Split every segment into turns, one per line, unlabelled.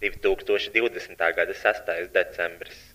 2020. gada 6. decembris.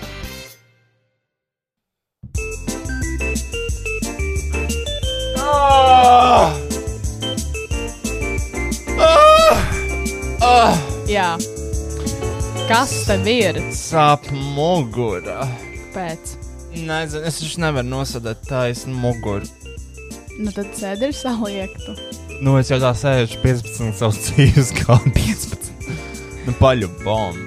Ah! Ah! Ah!
Jā. Kas tev ir
Sāp mugura.
pēc?
Nezinu, es taču nevaru nosadīt taisnu muguru.
Nu tad sēdi ir saliektu.
Nu, es jau tā sēžu 15 savus dzīves gadus. 15. Nu, paļu bombu.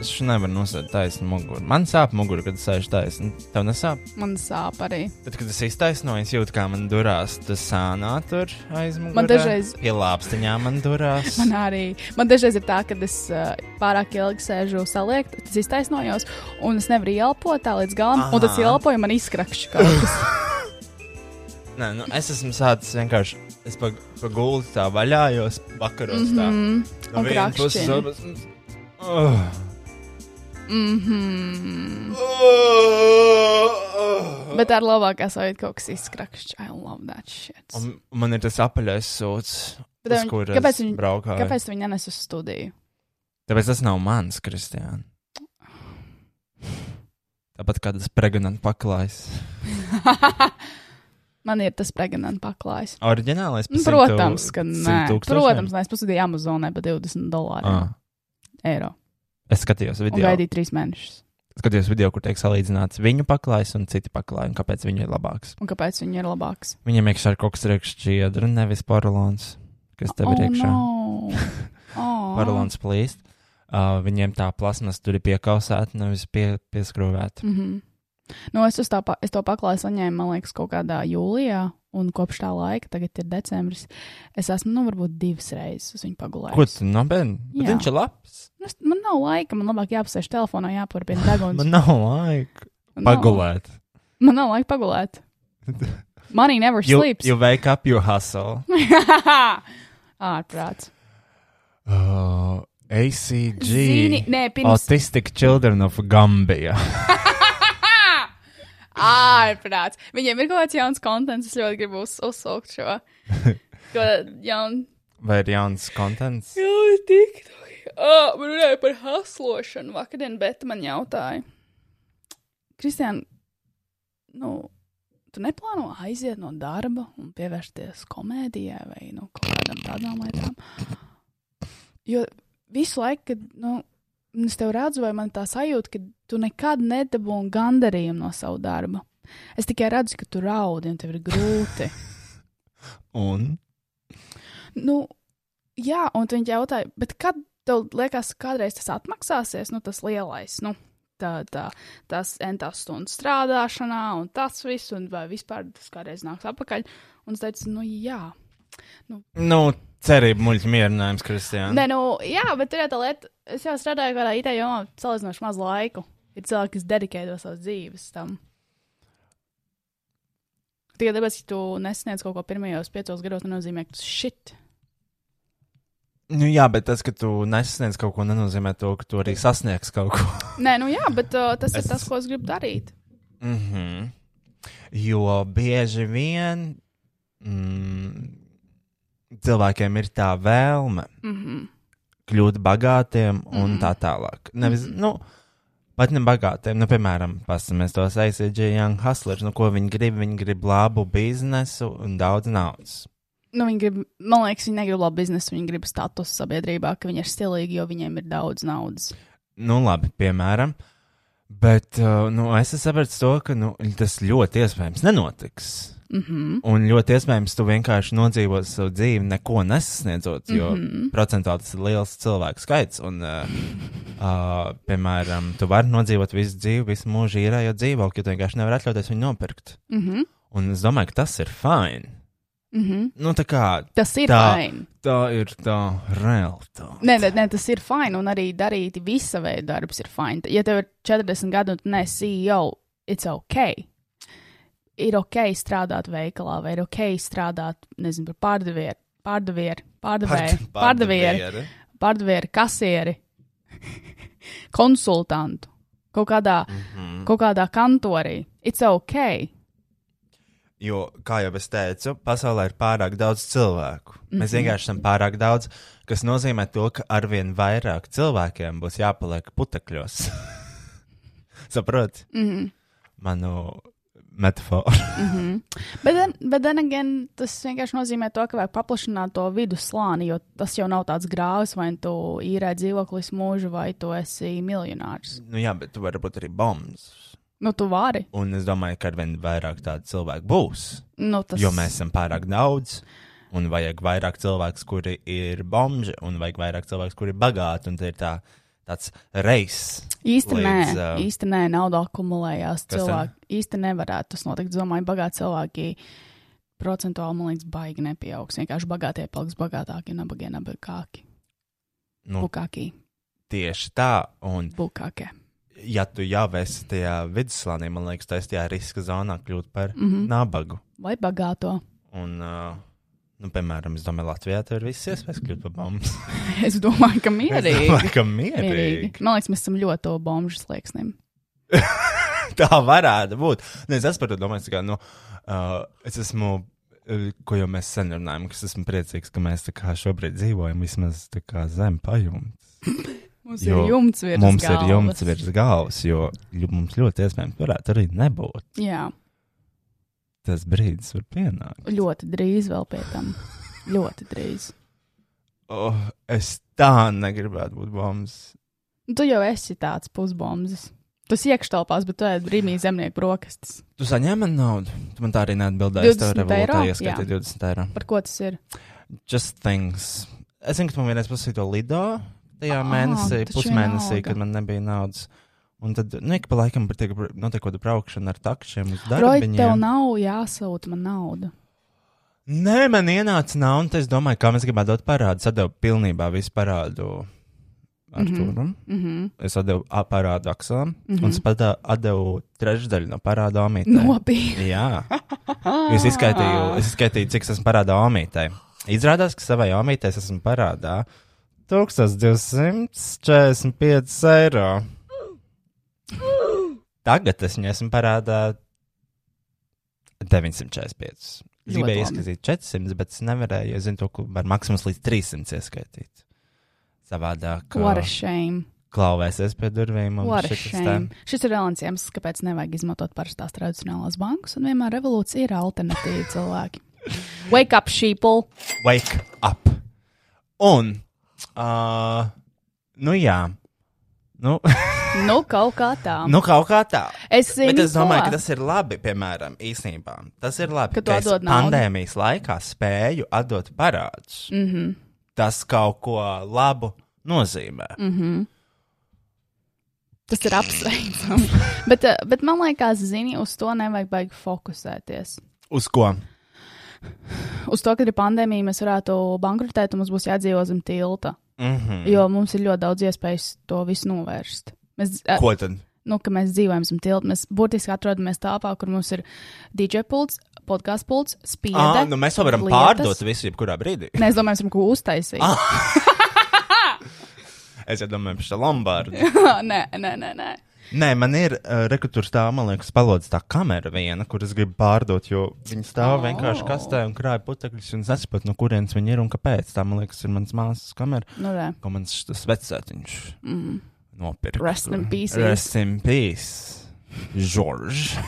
Es taču nevaru nosadīt taisnu muguru. Man sāp mugura, kad es sēžu taisnu. Tev nesāp?
Man sāp arī.
Tad, kad es iztaisnoju, es jūtu, kā man durās tas sānā tur aiz muguras.
Man dažreiz-
Pie lāpstiņā man durās.
Man arī. Man dažreiz ir tā, ka es uh, pārāk ilgi sēžu saliektu, tas iztaisnojos, un es nevaru ielpot tā līdz galam. Aha. Un tas
Aha.
ielpoja man izkrakšķi kaut kas.
Nē, nu, es esmu sācis vienkārši. Es pa, pa gultu tā vaļājos, vakaros tā.
Mm,
No
un
vienas puses
krakšķini.
abas- Ugh.
Mhm. Bet ar labākā sajūta kaut kas izkrakšķi. I love that shit.
Un man ir tas apaļais sūds,
Bet
uz
viņi-
kura
kāpēc
es
viņi-
braukāju.
Kāpēc tu viņu nes uz studiju?
Tāpēc tas nav mans, Kristiāna. Tāpat kā tas pregnant paklājs.
Man ir tas pregnant paklājs.
Oriģinālais
Nu,
par simtu-
Protams, ka nē.
100 tūkstošiem?
Protams, nē, es pasūtīju Amazonē par 20 dolāriem.
Ah,
Eiro.
es skatījos
Un
video.
gaidīju trīs mēnešus.
Skatījos video, kur tiek salīdzināts viņu paklājs un citu paklāju, un kāpēc viņi ir labāks.
Un kāpēc viņi ir labāks?
Viņam iekšā ir kaut kas riekšķiedra, nevis porcelāns, kas tev ir iekšā.
Oh, no. oh.
Porcelāns plīst. Uh, viņiem tā plasmas tur ir piekausēta, nevis pie, pieskrūvēta.
Mm -hmm. nu, es, uz tā, pa- es to paklāju saņēmu, man liekas, kaut kādā jūlijā, un kopš tā laika, tagad ir decembris, es esmu, nu, varbūt divas reizes uz viņu pagulējis.
Ko tu nopietni? Bet
Jā.
Viņš ir labs.
Nu, es- man nav laika, man labāk jāapsēž telefonā, jāpārpina deguns.
Man nav laika
Man nav-
pagulēt.
Man nav laika pagulēt. Money never
You,
sleeps.
you wake up, you hustle.
Ārprāts.
Uh,
Zini,
ACG.
nē, pirms.
Autistic Children of Gambia.
Ārprāts. Viņiem ir kaut kāds jauns konts, es ļoti gribu uz, uzsaukt šo. Ko jaunu
Vai ir jauns kontents?
Jā, ir tik tālu. Ah, man runāja par haslošanu vakardien, bet man jautāja, Kristian, nu, tu neplāno aiziet no darba un pievērsties komēdijai vai nu, kaut kādām tādām lietām? Jo visu laiku, kad, nu, Un Es tev redzu, vai man tā sajūta, ka tu nekad nedabūji gandarījumu no sava darba. Es tikai redzu, ka tu raudi un tev ir grūti.
Un
nu, jā, un viņi jautāja, bet kad tev liekas, ka kādreiz tas atmaksāsies, nu, tas lielais, nu, tā, tā, tas entās stundas strādāšanā un tas viss, un vai vispār tas kādreiz nāks atpakaļ. Un es teicu, nu, jā.
nu, cerība muļķa mierinājums, Kristija.
Nē, nu, jā, bet tur ir tā lieta, es jau strādāju kādā IT jomā salīdzinoši maz laiku. Ir cilvēki, kas dedikēto savas dzīves tam. Tikai tāpēc, ka tu nesniedz kaut ko pirmajos piecos gados, nenozīmē, ka tas šit.
Nu, jā, bet tas, ka tu nesasniedz kaut ko, nenozīmē to, ka tu arī sasniegs kaut ko.
Nē, nu jā, bet uh, tas es...
Es-
ir tas, ko es gribu darīt.
Mm -hmm. Jo bieži vien mm, cilvēkiem ir tā vēlme
Mm -hmm.
kļūt bagātiem un
Mm.
tā tālāk. Nevis, nu, pat ne bagātiem, nu, piemēram, pasamies tos ACG Young Hustlers, nu, ko viņi grib, viņi grib labu biznesu un daudz naudas.
Nu, viņi grib, man liekas, viņi negrib labu biznesu, viņi grib status sabiedrībā, ka viņi ir stilīgi, jo viņiem ir daudz naudas.
Nu, labi, piemēram. Bet uh, nu, es saprotu to, ka nu, tas ļoti iespējams nenotiks.
Mm -hmm.
Un ļoti iespējams, tu vienkārši nodzīvosi savu dzīvi, neko nesasniedzot,
Mhm.
jo mm -hmm. procentuāli tas ir liels cilvēku skaits. Un, uh, uh, piemēram, tu vari nodzīvot visu dzīvi, visu mūžu īrējot dzīvokli, jo tu vienkārši nevar atļauties viņu nopirkt.
Mm -hmm.
Un es domāju, ka tas ir fine.
Mm -hmm.
Nu, tā kā
Tas ir
Tā.
fini.
tā ir tā realitāte.
Nē, nē, nē, tas ir fini. Un arī darīt visa veida darbus ir fini. Ja tev ir 40 gadi un tu neesi CEO, it's ok. Ir ok strādāt veikalā, vai ir ok strādāt, nezinu, par pārdevēju, pārdevēju, pārdevēju, pārdevēju, pārdevēju, kasieri, konsultantu. Kaut kādā
Mhm.
kaut kādā kantorī. It's ok.
Jo, kā jau es teicu, pasaulē ir pārāk daudz cilvēku. Mm -hmm. Mēs vienkārši esam pārāk daudz, kas nozīmē to, ka arvien vairāk cilvēkiem būs jāpaliek putekļos. Saprotiet,
Mm -hmm.
manu metafāru.
Bet, then- bet then again, tas vienkārši nozīmē to, ka vajag paplašināt to vidusslāni, jo tas jau nav tāds grāvs, vai nu tu īrē dzīvoklis mūžu, vai tu esi miljonārs.
nu, jā, bet tu vari būt arī bombs.
Nu, tu vari.
Un es domāju, ka arvien vairāk tādu cilvēku būs.
Nu, tas...
Jo mēs esam pārāk daudz. Un vajag vairāk cilvēku, kuri ir bomži, un vajag vairāk cilvēku, kuri ir bagāti. Un tas ir tā, tāds reis.
Īsti
līdz,
nē,
ā,
īsti nē, nauda akumulējās.
Kas
Cilvēki īsti nevarētu tas notikt. Es domāju, bagāti cilvēki procentuāli, man liekas, baigi nepieaugs. Vienkārši bagātie paliks bagātāki, nabagie nabagāki.
Nu,
Bukāki,
tieši tā. Un
bukākie.
ja tu jau esi tajā vidusslānī, man liekas, tas ir tajā riska zonā kļūt par mm -hmm.
Mhm.
nabagu.
Vai bagāto?
Un, uh, nu, piemēram, es domāju, Latvijā tur ir viss iespējas kļūt par bombu.
Es domāju, ka mierīgi.
ka mierīgi.
Mierīgi. Man liekas, mēs esam ļoti tuvu bombuļu slieksnim.
Tā varētu būt. Nu, es esmu par to domājis, ka nu, uh, es esmu. uh, Ko jau mēs sen runājam, ka es esmu priecīgs, ka mēs tā kā šobrīd dzīvojam vismaz tā kā zem pajumta.
Mums
Jo
ir jumts virs
Mums
galvas.
ir jumts virs galvas, jo ļu- mums ļoti iespējams varētu arī nebūt.
Jā,
Tas brīdis var pienākt.
ļoti drīz vēl pie tam. ļoti drīz.
Oh, es tā negribētu būt bombas.
Nu, Tu jau esi tāds pusbombs. Tas iekštelpās, bet tu ēd brīnī zemnieku brokastis.
Tu saņēmi man naudu. Tu man tā arī neatbildēji. Es tev
20
revolūcijā
eiro?
ieskaitīju 20 eiro.
Par ko tas ir?
Just things. Es zinu, ka tu man vienreiz pasūtīji to lido tajā
Ah,
mēnesī,
taču
pusmēnesī,
vienalga.
kad man nebija naudas. Un tad, nu, ik pa laikam tiek br- notiek kaut kāda braukšana ar takšiem uz
Roja, tev
darbu.
nav jāsūta man nauda.
Nē, man ienāca nauda, un tad es domāju, kā mēs gribētu dot parādu. Es atdevu pilnībā visu parādu ar mm
Mhm.
-hmm. turu.
Mhm.
Es atdevu a- parādu akselam, mm
Mhm.
-hmm. un es pat ā, atdevu trešdaļu no parāda omītē.
Nopietni.
Jā. Es izskaitīju, es izskaitīju, cik es esmu parādā omītē. Izrādās, ka savai omītē es esmu parādā 1245 eiro. Tagad es viņu esmu parādā 945. Es
Ļoti
gribēju
labi.
ieskaitīt 400, bet es nevarēju. Es zinu, to ka var maksimums līdz 300 ieskaitīt. Savādāk
What a shame.
klauvēsies pie durvīm. un
What a
šitas tā.
shame. Šis ir viens iemesls, kāpēc nevajag izmantot parastās tradicionālās bankas, un vienmēr revolūcija ir alternatīva cilvēki. Wake up, sheeple!
Wake up. Un, uh, nu jā, Nu,
Nu, kaut kā tā.
nu, kaut kā tā.
Es zinu,
Bet es domāju,
ko.
ka tas ir labi, piemēram, īstenībā. Tas ir labi,
Ka tu
es
atdod naudu.
pandēmijas laikā spēju atdot parādus. Mm -hmm.
Mhm.
Tas kaut ko labu nozīmē.
Mhm.
Mm.
Tas ir apsveicami. bet, eh, bet man liekas, zini, uz to nevajag baigi fokusēties.
Uz ko?
Uz to, ka ir pandēmija, mēs varētu bankrotēt, un mums būs jādzīvo zem tilta.
Mm -hmm.
Jo mums ir ļoti daudz iespēju to visu novērst. Mēs, eh,
Ko tad?
nu, ka mēs dzīvojam zem tilta. Mēs būtiski atrodamies telpā, kur mums ir DJ pults, podkāstu pults, spīde.
Ah, nu mēs to varam
lietas.
pārdot visu, jebkurā brīdī.
Nē, es domāju, mēs varam ko uztaisīt. Ah.
Es jau domāju par šo Lombardu.
nē, nē, nē. nē.
Nē, man ir uh, rekrutūras tā, man liekas, palodz tā kamera viena, kur es gribu pārdot, jo viņi stāv oh. vienkārši kastē un krāja putekļus, un es nesaprotu, no kurienes viņi ir un kāpēc. Tā, man liekas, ir mans māsas kamera,
Nu, nē.
ko mans šis vecētiņš mm. nopirka.
Rest in peace.
Rest in peace, Žorž.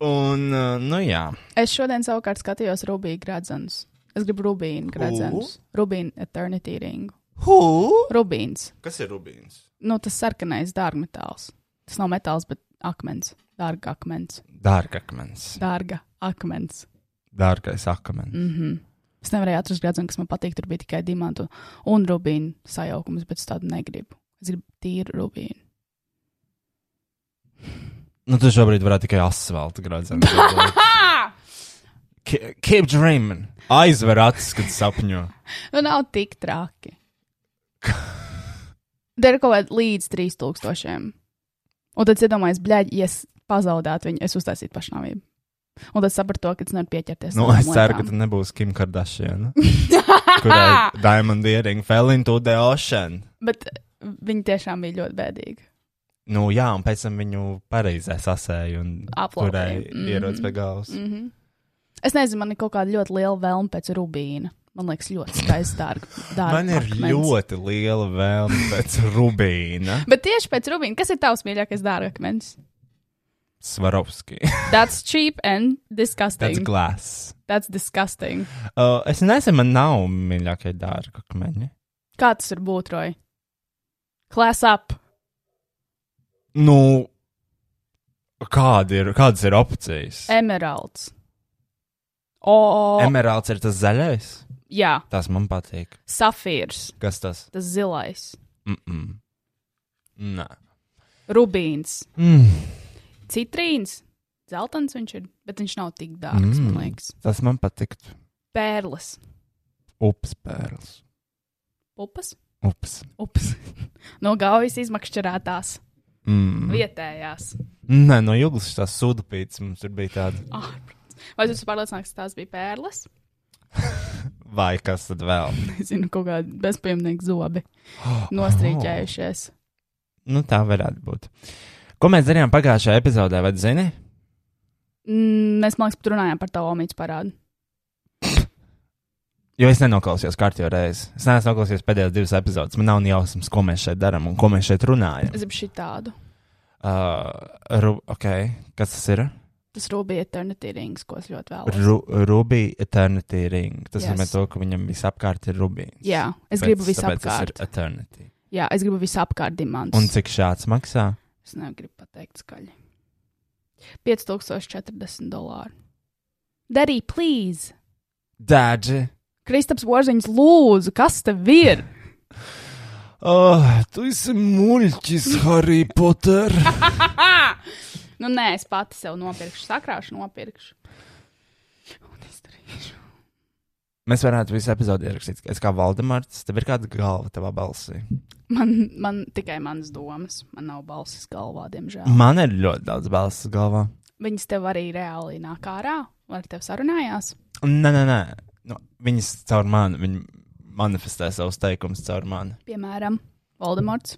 un, uh, nu jā,
Es šodien savukārt skatījos Rubīnu Gradzenus. Es gribu Rubīnu Gradzenus. Rubīnu Eternity Ringu.
Hū?
Rubīns.
kas ir Rubīns?
Nu, tas sarkanais dārgmetāls. Tas nav metāls, bet akmens. Dārga akmens.
Dārgakmens,
Dārga akmens. Mhm.
dārgais akmens. Mm.
Es nevarēju atrast gradzenu, kas man patīk. Tur bija tikai dimantu un rubīnu sajaukums, bet es tādu negribu. Es gribu tīru rubīnu.
Nu, tu šobrīd varētu tikai asfaltu gradzenu. Ke- Keep dreaming. Aizver acis, kad sapņo.
Nu, nav tik traki. Der kaut kāda līdz 3000. Un tad es iedomājos, blēģi, ja es pazaudētu viņu, es uztaisītu pašnāvību. Un tad sapratu to, ka es nevaru pieķerties.
Nu,
savām
es ceru, ka eh,
lietām.
tu nebūsi Kim Kardashian. Kurai Diamond Earring fell into the ocean.
Bet eh, viņi tiešām bija ļoti bēdīgi.
Nu, jā, un pēc tam viņu pareizē sasēju un
Aplaudēju.
kurai
Mhm.
ierodas pie galvas.
Mm -hmm. Es nezinu, man ir kaut kāda ļoti liela vēlme pēc rubīna. Man liekas, ļoti skaisti dārgi.
Man ir ļoti liela vēlme pēc Rubīna
Bet tieši pēc rubīna, kas ir tavs mīļākais dārgakmenis?
Svarovski.
That's cheap and
Tāds
disgusting.
glass.
That's disgusting.
Uh, es nezinu, man nav mīļākie dārga akmeņi.
Kā tas ir būt, Roy? Class up.
Nu, kādi ir, kādas ir opcijas?
Emeralds. E, O,
Emerāls ir tas zaļais.
jā,
Tas man patīk.
safīrs,
Kas tas?
tas zilais,
Mm -mm. Nē.
rubīns,
Mm.
citrīns, zeltains viņš ir, bet viņš nav tik dārgs, mm. man liekas.
Tas man patīk.
Pērlis,
Ups, pērls.
upas,
Ups.
upas. no gaujas izmakšķerētās,
Mm.
vietējās.
Nē, no jūgas tas sūdupīts mums tur bija tāds.
Ārprāts. Vai tu esi pārliecināts, ka tās bija pērlis?
Vai kas tad vēl?
Nezinu, kaut kādi bezpajumtnieki zobi
Oh.
nostrīķējušies.
Nu, tā varētu būt. Ko mēs darījām pagājušajā epizodē, vai tu zini?
Mm, mēs, man liekas, pat runājām par tavu omīdu parādu.
Jo es nenoklausījos kārtībā reizi. Es neesmu noklausījies pēdējās divas epizodes. Man nav ne jausmas, ko mēs šeit darām un ko mēs šeit runājam.
Es gribu šī tādu.
Uh, ru, okay. Kas tas ir?
Tas Rubija Eternity rings, ko es ļoti vēlos.
Ru, Rubija Eternity Ring. Tas
Yes.
yes. nozīmē, to, ka viņam visapkārt ir rubīns.
Jā, es
Tāpēc-
gribu
tāpēc tas ir
visapkārt.
Eternity.
Jā, es gribu visapkārt dimantus.
Un cik šāds maksā?
Es negribu pateikt skaļi. 5040 dolāri. Darī, please!
Dāģi!
Kristaps Vorziņš, lūdzu, kas tev ir?
Oh, tu esi muļķis, Harry Potter!
Nu, nē, es pati sev nopirkšu, sakrāšu, nopirkšu. Un izdarīšu.
Mēs varētu visu epizodi ierakstīt. Es kā Valdemārs, tev ir kāda galva tavā balsī.
Man, man tikai manas domas, man nav balsis galvā, diemžēl.
Man ir ļoti daudz balss galvā.
Viņas tev arī reāli nāk ārā, vai ar tevi sarunājās?
Nē, nē, nē. Nu, viņas caur mani, viņi manifestē savus teikumus caur mani.
Piemēram, Voldemorts.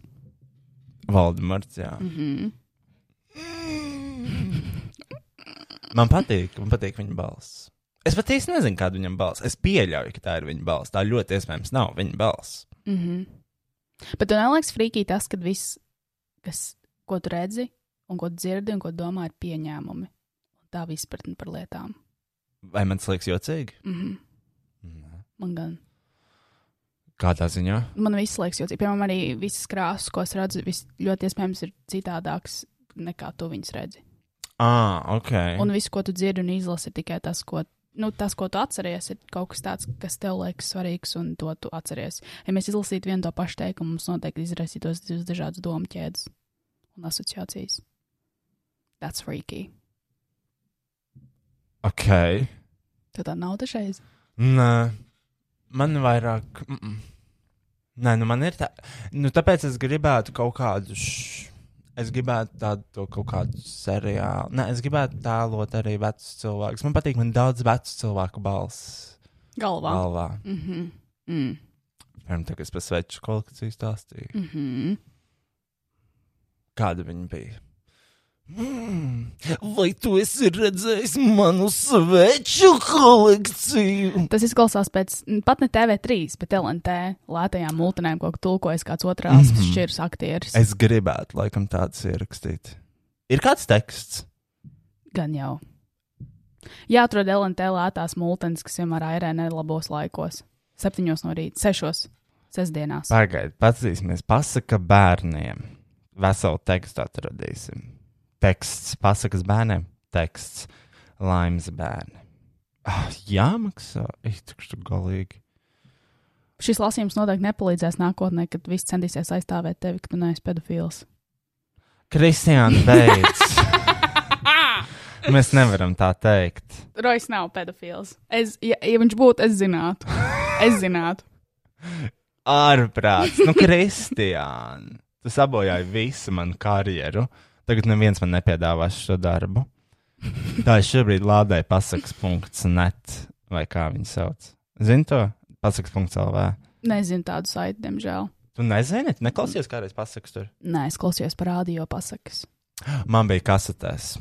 Valdemārs, jā. Mm -hmm.
Mhm.
Man patīk, man patīk viņa balss. Es pat īsti nezinu, kāda viņam balss. Es pieļauju, ka tā ir viņa balss. Tā ļoti iespējams nav viņa balss.
Mhm. Bet tev neliekas frīkī tas, ka viss, kas, ko tu redzi, un ko tu dzirdi, un ko tu domā, ir pieņēmumi. Tā bija izpratne par lietām. Mhm.
Vai man tas liekas jocīgi?
Mm -hmm.
Nē.
Man gan.
Kādā ziņā?
Man viss liekas, jo, piemēram, arī visas krāsas, ko es redzu, viss ļoti iespējams ir citādāks nekā tu viņus redzi.
Ah, ok.
Un viss, ko tu dzirdi un izlasi, ir tikai tas, ko, nu, tas, ko tu atceries, ir kaut kas tāds, kas tev liekas svarīgs, un to tu atceries. Ja mēs izlasītu vienu to pašu teikumu, mums noteikti izraisītos divas dažādas domu ķēdes un asociācijas. That's freaky.
okay.
Tev tā nav dažreiz.
Nē, man vairāk. Mm -mm. Nē, nu man ir tā. Nu, tāpēc es gribētu kaut kādu. Š... Es gribētu tādu to kaut kādu seriālu. Nē, es gribētu tēlot arī vecus cilvēkus. Man patīk, man daudz vecu cilvēku balss
Galvā.
galvā.
Mhm. Mm.
Piemēram, tā kā es par sveču kolekciju stāstīju.
Mhm.
Kāda viņa bija? Mm. Vai tu esi redzējis manu sveču kolekciju?
Tas izklausās pēc n, pat ne TV3, bet LNT lētajām multinēm, ko tulkojas kāds otrās mm -hmm. šķirs aktieris. Es...
Es gribētu, laikam, tādas ierakstīt. Ir kāds teksts?
Gan jau. Jāatrod LNT lētās multines, kas vienmēr airē nelabos laikos. Septiņos no rīta, sešos, sestdienās.
Pagaidiet, paskatīsimies. Pasaka bērniem. Veselu tekstu atradīsim. Teksts, pasakas bērniem, teksts, laimes bērni. Ah, jāmaksā, itukšķi galīgi.
Šis lasījums noteikti nepalīdzēs nākotnē, kad viss centīsies aizstāvēt tevi, ka tu neesi pedofils.
Kristiāna, beidz! Mēs nevaram tā teikt.
Rois nav pedofils. Es, ja, ja viņš būtu, es zinātu. Es zinātu.
Ārprāts, nu, Kristiāna, tu sabojāji visu manu karjeru. Tagad neviens man nepiedāvās šo darbu. Tā es šobrīd lādēju pasakas punkts net, vai kā viņi sauc. Zini to? Pasakas punkts LV.
Nezinu tādu saiti, diemžēl.
Tu nezini, tu neklausies kādreiz pasakas tur.
Nē, es klausījos par rādio pasakas.
Man bija kasetēs.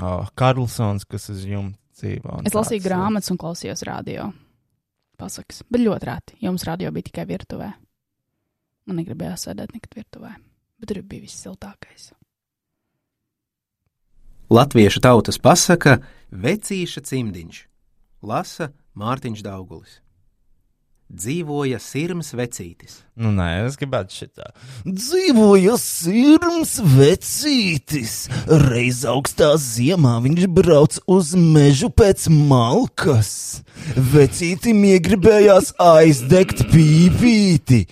Oh, Karlsons, kas uz jumta dzīvo. un
Es lasīju
tāds.
grāmatas un klausījos radio. Pasakas. Bet ļoti rēti. Jums radio bija tikai virtuvē. Man negribējās sēdēt nekad virtuvē. Bet tur bija viss siltākais.
Latviešu tautas pasaka Vecīša cimdiņš, lasa Mārtiņš Daugulis. Dzīvoja sirms vecītis.
Nu, nē, es gribētu šitā. Dzīvoja sirds vecītis. Reiz augstā ziemā viņš brauc uz mežu pēc malkas. Vecītim iegribējās aizdegt pīpīti.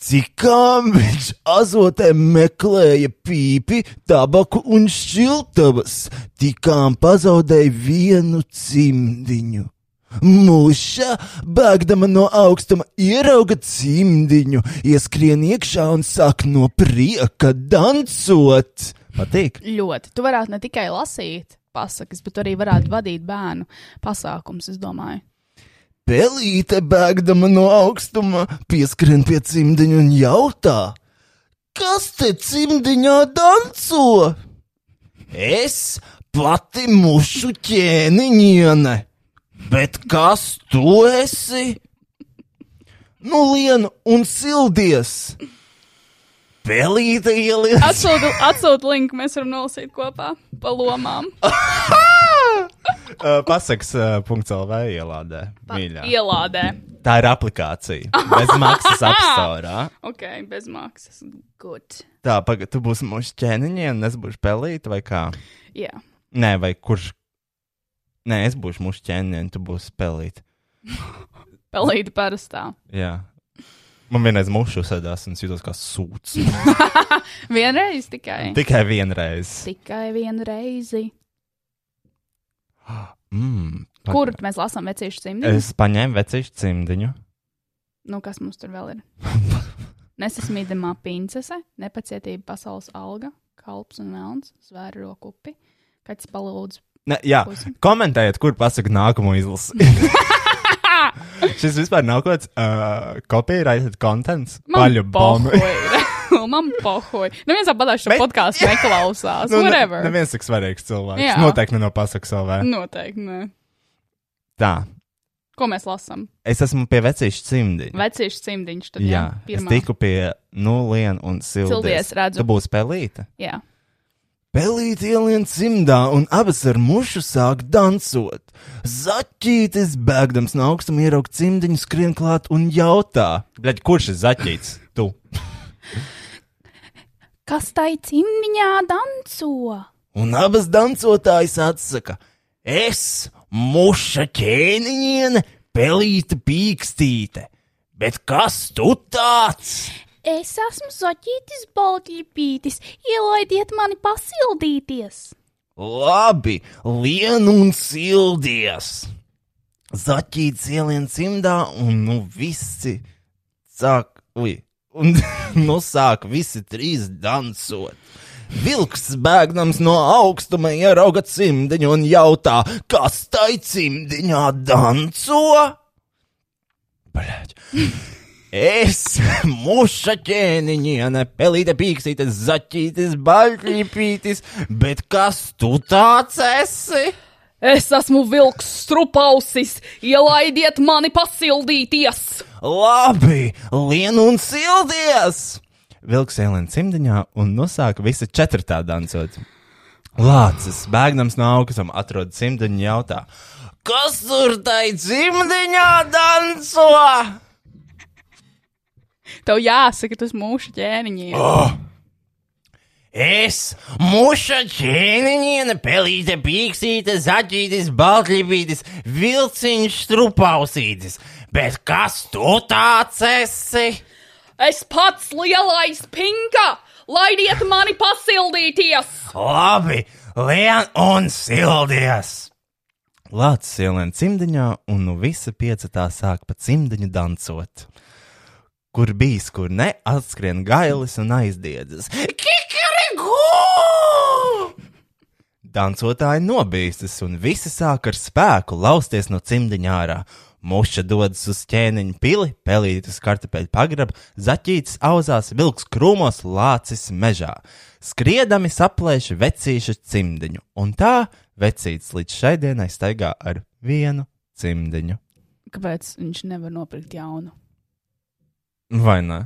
Cikām viņš azotē meklēja pīpi, tabaku un šiltavas, tikām pazaudēja vienu cimdiņu. Mūša, bēgdama no augstuma, ierauga cimdiņu, ieskrien iekšā un sāk no prieka dancot. Patīk!
Ļoti. Tu varētu ne tikai lasīt pasakas, bet arī varētu vadīt bērnu pasākums, es domāju.
Pelīte, bēgdama no augstuma, pieskrien pie cimdiņa un jautā: Kas te cimdiņā danco? Es pati mušu ķēniņiene, bet kas tu esi? Nu, lienu un sildies! Pelīte ielies!
Atsūtu, atsūtu linku, mēs varam nolasīt kopā pa lomām.
Uh, pasaks, uh, punkts LV ielādē. Mīļā.
Ielādē.
Tā ir aplikācija. Bez maksas apstāvā.
Ok, bez maksas. Good.
Tā, pagaidi, tu būsi mūsu ķēniņš, un es būšu pelīte, vai kā?
Jā. Yeah.
Nē, vai kurš? Nē, es būšu mūsu ķēniņš, un tu būsi pelīte.
Pelīti parastā.
Jā. Man vienreiz mušu sēdās, un es jutos kā sūds.
Vienreiz tikai.
Tikai vienreiz.
Tikai vienu reizi.
Mm, pag-
Kur mēs lasām vecīšu cimdiņu? Es...
Es paņēmu vecīšu cimdiņu.
Nu, kas mums tur vēl ir? Nesasmīdamā princese, nepacietība, pasaules alga, kalps un melns, zvēru roku upi. Kaķis palūdz.
Ne, jā,
Pusi.
komentējiet, kur pasakāt nākamo izlasi. Šis vispār nav kaut kāds uh, copyrighted konts. Paļu bombu.
Man pohoj. Neviens apbadā šo
Bet-
podkāstu neklausās.
Nu, ne-
Whatever.
Neviens tik svarīgs cilvēks.
Jā.
Jā. Noteikti ne no pasakas LV.
Noteikti. Nē.
Tā.
Ko mēs lasām?
Es esmu pie vecīša cimdiņa.
Vecīšu cimdiņš. Tad,
Jā,
jā,
es
pirmā.
tiku pie nulles un sildies.
Sildies, redzu.
Tu būsi pelīte.
Jā.
Pelīt ielien cimdā un abas ar mušu sāk dansot. Zaķītis bēgdams no augstuma ierauga cimdiņu skrien klāt un jautā: Bļaļ, kurš ir zaķītis? Tu!
Kas tai cimdiņā danco?
Un abas dancotājas atsaka: Es, muša ķēniņiene, pelīta pīkstīte, bet kas tu tāds?
Es esmu Zaķītis Baltļipītis, ielaidiet mani pasildīties!
Labi, lien un sildies! Zaķīts ielien cimdā, un nu visi sāk, ui, un nu sāk visi trīs dansot. Vilks bēgnams no augstuma ierauga cimdiņu un jautā, kas tai cimdiņā danco? Bļaļ. Es, muša ķēniņiene, pelīte pīksītis, zaķītis, baļķīpītis, bet kas tu tāds esi?
Es esmu vilks, strupausis, ielaidiet mani pasildīties!
Labi, lien un sildies! Vilks ielien cimdiņā un nosāka visi četrtā dancot. Lācis, bēgnams no augstuma, atrod cimdiņu un jautā: Kas tur tai cimdiņā danco?
Tev jāsaka, tas mūžs ķēniņš. Oh.
Es, muša ķēniņiene, pelīte pīksīte, zaķītis, baltlībītis, vilciņš trupausītis, bet kas tu tāds esi?
Es pats lielais pinga! Laidiet mani pasildīties!
Labi, lien un sildies! Lācis ielien cimdiņā, un nu visa piecetā sāk pa cimdiņu dancot. Kur bijis, kur ne, atskrien gailis un aizdiedzas. Kikariku! Dancotāji nobīstas, un visi sāk ar spēku lausties no cimdiņa ārā. Muša dodas uz ķēniņa pili, pelītis kartupeļu pagraba, zaķītis auzās, vilks krūmos, lācis mežā. Skriedami saplēš vecīšu cimdiņu, un tā vecītis līdz šai dienai staigā ar vienu cimdiņu.
Kāpēc viņš nevar nopirkt jaunu?
Vai ne?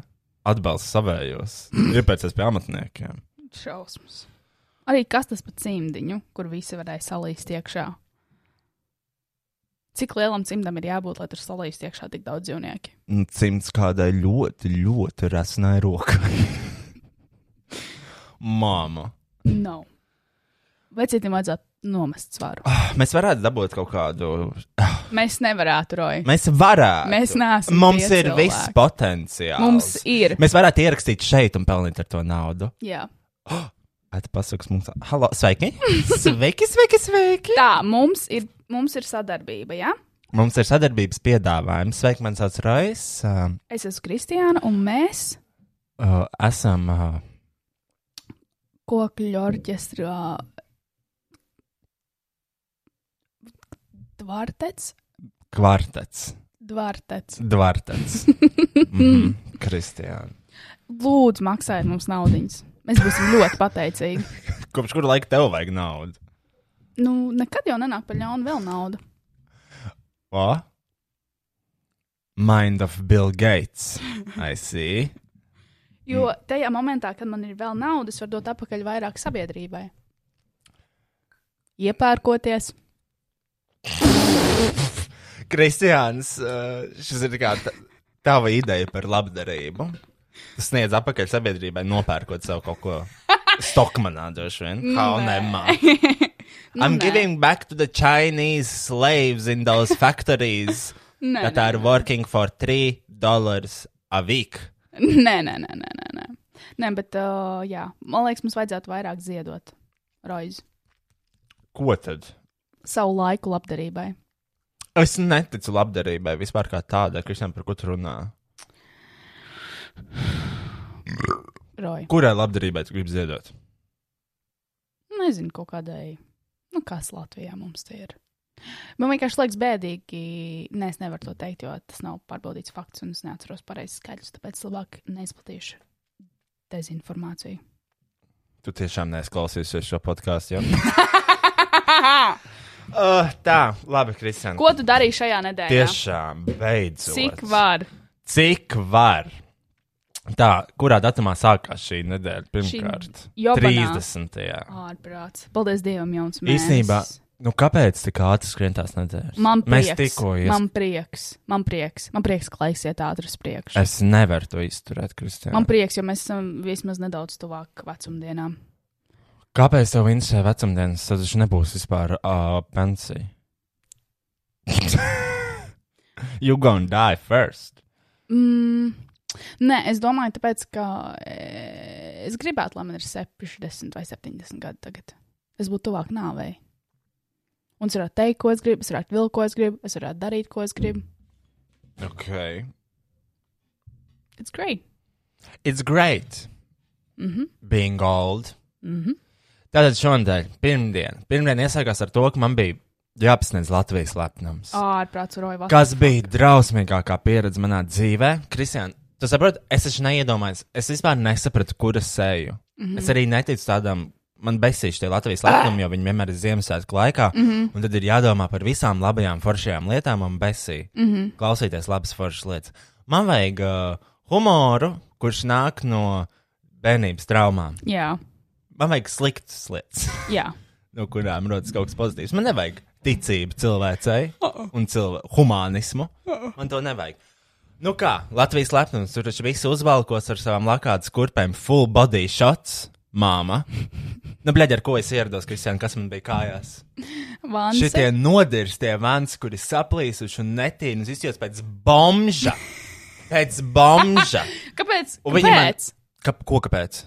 Atbalsts savējos, iepērcies pie amatniekiem.
Šausmas. Arī kas tas par cimdiņu, kur visi varēja salīst iekšā? Cik lielam cimdam ir jābūt, lai tur salīst iekšā tik daudz dzīvnieku?
Un Cimds kādai ļoti, ļoti rasnai rokai. Māma.
Nav. No. Vecītim vajadzētu nomest svaru.
Mēs varētu dabūt kaut kādu.
Mēs nevarētu, Roja.
Mēs varētu.
Mēs neesam
Mums
tie
ir
cilvēki.
viss potenciāls.
Mums ir.
Mēs varētu ierakstīt šeit un pelnīt ar to naudu.
Jā.
At pasaks mums, halo, sveiki! sveiki, sveiki, sveiki!
Tā, mums ir, mums ir sadarbība, jā? Ja?
Mums ir sadarbības piedāvājums. Sveiki, man sauc Rojas. Uh,
Es esmu Kristiāna, un mēs
uh, esam uh,
kokļu orķestrā dvartets.
kvartets.
Dvartets.
Dvartets. mm, Kristiāna.
Lūdzu, maksājiet mums naudiņas. Mēs būsim ļoti pateicīgi.
Kopš kura laika tev vajag naudu?
Nu, nekad jau nenāk par ļaunu vēl naudu.
O? Mind of Bill Gates. I see.
Jo tajā momentā, kad man ir vēl naudas, var dot atpakaļ vairāk sabiedrībai. Iepērkoties.
Kristiāns, uh, šis ir kā ta- tava ideja par labdarību. Tu sniedz apakaļ sabiedrībai, nopērkot sev kaut ko. Stokmanā droši vien. How nemā.
Nu
I'm
nē.
giving back to the Chinese slaves in those factories
Nē,
that
nē,
are working for three dollars a week.
Nē, nē, nē, nē, nē. nē. Nē, bet, uh, jā, man liekas, mums vajadzētu vairāk ziedot roizi
Ko tad?
savu laiku labdarībai.
Es neticu labdarībai vispār kā tādai, Kristian, par ko tu runā.
Roja.
Kurai labdarībai tu gribi ziedot?
Nezinu, kaut kādai. Nu, kas Latvijā mums tie ir? Man vienkārši liekas bēdīgi. Nē, es nevaru to teikt, jo tas nav pārbaudīts fakts, un es neatceros pareizi skaidrs. Tāpēc labāk neizplatīšu dezinformāciju.
Tu tiešām neesklausīsies šo podkāstu. uh, tā, labi, Kristian.
Ko tu darīji šajā nedēļā?
Tiešām, beidzot.
Cik var?
Cik var? Tā, kurā datumā sākās šī nedēļa? Pirmkārt,
jobanā.
30.
Ārprāts. Paldies Dievam, jauns mēs.
Īsnībā, nu kāpēc tik ātri skrien tās nedēļas?
Man
Mēs
prieks.
tikko
Man
iesaistāmies.
prieks. Man prieks. Man prieks, ka laisiet ātri uz priekšu.
Es nevaru to izturēt, Kristija.
Man prieks, jo mēs esam vismaz nedaudz tuvāk vecumdienām.
Kāpēc tev interesē vecumdienas? Tad viņš nebūs vispār uh, pensija. you gonna die first.
Mm, nē, es domāju, tāpēc, ka e, es gribētu, lai man ir 60 vai 70 gadi tagad. Es būtu tuvāk nāvei. Un es varētu teikt, ko es gribu, es varētu vilkt, ko es gribu, es varētu darīt, ko es gribu.
Okay.
It's great.
It's great
Mhm,
being old.
mhm.
Tātad šonadēļ, pirmdien, pirmdien iesākās ar to, ka man bija jāapsniedz Latvijas lepnums.
Ārprāts, roja vasarā.
Kas bija drausmīgākā pieredze manā dzīvē? Kristian, tu saproti, es taču neiedomājos, es vispār nesapratu, kur es eju. Mm -hmm. Es arī neticu tādam. Man besīši tie Latvijas latumi, jo viņi vienmēr ir Ziemassvētku laikā, mm -hmm. un tad ir jādomā par visām labajām foršajām lietām, un besī mm -hmm. klausīties labas foršas lietas. Man vajag uh, humoru, kurš nāk no bērnības traumām.
Jā,
Man vajag sliktas lietas
jā.
no kurām rodas kaut kas pozitīvs. Man nevajag ticību cilvēcei un cilvē humānismu. Man to nevajag. Nu kā, Latvijas lepnums, tur taču visi uzvalkos ar savām lakātas kurpēm, full body shots, māma. Nu, blēģi, ar ko es ierados, Kristian, kas man bija kājās?
Vansi.
Šitie nodirstie vansi, kuri saplīsuši un netīni, un izjūtas pēc bombža. Pēc bombža.
Kāpēc?
Un viņi man-
Kāpēc?
Ka, ko kāpēc?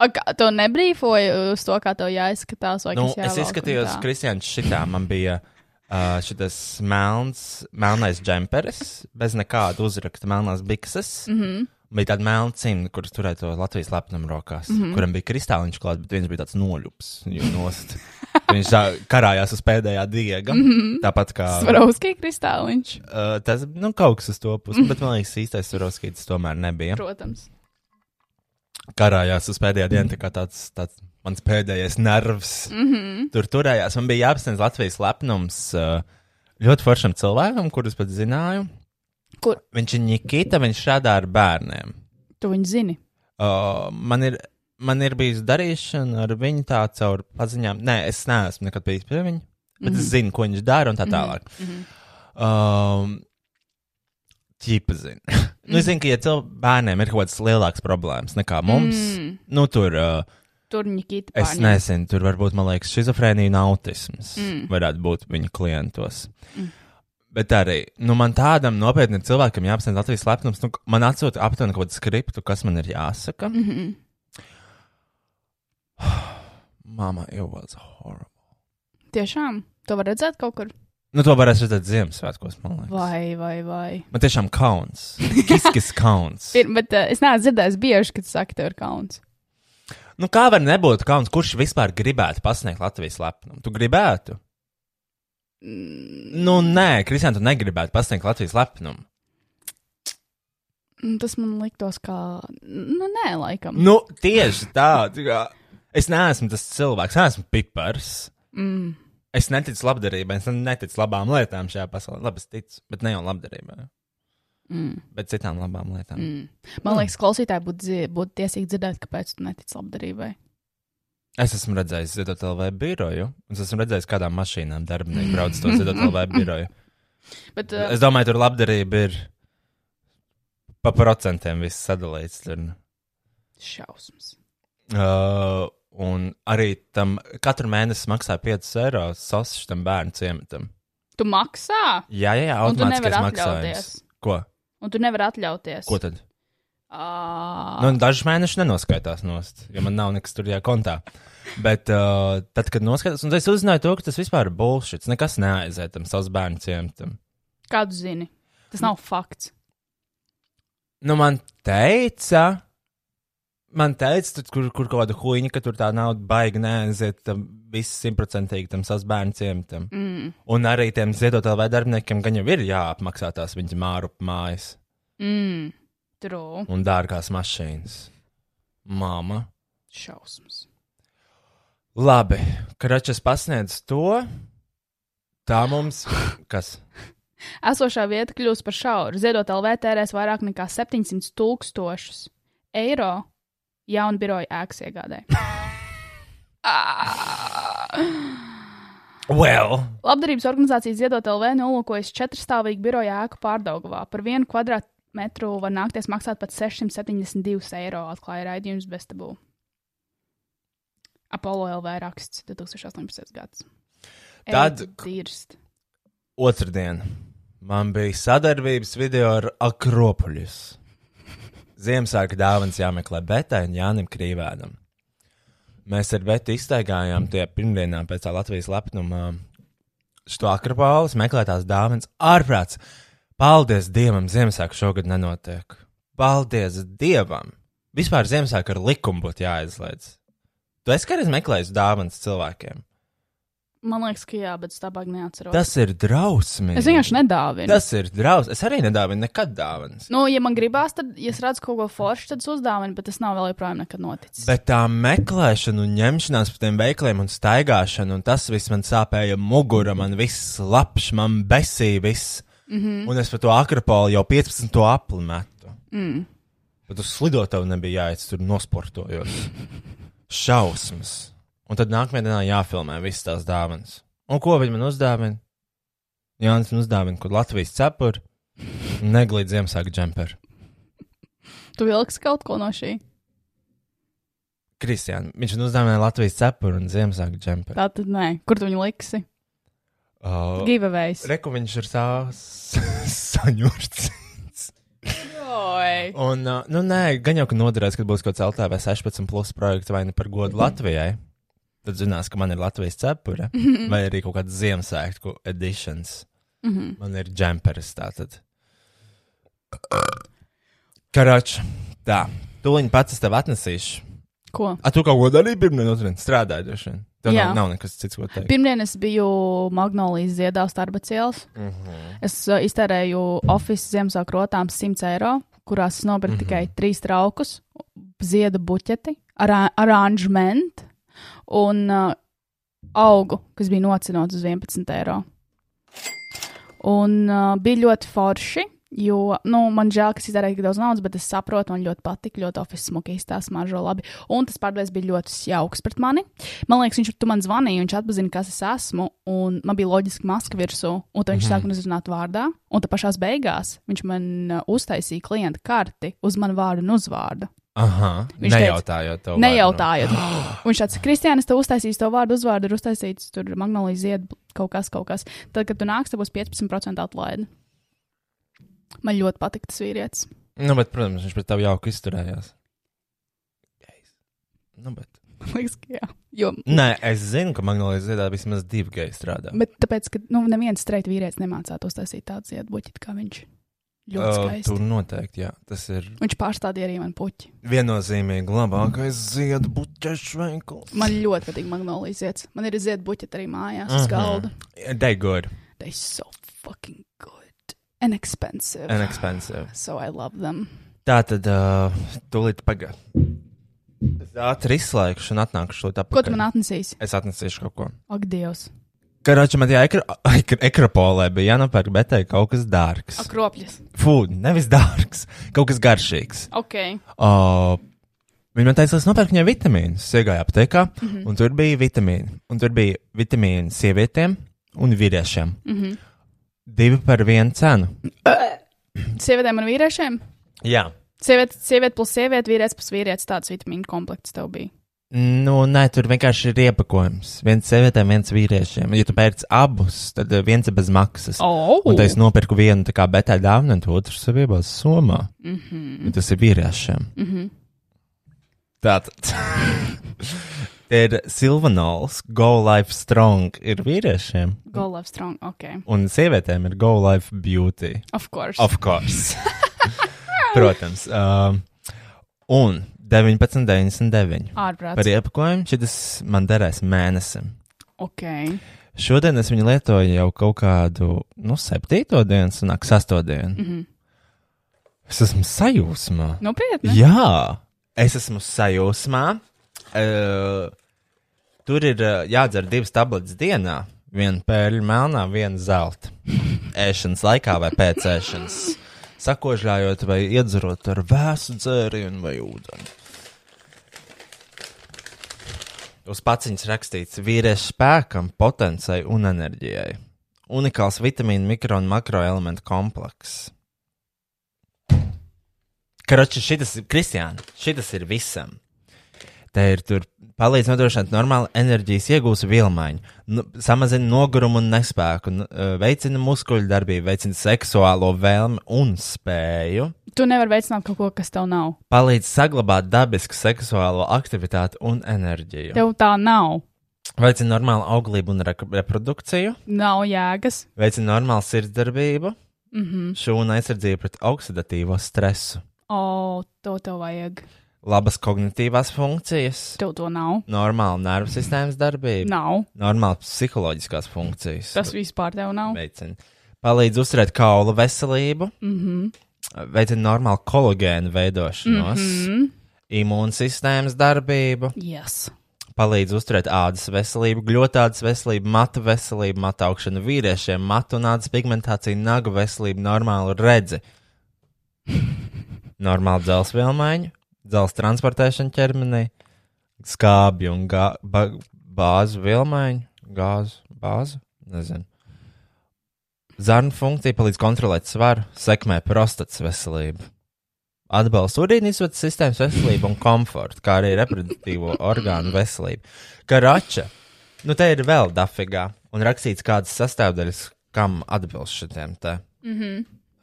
A, kā- To nebrīfoju uz to, kā tev jāizskatās. vai
Nu,
kas
es
jāvelk un
izskatījos,
tā.
Kristians, šitā man bija uh, šis melns, melnais džemperis, bez nekāda uzrakta, melnās bikses. Mm
Mhm.
-hmm. Bija tāda melna cimta, kuras turēja to Latvijas lepnumu rokās, mm
Mhm.
-hmm. kuram bija kristāliņš klāts, bet viens bija tāds noļups. viņu nost. Viņš tā karājās uz pēdējā diega. Mm -hmm.
Mhm.
Tāpat kā
Svarovski kristāliņš.
uh, tas nu, kaut kas uz to puses, bet man liekas, īstais Surovskis tomēr nebija.
Protams.
karājās uz pēdējā dienā, tā kā tāds, tāds mans pēdējais nervs. Mm -hmm. Tur turējās. Man bija jāapsniedz Latvijas lepnums uh, ļoti foršam cilvēkam, kurus pat zināju.
Kur?
Viņš ir Nikita, viņš strādā ar bērniem.
Tu viņu zini.
Uh, man ir. Man ir bijusi darīšana ar viņu tā caur paziņām. Nē, es neesmu nekad bijis pie viņa, bet mm -hmm. es zinu, ko viņš dara un tā tālāk. Mm -hmm. um, ķipa zina. nu, es zinu, ka ja cilvē- bērniem ir kaut kādas lielākas problēmas nekā mums. Mm. Nu, tur uh,
Tur viņa kita.
Es nezinu, tur varbūt, man liekas, schizofrēnija un autisms mm. varētu būt viņa klientos. Mm. Bet arī, nu, man tādam nopietnam cilvēkam jāapsniedz Latvijas lepnums, nu, man atsūta aptuveni kaut kādu skriptu, kas man ir jāsaka. Mm -hmm.
Mhm.
Mama, it was horrible.
Tiešām. To var redzēt kaut kur.
Nu, to varēs redzēt Ziemassvētkos, man liekas.
Vai, vai, vai.
Man tiešām kauns. Kiskis kauns.
Ir, bet uh, es neesmu dzirdējis bieži, kad saka, tev ir kauns.
nu, kā var nebūt kauns, kurš vispār gribētu pasniegt Latvijas lepnumu? Tu gribētu? Nu, nē, Kristian, tu negribētu pasniegt Latvijas lepnumu.
Mm, Tas man liktos kā. Nu, nē, laikam.
Nu, tieši tā. tā kā, es neesmu tas cilvēks, es neesmu pipars.
Mm.
Es neticu labdarībai, es neticu labām lietām šajā pasaulē. Labi, es ticu, bet ne jau labdarībai,
Mm.
bet citām labām lietām. Mm.
Mm. Man liekas, klausītāji būtu dzi- būtu tiesīgi dzirdēt, kāpēc tu netici labdarībai.
Es esmu redzējis ZLV biroju, un es esmu redzējis, kādām mašīnām darbinieki brauc to ZLV biroju.
Bet, uh,
Es domāju, tur labdarība ir pa procentiem viss sadalīts. Tur.
Šausmas.
Uh, un arī tam katru mēnesi maksā 5 eiro sosu tam bērnu ciematam.
Tu maksā,
Jā, jā, jā
Un tu
automātiskais
nevari
maksājums.
atļauties.
Ko?
un tu nevari atļauties.
Ko tad?
Ah,
Nu, dažus mēnešus nenoskaitās nost, jo man nav nekas tur jākontā. Bet uh, tad, kad noskatās, un es uzzināju to, ka tas vispār ir bullshit, nekas neaiziet tam savus bērnu ciematam.
Kādu zini? Tas nav fakts.
Nu, man teica, man teica, tur, kur, kur kaut kāda huīņa, ka tur tā nauda baigi neaiziet tam viss simtprocentīgi tam savus bērnu ciematam.
Mm.
Un arī tiem ziedotāju darbiniekiem gan jau ir jāapmaksā tās viņa māru mājas.
Mm. True.
un dārgās mašīnas. Māma.
Šausmas.
Labi, Kračs pasniedz to. Tā mums, kas
Esošā vieta kļūs par šauru. Ziedot LV tērēs vairāk nekā 700 tūkstošus. eiro jaunu biroju ēkas iegādē. Ah!
Well,
Labdarības organizācijas ziedot LV nolūkojas četrstāvīgu biroju ēku pārdaugavā. Par vienu kvadrātmetru var nākties maksāt pat 672 eiro, atklāja raidījums Bestabū. Apollo LV raksts 2018. gads.
Tad-
Tīrst.
Otradien man bija sadarbības video ar Akropolis. Ziemassvētku dāvāns jāmeklē Betai un Jānim Krīvēnam. Mēs ar Betu iztaigājām tie pirmdienā pēc tā Latvijas lepnuma šo Akropolis meklētās dāvāns ārprāts. Paldies Dievam, Ziemassvētku šogad nenotiek. Paldies Dievam! Vispār Ziemassvētku ar likumu būtu jāizliedz. Tu esi kādreiz meklējis dāvāns cilvēkiem.
Man liekas, ka jā, bet es tā baigi neatceros.
Tas ir drausmīgi.
Es vienkārši nedāvinu.
Tas ir drausmas. Es arī nedāvinu nekad dāvanas.
Nu, ja man gribās, tad, ja es redzu kaut ko foršu, tad es uzdāvinu, bet tas nav vēl joprojām nekad noticis.
Bet tā meklēšana, un ņemšanās pa tiem veikaliem un staigāšana, un tas viss man sāpēja mugura, man viss slapš, man besīja viss. Mm -hmm. Un es par to akropoli jau 15. apli metu. Mm. Bet uz slidotavu nebija jāiet, tur nosportojos. Šausmas. Un tad nākamajā dienā jāfilmē visas tās dāvanas. Un ko viņi man uzdāvina? Jānis man uzdāvina, kur Latvijas cepuri un neglīd Ziemassvētku džemperi.
Tu vilksi kaut ko no šī.
Kristiāna, viņš man uzdāvināja Latvijas cepuri un Ziemassvētku džemperi.
Tā tad nē, kur tu viņu liksi?
Uh,
Giveaways.
Reku viņš ir saņurts.
Oi.
Un, uh, nu, nē, gan jau, ka noderēs, kad būs kaut kāds LTV 16 plus projekts vai ne par
Mhm.
godu Latvijai. Tad zinās, ka man ir Latvijas cepura
Mhm.
vai arī kaut kāds Ziemassvētku editions.
Mhm.
Man ir džemperis tātad. Karač, tā. Tūlīt pats es tev atnesīšu.
Ko?
A, tu kaut ko darīji pirmdien, otrdien strādāji droši vien. Tev
Jā.
nav, nav nekas cits, ko teikt.
Pirmdien es biju Magnolijas ziedā starba cielas. Mm
Mhm.
-hmm. Es uh, iztērēju oficiālu Ziemassvētku rotām 100 eiro, kurās es nopirku mm -hmm. tikai trīs traukus, ziedu buķeti, arā- aranžmentu un uh, augu, kas bija nocinots uz 11 eiro. Un uh, bija ļoti forši. Jo, nu, man žēl, ka es izdarīju tik daudz naudas, bet es saprotu, man ļoti patīk, ļoti oficiāli smuki izstāsta, smaržo labi. Un tas pārdevējs bija ļoti jauks pret mani. Man liekas, viņš tu man zvanīja, viņš atpazina, kas es esmu, un man bija loģiski maska virsū, un tad viņš sāka man uzrunāt vārdā, un tad pašās beigās viņš man uh, uztaisīja klienta karti uz manu vārdu un uzvārdu.
Aha,
Viņš teica,
nejautājot tev. nu.
Nejautājot. Viņš tāds - Kristiānis, tev uztaisīs to vārdu, uzvārdu, ir uztaisīts tur magnolīzija ziedu, kaut kas, kaut kas. Tad, kad tu nāks, tev būs 15% atlaide. Man ļoti patīk tas vīrietis.
Nu, bet, protams, viņš pret tevi jauki izturējās. Gejs. Nu, bet.
Liekas, ka jā. Jo,
Nē, es zinu, ka Magnolija Ziedā vismaz divi geji strādā.
bet tāpēc, ka nu, neviens streit vīrietis nemācās uztaisīt tādu ziedu buķi, kā viņš. Ļoti
Ā,
skaisti.
tur noteikti, jā. Tas ir
Viņš pārstādīja arī man puķi.
viennozīmīgi labākais ziedu buķešu veikals.
Man ļoti patīk magnolijas zieds. Man ir ziedu buķi arī mājās
Mhm.
uz galda.
Degod,
They so fucking good and expensive.
an expensive.
So I love them.
Tā tad, uh, tūlīt pagaidi. Es ātri izslēgšu un atnākšu to tāpat.
Ko tu man atnesīsi?
Es atnesīšu kaut ko.
Ak, Dievs!
Karača man tajā ekra- ekra- ekropolē bija jānopērk betē kaut kas dārgs.
Akropļus.
Fū, nevis dārgs, kaut kas garšīgs.
Ok.
Uh, Viņa man teica, es nopērku viņai vitamīnus. Es iegāju aptiekā, mm -hmm. un tur bija vitamīni. Un tur bija vitamīni sievietēm un vīriešiem. Mm -hmm. Divi par vienu cenu.
Sievietēm un vīriešiem?
Jā,
Sieviete, sieviete plus sieviete, vīrietis plus vīrietis. Tāds vitamīnu komplekts tev bija.
nu, nē, tur vienkārši ir iepakojums. Viens sievietēm, viens vīriešiem. Ja tu pērc abus, tad eh, viens ir bez maksas.
Oh!
Un tad es nopirku vienu tā kā betā dāvanu, un to otru saviebās somā. Mm -hmm. Tas ir vīriešiem. Mm -hmm. Tātad. Tie ir Silvanols, Go Life Strong, ir vīriešiem,
Go love strong. Ok.
un sievietēm ir Go Life Beauty.
Of course.
Of course. Protams. Um, un 19,99 par
Ārprāts.
iepakojumu. Šis man derēs mēnesim.
Ok.
Šodien es viņu lietoju jau kaut kādu, nu, septīto dienu, un ak, sesto dienu. Mm -hmm. Es esmu sajūsmā.
Nopietni.
Jā, es esmu sajūsmā. Uh, tur ir uh, jādzer divas tabletes dienā. Viena pērļa melnā, viena zelta. Ēšanas laikā vai pēc ēšanas. sakožļājot vai iedzerot ar vēsu dzērienu vai ūdeni. Uz paciņas rakstīts vīriešu spēkam, potencijai un enerģijai. Unikāls vitamīnu, mikro un makroelementu komplekss. Kroči, šis ir Kristiāna. Šis ir visam. Te ir tur palīdz nodrošināt normālu enerģijas iegūstu vilmaiņu, nu, samazina nogurumu un nespēku, nu, eh, veicina muskuļu darbību, veicina seksuālo vēlmi un spēju,
Tu nevari veicināt kaut ko, kas tev nav.
palīdz saglabāt dabisku seksuālo aktivitāti un enerģiju.
Tev tā nav.
Veicina normālu auglību un rek- reprodukciju,
Nav jēgas.
veicina normālu sirdsdarbību,
Mhm.
šūnu aizsardzību pret oksidatīvo stresu,
O, to tev vajag.
labas kognitīvās funkcijas,
Tev to nav.
normālu nervu sistēmas darbību,
Nav.
normālu psiholoģiskās funkcijas.
Tas vispār tev nav.
veicina. Palīdz uzturēt kaulu veselību,
Mhm.
veicina normālu kolagēnu veidošanos, mm -hmm.
Mhm.
imūnsistēmas darbību,
Yes.
palīdz uzturēt ādas veselību, gļotādas veselību, matu veselību, matu augšanu vīriešiem, matu un ādas pigmentāciju, nagu veselību, normālu redzi, normālu dzelzceļa maiņu, dzelzceļa transportēšanu ķermenī, skābi un gā, ba, bāzu vilmaiņu, gāzu, bāzu, nezinu. Zarnu funkcija palīdz kontrolēt svaru, sekmē prostatas veselību. Atbalsta urīnisvadu sistēmas veselību un komfortu, kā arī reproduktīvo orgānu veselību. Karača, nu te ir vēl dafigā, un rakstīts kādas sastāvdaļas, kam atbilst šitiem te
Mhm.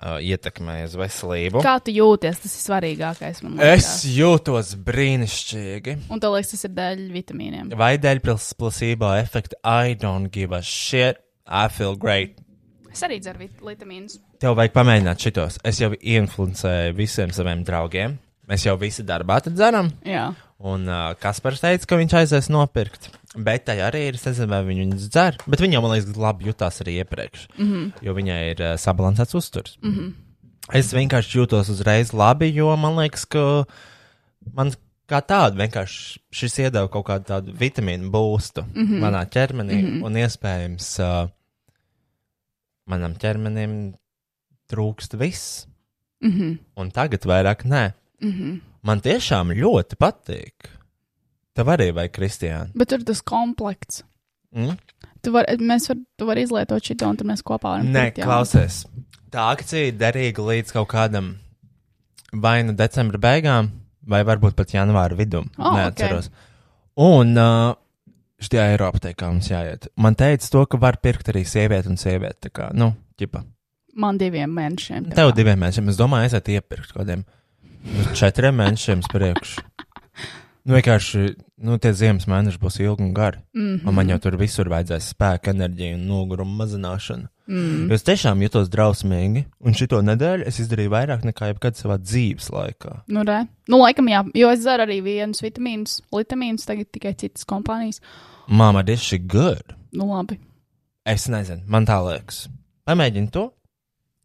uh, ietekmē uz veselību.
Kā tu jūties? Tas ir svarīgākais man.
Es
Liekas.
jūtos brīnišķīgi.
Un tev liekas, tas ir dēļ vitamīniem.
Vai dēļ plas- placebo efekta, I don't give a shit, I feel great.
Es arī dzeru vit- vitamīnus.
Tev vajag pamēģināt šitos. Es jau influencēju visiem saviem draugiem. Mēs jau visi darbā tad dzeram.
Jā.
Un uh, Kaspars teica, ka viņš aizies nopirkt. Bet tai arī ir, es nezinu, vai viņi viņu dzer. Bet viņa jau, man liekas, labi jutās arī iepriekš. Mm -hmm. Jo viņai ir uh, sabalansēts uzturs. Mm -hmm. Es vienkārši jūtos uzreiz labi, jo man liekas, ka man kā tāda vienkārši šis iedeva kaut kādu tādu vitamīnu būstu mm -hmm. manā ķermenī. Mm -hmm. Un iespējams, uh, manam ķermenim trūkst viss.
Mhm.
Un tagad vairāk nē.
Mhm.
Man tiešām ļoti patīk. Tev arī vajag, Kristiāna.
Bet tur ir tas komplekts.
Mm?
Tu vari, mēs varam, tu vari izlietot šo tādu, un tad mēs kopā varam.
Nē,
tikt, jā.
klausies. Tā akcija ir derīga līdz kaut kādam vai nu decembra beigām, vai varbūt pat janvāra vidum.
O,
Neatceros. Un uh, šajā Eiropā teikā mums jāiet. Man teica to, ka var pirkt arī sievieti un sievieti. Tā kā, nu, ķipa.
Man diviem mēnešiem.
Tev diviem mēnešiem, es domāju, aiziet iepirkt kaut kādiem nu, četriem mēnešiem priekš. Nu, vienkārši, nu, tie ziemas mēneši būs ilgi un gari.
Mm -hmm.
Un man jau tur visur vajadzēs spēku, enerģiju un noguruma mazināšanu.
Mm.
Jo es tiešām jutos drausmīgi, un šito nedēļu es izdarīju vairāk nekā jebkad savā dzīves laikā.
Nu, re. nu, laikam, jā, jo es dzeru arī vienus vitamīnus, vitamīnus, tagad tikai citas kompānijas.
Māma, tas ir good.
Nu, labi.
Es nezinu, man tā liekas. Pamēģini to,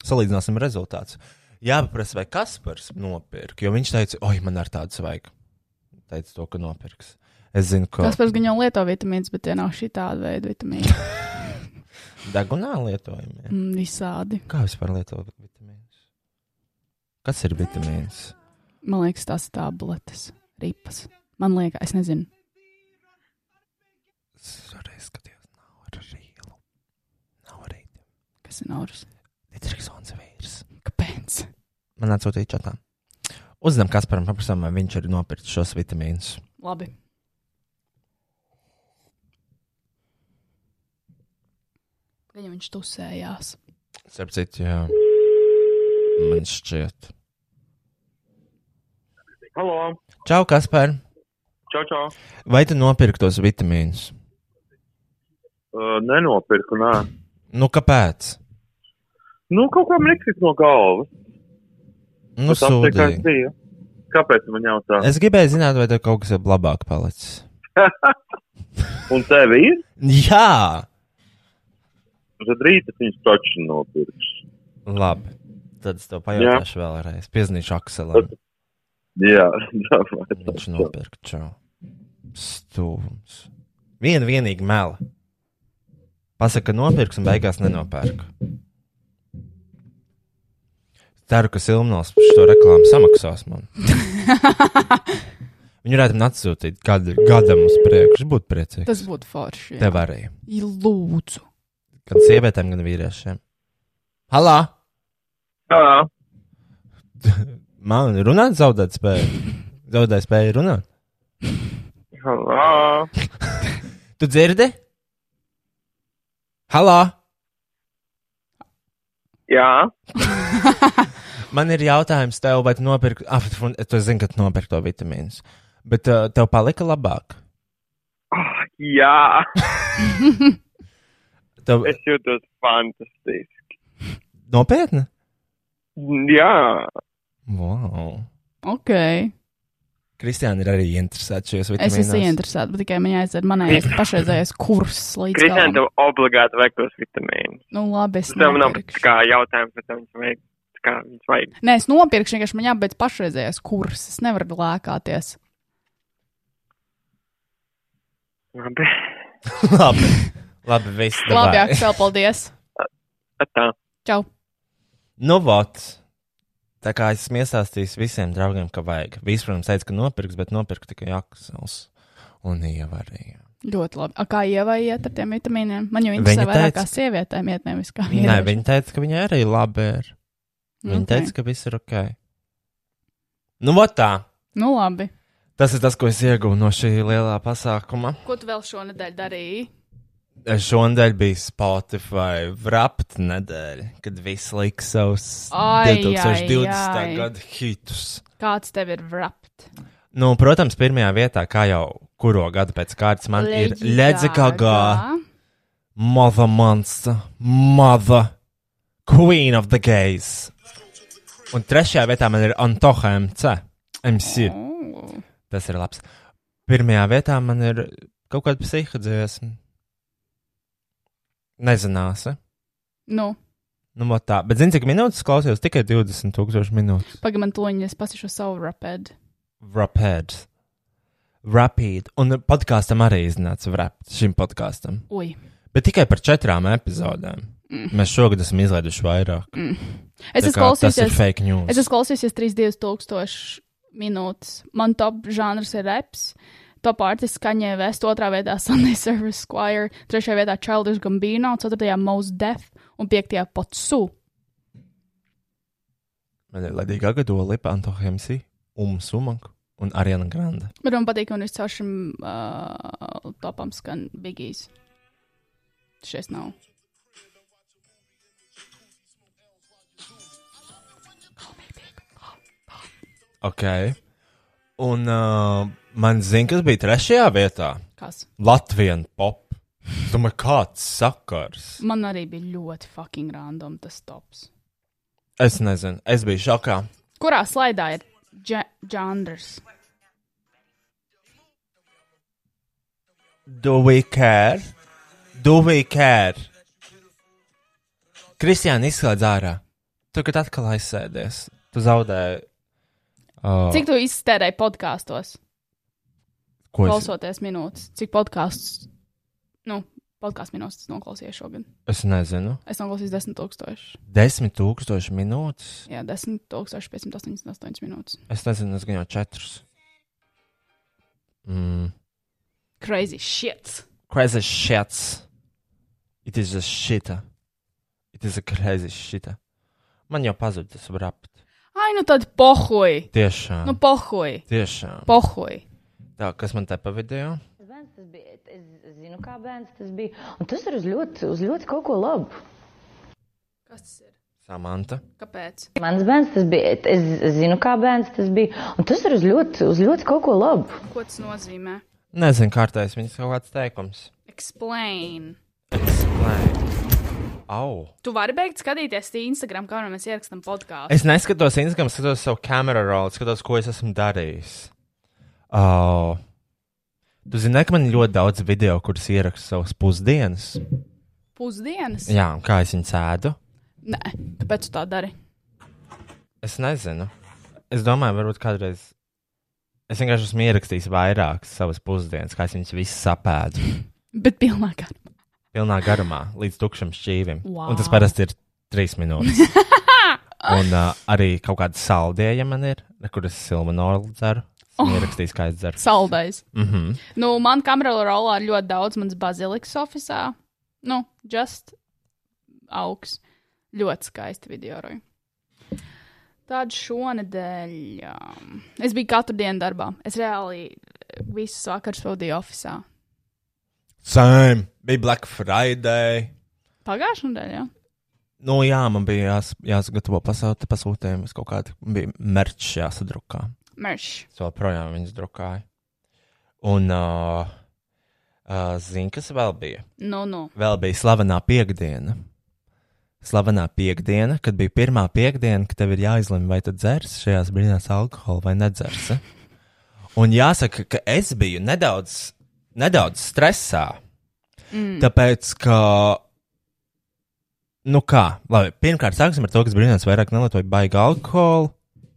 salīdzināsim rezultātus. Jā, paprasti, vai Kaspars nopirka, jo viņš teica, oi, man ar tādu svaigu. Teica to, ka nopirks. Es zinu, ka
Tas pats gan jau lieto vitamīnus, bet tie nav šitādi veidi vitamīni.
degunā lietojamie.
Mm, Visādi.
Kā vispār lietot vitamīnus? Kas ir vitamīns?
Man liekas, tās ir tabletes, ripas. Man liekas, es nezinu.
Es arī skatījos, nav ar rīlu. Nav arī
Kas ir norus?
Ditriksons vīrs.
Kāpēc?
Man atsūtīja čatā. Uzzinām Kasparam, paprasām, vai viņš ir nopircis šos vitamīnus.
Labi. Viņam viņš tusējās.
Starp citu, jā. Man šķiet.
Halo,
Čau, Kaspar!
čau, čau.
Vai tu nopirki tos vitamīnus?
Uh, nenopirku, nē.
Nu, kāpēc?
Nu, kaut kā nekrīt no galvas.
Nu,
Tas vienkārši
sūdīgi.
bija. Kāpēc man jautā?
Es gribēju zināt, vai tev kaut kas ir labāk palicis.
Un tev ir?
Jā!
Tad rīt es viņus taču nopirkšu.
Labi. Tad es tev pajautāšu vēlreiz. Piezīmīšu Akselam.
Jā, domāju.
Viņš nopirka čau. Stūms. Vienu vienīgi meli. Pasaka, ka nopirks un beigās nenopērk. Ceru, ka Silmnals par šo reklāmu samaksās man. Viņu varētu man atsūtīt gadu, gadam uz priekšu. Būtu priecīgs.
Tas būtu forši. jā.
Tev arī.
I Lūdzu.
Gan sievietēm, gan vīriešiem. Halā!
Jā,
Man runāt zaudēt spēju. Zaudēt spēju runāt.
halā.
Tu dzirdi? Halā!
Jā,
Man ir jautājums tev, vai tu nopirki, ah, tu, tu zini, ka tu nopirki to vitamīnu. Bet uh, tev palika labāk.
jā.
Tev
Es jūtos fantastiski.
nopietni?
Jā,
Wow.
Ok.
Kristiāna ir arī interesēta šajos
Es
vitamīnos.
esmu ieinteresēta, bet tikai man jāizdara manējais pašreizējais kurs līdz
Kristian,
galam.
tev obligāti vajag tos vitamīnus.
Nu, labi, es
Tev nav
nopirkšu.
kā jautājums, bet tev viņš vajag. tā Kā viņš vajag.
Nē, es nopirkšu, vienkārši man jābeidz pašreizējais kurs. Es nevaru lēkāties.
Labi.
Labi, labi viss.
Labi,
davai.
Aksel, paldies.
Tā.
Čau.
Nu, vot. Tā kā es iestāstīju visiem draugiem, ka vajag. Visi, protams, teica, ka nopirks, bet nopirka tikai Aksels un ievarīja.
Ļoti labi. A, kā ievai iet ar tiem vitamīniem? Man jau
Viņa
interesē vairāk
teica-
kā sievietēm iet, nevis kā
Nē,
vīriešiem.
viņa teica, ka viņai arī labi ir. Viņa
Nu, Ok.
okay. teica, ka viss ir ok. Nu, vot tā.
Nu, labi.
Tas ir tas, ko es ieguvu no šī lielā pasākuma.
Ko tu vēl šonadēļ darīji?
Es Šonadēļ bija Spotify Wrapped nedēļa, kad viss lika savus
Ai,
2020.
ai, ai.
gada hitus.
Kāds tev ir rapt?
Nu, protams, pirmajā vietā, kā jau kuro gadu pēc kārtas, man ir Ledzekagā, Mother Monster, Mother, Queen of the Gays. Un trešajā vietā man ir Antoha MC. MC.
Oh.
Tas ir labs. Pirmajā vietā man ir kaut kāda psihadzīvesma. Nezināsi.
Nu,
Nu, vot tā. Bet, zini, cik minūtes klausījos? Tikai 20,000 minūtes.
pagaidi, man toņi, es pasīšu savu rapēdu.
Rapid. Rapid. Un podkāstam arī iznāca rapt šim podkāstam.
Ui.
Bet tikai par četrām epizodēm. Mm. Mēs šogad esam izlaiduši vairāk. Mm.
Es esmu
tas ir
klausījusies.
fake news.
Es esmu klausījusies 32,000 minūtes. Man top žanrs ir reps, top artists Kaņē Vest, otrā vietā Sunday Service Squire, trešajā vietā Childish Gambino, ceturtajā Most Def un piektajā Potsu.
Man ir Ledija Gagado, Lipa Antohemsi, Umu Sumanku un Ariana Grande.
Bet man patīk, un es caur šim uh, topam skan Bigijs. Šis nav.
Ok. Un uh, man zina, kas bija trešajā vietā.
Kas?
Latvijas pop. Es Domāju, kāds sakars?
Man arī bija ļoti fucking random tas tops.
Es nezinu, es biju šokā.
Kurā slaidā ir dže- žanrs?
Do we care? Do we care? Kristiāna izslēdz ārā. Tu, kad atkal aizsēdies, tu zaudēji. Oh,
Cik tu iztērēji podkāstos?
ko es,
klausoties minūtes, cik podkāsts, nu, podkāstu minūtes noklausījos šogad.
es nezinu.
Es noklausījos 10,000,
Desmit tūkstoši minūtes.
jā, 10,588 minūtes.
Es nezinu, es gan jau četrus. Mm.
Crazy shit!
crazy shit. It is a shit. It is a crazy shit. Man jau pazuda tas rapt.
Ai, nu tad pohuj!
Tiešām.
Nu, pohuj!
tiešām.
Pohuj!
Tā, kas man te pa video?
Bērns tas bija. Es, es zinu, kā bērns tas bija. Un tas ir uz ļoti, uz ļoti kaut ko labu.
Kas tas ir?
Samanta.
Kāpēc?
Mans bērns tas bija. Es, es zinu, kā bērns tas bija. Un tas ir uz ļoti, uz ļoti kaut ko labu.
Ko tas nozīmē?
Nezinu, kārtais viņas kaut kāds teikums.
Explain!
Explain. Au.
Tu vari beigt skatīties tī Instagram, kā mēs ierakstām podkāstu.
Es neskatos Instagram, skatos savu kameru rolu, skatos, ko es esmu darījis. Au. Tu zini, ka man ir ļoti daudz video, kuras ierakstu savas pusdienas.
Pusdienas?
Jā, un kā es viņas ēdu?
Nē, kāpēc tu tā dari?
Es nezinu. Es domāju, varbūt kādreiz. Es vienkārši esmu ierakstījis vairākas savas pusdienas, kā es viņas visas sapēdu.
Bet pilnā kārtā.
Pilnā garumā, līdz tukšam šķīvim.
Wow.
Un tas parasti ir trīs minūtes. Un uh, arī kaut kāda saldēja, ja man ir, kur es silmanoru dzeru. Oh. Ierakstīju, kā es dzeru.
Saldais.
Mm -hmm.
Nu, man kamerā rolā ir ļoti daudz manas bazilikas oficiālā. Nu, just augs. Ļoti skaisti video. Tad šonadēļ um, es biju katru dienu darbā. Es reāli visas vakaras pavadīju oficiālā.
Same! Bija Black Friday!
Pagājušā nedēļa, jā.
Nu, jā, man bija jās, jāsagatavo pasauta pasūtījums kaut kāda. Bija merčs jāsadrukā.
Merš.
Es joprojām viņas drukāju. Un, uh, uh, zini, kas vēl bija?
Nu, nu.
Vēl bija slavenā piekdiena. Slavenā piekdiena, kad bija pirmā piekdiena, kad tev ir jāizlemj, vai tu dzers šajās brīnās alkoholu vai nedzersi. Un jāsaka, ka es biju nedaudz, nedaudz stresā. Mm. Tāpēc, ka, nu kā, labi, pirmkārt, sāksim ar to, kas brīnās vairāk nelietoja baigā alkoholu,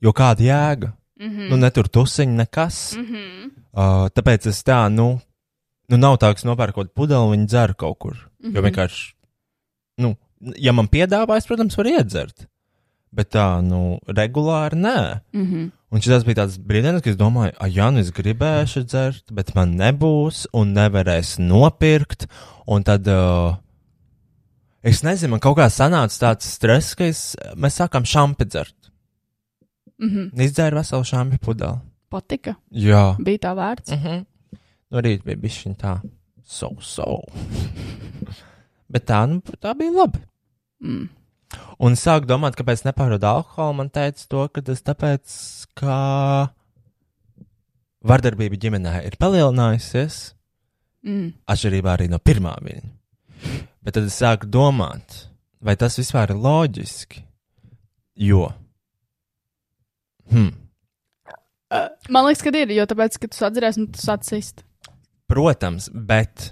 jo kāda jēga? Mm -hmm. Nu, netur tusiņa, nekas. Mm -hmm. uh, tāpēc es tā, nu, nu nav tā, ka es nopērkot pudeli, viņi dzer kaut kur. Mm -hmm. Jo vienkārši, nu, ja man piedāvā, es, protams, varu iedzert. Bet tā, nu, regulāri nē.
Mm -hmm.
Un šis bija tāds brīdis, kad es domāju, ah, jā, nu es gribēšu dzert, bet man nebūs un nevarēs nopirkt. Un tad, uh, es nezinu, man kaut kā sanāca tāds stress, ka es, mēs sākām šampi dzert.
Mm -hmm.
Izdzēru veselu šāmu pudeli.
Patika.
Jā.
Bija tā vērts.
Mm -hmm. Nu, rīt bija bišķiņ tā, so, so. Bet tā, nu, tā bija labi.
Mm.
Un sāk domāt, kāpēc nepārod alkoholu. Man teica to, ka tas tāpēc, ka vardarbība ģimenē ir palielinājusies,
Mm.
atšķirībā arī no pirmā viņa. Bet tad es sāku domāt, vai tas vispār ir loģiski, jo. Hmm.
Man liekas, ka ir, jo tāpēc, ka tu atceries, un tu atsist.
Protams, bet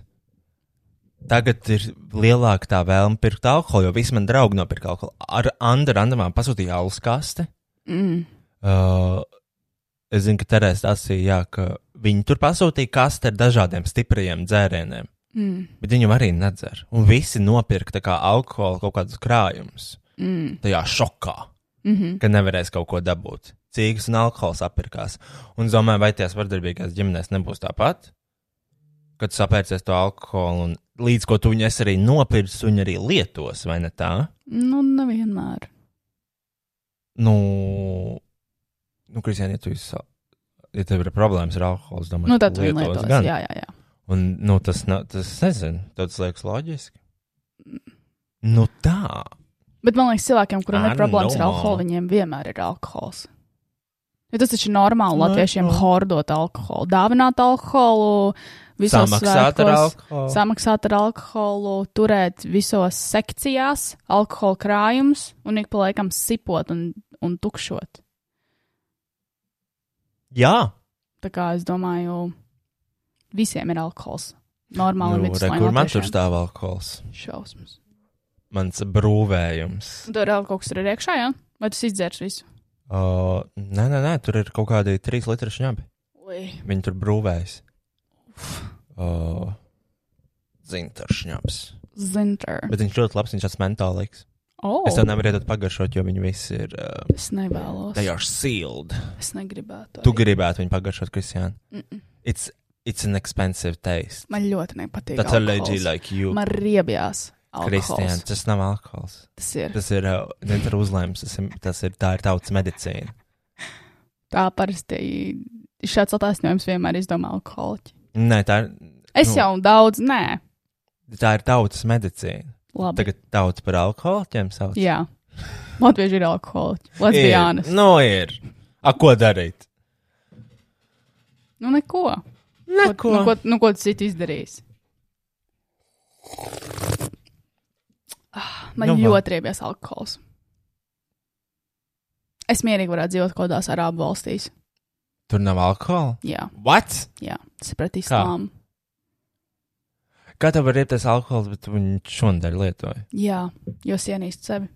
tagad ir lielāka tā vēlme pirkt alkoholu, jo visi mani draugi nopirka alkoholu. Ar Andu randamā pasūtīja alus kasti.
Mm.
Uh, es zinu, ka Terēs stāstīja, jā, ka viņi tur pasūtīja kasti ar dažādiem stipriem dzērieniem,
Mm.
bet viņam arī nedzer. Un visi nopirka tā kā alkoholu kaut kādus krājumus.
Mm.
Tajā šokā,
Mm -hmm.
ka nevarēs kaut ko dabūt. Cīgas un alkohols apirkās. Un es domāju, vai tajās vardarbīgās ģimenēs nebūs tāpat? kad tu sapērcies to alkoholu, un līdz ko tu viņu esi arī nopircis, tu viņu arī lietos, vai ne tā?
Nu, nevienmēr.
Nu, nu Kristija, ja tu esi. Ja tev ir problēmas ar alkoholu, es domāju, ka
Nu, tad viņi
lietos
lietos.
gan.
Jā, jā, jā.
Un, nu, tas, nav- tas nezinu, tad tas liekas loģiski. Nu, tā.
Bet man liekas, cilvēkiem, kuriem
I
ir
don't
problēmas ar
know,
alkoholu,
mama.
viņiem vienmēr ir alkohols. Jo tas taču ir normāli
Nu,
latviešiem
nu.
hordot alkoholu, dāvināt alkoholu, visos
Samaksāt ar
svētkos,
alkoholu.
samaksāt ar alkoholu, turēt visos sekcijās alkohola krājumus un ik pa laikam sipot un, un tukšot.
Jā,
Tā kā es domāju, visiem ir alkohols. Normāli
nu,
nu,
re, kur man tur stāv alkohols?
Šausmas.
Mans brūvējums.
Tur vēl kaut kas tur ir iekšā, jā? Ja? Vai tu izdzērs visu?
Uh, nē, nē, nē, tur ir kaut kādi trīs litri šņabi. Viņi tur brūvējas. Uh, Zintaršņāps.
Zinter.
Bet viņš ļoti labs, viņš tāds mentālīgs.
Oh,
Oh. Es tev nevaru iedot pagaršot, jo viņi visi ir. Uh,
es nevēlos.
they are sealed.
Es negribētu.
Tu
arī.
gribētu viņu pagaršot, Kristiāna.
Mm -mm.
It's, it's an expensive taste.
Man ļoti nepatīk.
That's allergy like you.
Man riebjās. Kristian.
Kristiāna, tas nav alkohols.
Tas ir.
Tas ir uh, zintar uzlēmums, tas ir, tas ir, tā ir tautas medicīna.
Tā parasti šāds attaisnojums vienmēr izdomā alkoholiķi.
Nē, tā ir,
Es
Nu.
nu. jau daudz, nē.
tā ir tautas medicīna.
Labi.
Tagad tauts par alkoholiķiem sauc.
Jā. Latvieši ir alkoholiķi. Let's be
Ir.
honest. Nu,
Nu, ir. A, ko darīt?
nu neko.
Neko.
Nu, ko, nu, ko tu citu izdarījis? Ah, Man
Nu,
nu,
va.
ļoti riebjas alkohols. Es mierīgi varētu dzīvot kaut kādās arābu valstīs.
Tur nav alkohola.
Jā,
What?
jā. tas ir pret islāmu.
Kā tev var ieties alkohols, bet tu viņu šonadēļ lietoji?
Jā, jo sienīst sevi.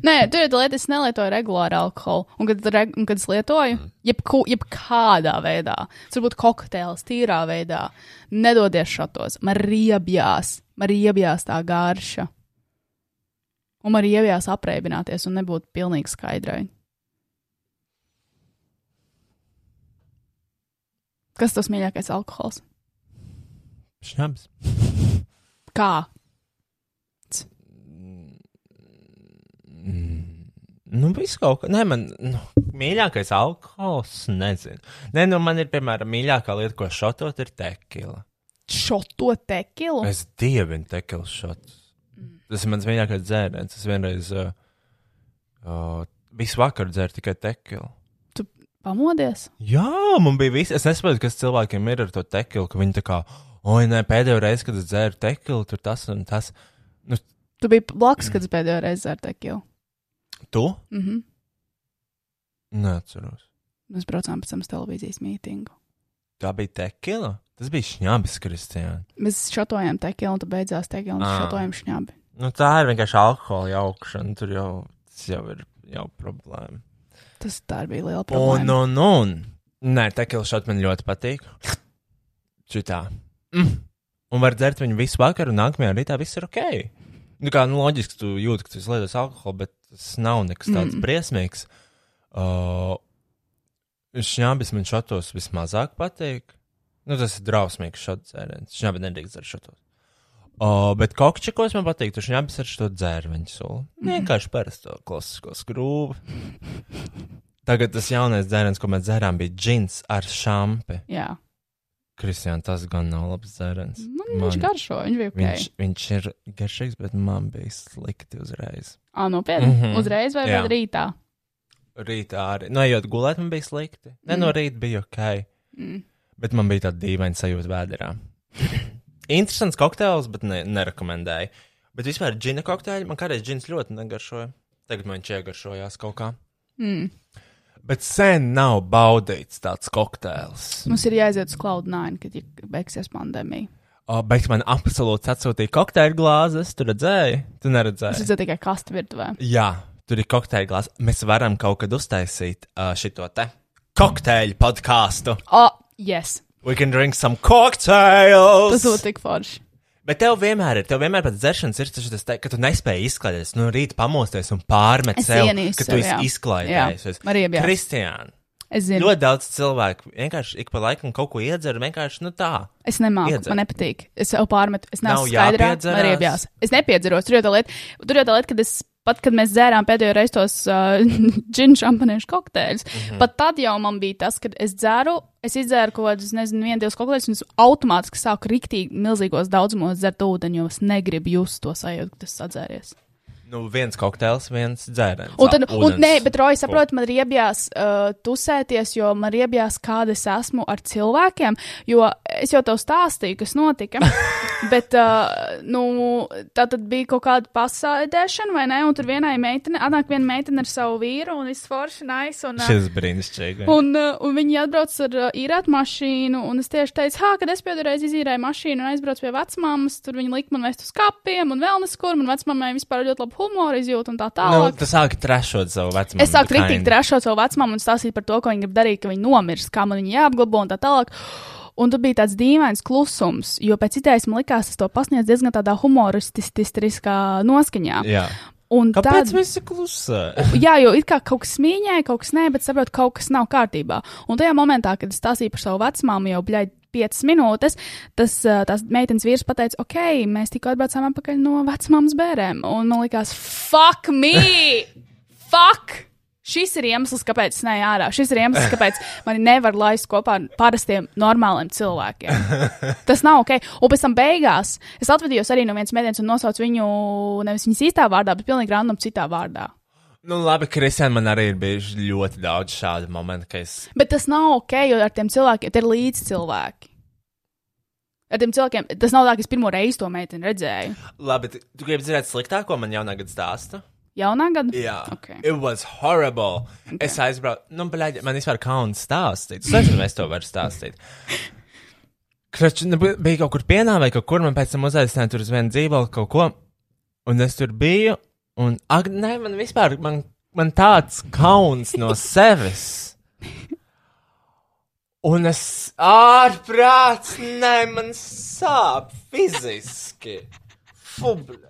Nē, tur ir tā lieta, es nelietoju regulāri alkoholu. Un kad, reg un kad es lietoju, jebku- jebkādā veidā, tas var būt kokteils, tīrā veidā, nedodies šatos. Man riebjās, man riebjās tā garša. Un arī ievijās apreibināties un nebūt pilnīgi skaidrai. Kas tas mīļākais alkohols?
Šnabs.
Kā?
Nu, viss kaut kā. Nē, man nu, mīļākais alkohols, nezinu. Nē, nu, man ir, piemēram, mīļākā lieta, ko šotot, ir tekila.
Šo to tekilu?
Es dievinu tekilu šotu.
Mm.
Tas ir mans mīļākais dzēriens. Es vienreiz uh, uh, visu vakaru dzēru tikai tekilu.
Pamodies?
Jā, man bija viss. Es nesaprotu, kas cilvēkiem ir ar to tekilu, ka viņi tā kā, oi, nē, pēdējo reizi, kad es dzēru tekilu, tur tas un tas.
Tu biji blakus, kad es pēdējo reizi dzēru tekilu.
Tu?
Mhm.
Neatceros.
Mēs braucām pēc tam uz televīzijas mītingu.
Tā bija tekila? Tas bija šņabis, Kristiāna.
Mēs šatojām tekilu, un tu beidzās tekilu, un
Ā.
šatojām šņabi.
Nu, tā ir vienkārši alkohola jaukšana. Tur jau, tas jau ir jau problēma.
Tas tā bija liela
Un,
problēma.
un, un. nu, Nē, tekila šādi man ļoti patīk. Čitā. Mm. Un var dzert viņu visu vakaru, un nākamajā rītā viss ir ok. Nu, kā, nu, loģiski, tu jūti, ka tu izlietos alkoholu, bet tas nav nekas tāds
Mm.
mm. briesmīgs. Uh, šņābis man šatos vismazāk patīk. Nu, tas ir drausmīgs šāds dzēriens. Šņābi nedrīkst dzert šatos. Uh, bet kokčikos man patīk, tu šņābis ar šo dzērveņu soli. Vienkārši parasto klasisko skrūvu. Tagad tas jaunais dzēriens, ko mēs dzērām, bija džins ar šampi.
Jā,
Kristija, tas gan nav labs dzēriens.
nu, viņš
Man-
garšo, viņš bija ok.
Viņš, viņš ir garšīgs, bet man bija slikti uzreiz.
Ā, nopietni.
Mhm.
Uzreiz vai
Jā.
vēl rītā?
Rītā arī. No Nu, ejot gulēt, man bija slikti. Ne, no rīta bija ok,
Mm.
bet man bija tāda dīvaina sajūta vēderā. Interesants kokteils, bet ne, nerekomendēju. Bet vispār džina kokteļi man kādreiz džins ļoti negaršoja. Tagad man viņš iegaršojās kaut kā.
Mm.
Bet sen nav baudīts tāds kokteils.
Mums ir jāiziet uz Cloud9, kad ja beigsies pandēmija.
O, bet man absolūti atsūtīja kokteļa glāzes. Tu redzēji? Tu
Es
neredzēji.
redzēju tikai kastu virtuvē.
Jā, tur ir kokteļa glāze. Mēs varam kaut kad uztaisīt uh, šito te kokteļa podkāstu.
Ah, yes!
We can drink some cocktails!
Tas būtu tik forši.
Bet tev vienmēr ir, tev vienmēr pēc dzeršanas ir tas, tas te, ka tu nespēji izklaidēties. Nu, rīt pamosties un pārmet
Es
sev,
ienīstu
ka
sev,
tu
jā.
esi izklaidējies.
Jā, man iebijās.
Kristiāna,
Es zinu,
ļoti daudz cilvēku vienkārši ik pa laikam kaut ko iedzer, vienkārši nu tā.
es nemāku,
Iedzer.
man nepatīk. Es jau pārmetu, es
Nav
neesmu skaidrā,
jāpiedzerās.
man ir iebjās. Es nepiedzeros, tur jau tā lieta, tur jau tā lieta, kad es. Pat, kad mēs dzērām pēdējo reizi tos uh, džinu šampaniešu kokteļus, mm -hmm. pat tad jau man bija tas, kad es dzēru, es izdzēru kaut kādus, nezinu, vienu, divus kokteļus, un es automātiski sāku riktīgi milzīgos daudzumos dzert ūdeni, jo es negribu just to sajūtu, ka tas sadzēries.
Nu, viens kokteils, viens dzēriens.
Un, tad,
Ā,
un
ūdens.
nē, bet Roja saprot, man ir iebjās uh, tusēties, jo man ir iebjās, kāda es esmu ar cilvēkiem, jo es jau tev stāstīju, kas notika. bet, uh, nu, tā tad bija kaut kāda pasādēšana, vai ne? Un tur vienai meitene, atnāk viena meitene ar savu vīru un viss forši, nice. Un, uh,
Šis brīnišķīgi.
Un, uh, un viņi atbrauc ar uh, īrētu mašīnu, un es tieši teicu, ha, kad es pēdējo reizi izīrēju mašīnu un aizbraucu pie vecmāmas, tur viņi lika man vest uz kapiem un vēl neskur, un vecmāmai vispār ļoti labu humoru izjūtu un tā tālāk.
Nu, tu sāki trešot savu vecumu.
Es sāku rīktīgi trešot savu vecumu un stāstīt par to, ko viņi grib darīt, ka viņi nomirs, kā man viņa jāapglabā un tā tālāk. Un tur bija tāds dīvains klusums, jo pēc idejas man likās, tas to pasniedz diezgan tādā humoristiskā noskaņā.
Jā.
Un
Kāpēc
tad-
visi klusē?
Jā, jo it kā kaut kas mīņēja, kaut kas nē, bet saprotu, kaut kas nav kārtībā. Un tajā momentā, kad es stāstīju par savu vecmāmu jau bļaigi 5 minūtes, tas ā, tās meitenes vīrs pateica, ok, mēs tikko atbraucām atpakaļ no vecmāmas bērēm. Un man likās, fuck me! fuck! Šis ir iemesls, kāpēc es neju ārā. Šis ir iemesls, kāpēc mani nevar laist kopā ar parastiem, normāliem cilvēkiem. Tas nav ok. Un pēc tam beigās es atvedījos arī no vienas meitenes un nosaucu viņu nevis viņas īstā vārdā, bet pilnīgi random citā vārdā.
nu, labi, Kristian, man arī ir bijuši ļoti daudz šādu momentu, ka es.
Bet tas nav ok, jo ar tiem cilvēkiem tie ir līdzi cilvēki. Ar tiem cilvēkiem tas nav tā, ka es pirmo reizi to meiteni redzēju.
Labi, tu, tu gribi dzirdēt sliktāko man jaunā gada stāstu?
Jaunā gada?
Jā.
Ok.
It was horrible. Okay. Es aizbraucu. Nu, bļaļ, man vispār kauns stāstīt. Es nezinu, vai es to varu stāstīt. Kraču, nu, bi- bija kaut kur pienā vai kaut kur, man pēc tam uzaicināja tur uz vienu dzīvokli kaut ko. Un es tur biju, un, ak, nē, man vispār, man, man tāds kauns no sevis. Un es ārprāts, nē, man sāp fiziski. Fubļ.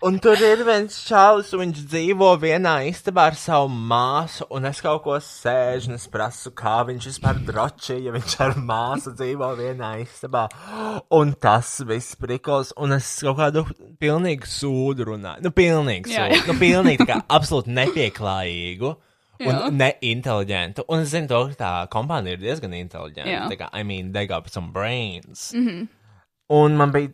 Un tur ir viens čalis, un viņš dzīvo vienā istabā ar savu māsu, un es kaut ko sēžu, un es prasu, kā viņš vispār droši, ja viņš ar māsu dzīvo vienā istabā. Un tas viss prikals, un es kaut kādu pilnīgu sūdu runāju. Nu, pilnīgi
Jā,
sūdu.
jā.
Nu, pilnīgi tā kā absolūti nepieklājīgu. Un
Jā.
neinteliģentu. Un es zinu, to, ka tā kompānija ir diezgan inteliģenta.
Jā. Mhm.
Tā kā, I mean, they got some brains. Mm -hmm. Un man bija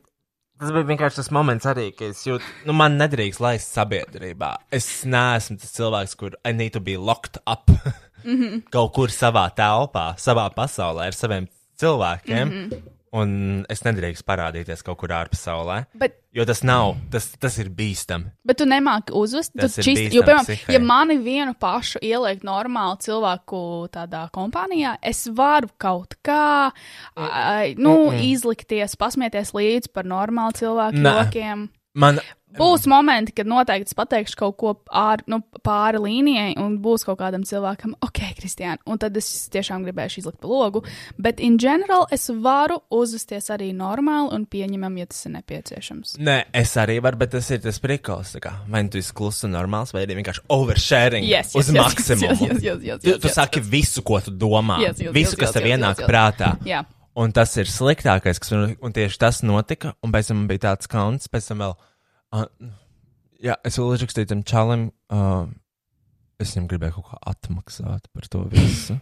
Tas bija vienkārši tas moments, arī, kad es jūtu, nu, man nedrīkst laist sabiedrībā. Es neesmu tas cilvēks, kur I need to be locked up mm
Mhm.
-hmm. kaut kur savā telpā, savā pasaulē ar saviem cilvēkiem. Mm
Mhm.
-hmm. Un es nedrīkstu parādīties kaut kur ārpasaulē.
Bet
Jo tas nav, tas, tas ir bīstami.
Bet tu nemāki uzvest. Tu
Tas ir
čist,
bīstami
jo, piemēram,
psihai.
ja mani vienu pašu ieliek normāli cilvēku tādā kompānijā, es varu kaut kā ai, nu, izlikties, pasmieties līdzi par normālu cilvēku
Nē.
jokiem.
Man,
Būs momenti, kad noteikti es pateikšu kaut ko ār, nu, pāri līnijai, un būs kaut kādam cilvēkam, ok, Kristiāna, un tad es tiešām gribēšu izlikt pa logu. Bet, in general, es varu uzvesties arī normāli un pieņemam, ja tas ir nepieciešams.
nē, es arī varu, bet tas ir tas prikals. tā kā, Vai nu tu esi kluss un normāls, vai arī vienkārši oversharing
Yes, yes,
uz
yes,
maksimumu.
yes, yes, yes, yes,
tu
yes,
tu
yes,
saki visu, ko tu domā,
Yes, yes,
visu,
yes,
kas
yes,
tev
yes,
ienāk
yes, yes.
prātā.
Jā.
Un tas ir sliktākais, kas man un tieši tas notika. Un pēc tam man bija tāds kauns, pēc tam vēl. Uh, jā, es vēl uzrakstīju tam čalam, uh, es viņam gribēju kaut kā atmaksāt par to visu.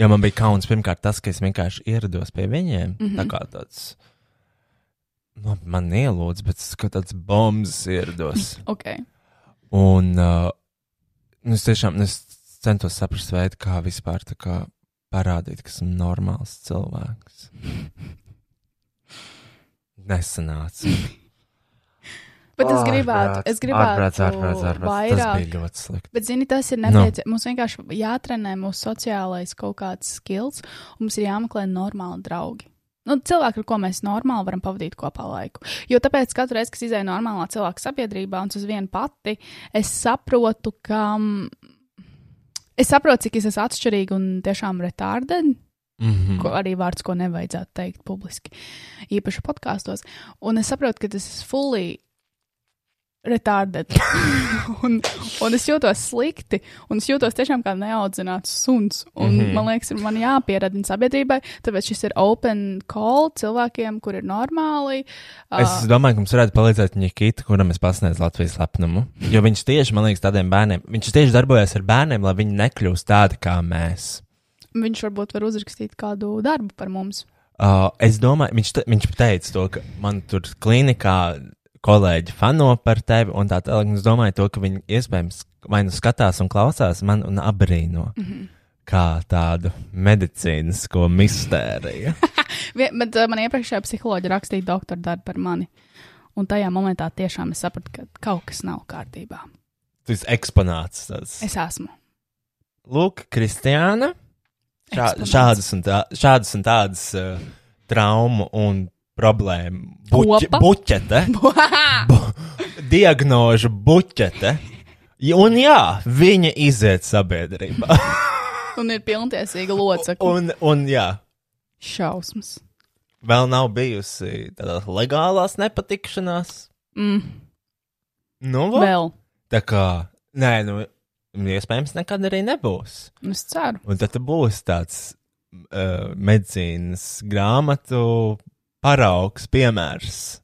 Jo man bija kauns pirmkārt tas, ka es vienkārši ierados pie viņiem. Mm -hmm. Tā kā tāds. Labi, man ielūdz, bet es kā tāds bombs ierados.
Okay.
Un uh, nu, es tiešām nu, es centos saprast, veidu, kā vispār tā kā parādīt, ka esmu normāls cilvēks. Nesanāca.
Bet es gribētu, es gribētu
ārprāts, ārprāts, ārprāts. Tas
vairāk.
bija ļoti slikti.
Bet, zini, tas ir nepieciešams. Mums vienkārši jātrenē mūsu sociālais kaut kāds skills, un mums ir jāmeklē normāli draugi. Nu, cilvēki, ar ko mēs normāli varam pavadīt kopā laiku. Jo tāpēc katru reizi, kad es izēju normālā cilvēka sabiedrībā un es uz vienu pati, es saprotu, ka mm, es saprotu, cik es esmu atšķirīga un tiešām retardēta.
Mm
ko,
-hmm.
arī vārds, ko nevajadzētu teikt publiski, īpaši podkāstos. Un es saprotu, ka tas ir fully retarded. un, un es jūtos slikti, un es jūtos tiešām kā neaudzināts suns. Un, mm -hmm. Man liekas, ir man jāpierādina sabiedrībai, tāpēc šis ir open call cilvēkiem, kur ir normāli.
Es domāju, ka mums varētu palīdzēt Nikita, kuram es pasniedzu Latvijas lepnumu. Jo viņš tieši, man liekas, tādiem bērniem, viņš tieši darbojas ar bērniem, lai viņi nekļūst tādi kā mēs.
Viņš varbūt var uzrakstīt kādu darbu par mums.
Uh, es domāju, viņš, te, viņš teica to, ka man tur klīnikā kolēģi fano par tevi un tā tālāk. Un Es domāju, to, ka viņi iespējams vai nu skatās un klausās man un abrīno. Mm
Mhm.
-hmm. Kā tādu medicīnisko mistēriju.
Vien, bet uh, man iepriekšējā psiholoģija rakstīja doktora darbu par mani. Un tajā momentā tiešām es sapratu, ka kaut kas nav kārtībā.
Tas eksponāts. Tas.
Es esmu.
Lūk, Kristiāna. Šā,
Eksponāts.
šādas, un tā, šādas un tādas uh, traumu un problēmu. Buķe-
Kopa.
Buķete. bu diagnožu buķete. Ja- Un jā, viņa iziet sabiedrībā.
Un ir pilntiesīga locekla.
un, un jā,
Šausmas.
vēl nav bijusi tādas legālās nepatikšanās.
Mm,
Nu, lūk.
vēl.
tā kā, nē, nu, iespējams, nekad arī nebūs.
Un Es ceru.
Un tad tu būsi tāds uh, medicīnas grāmatu paraugs, piemērs.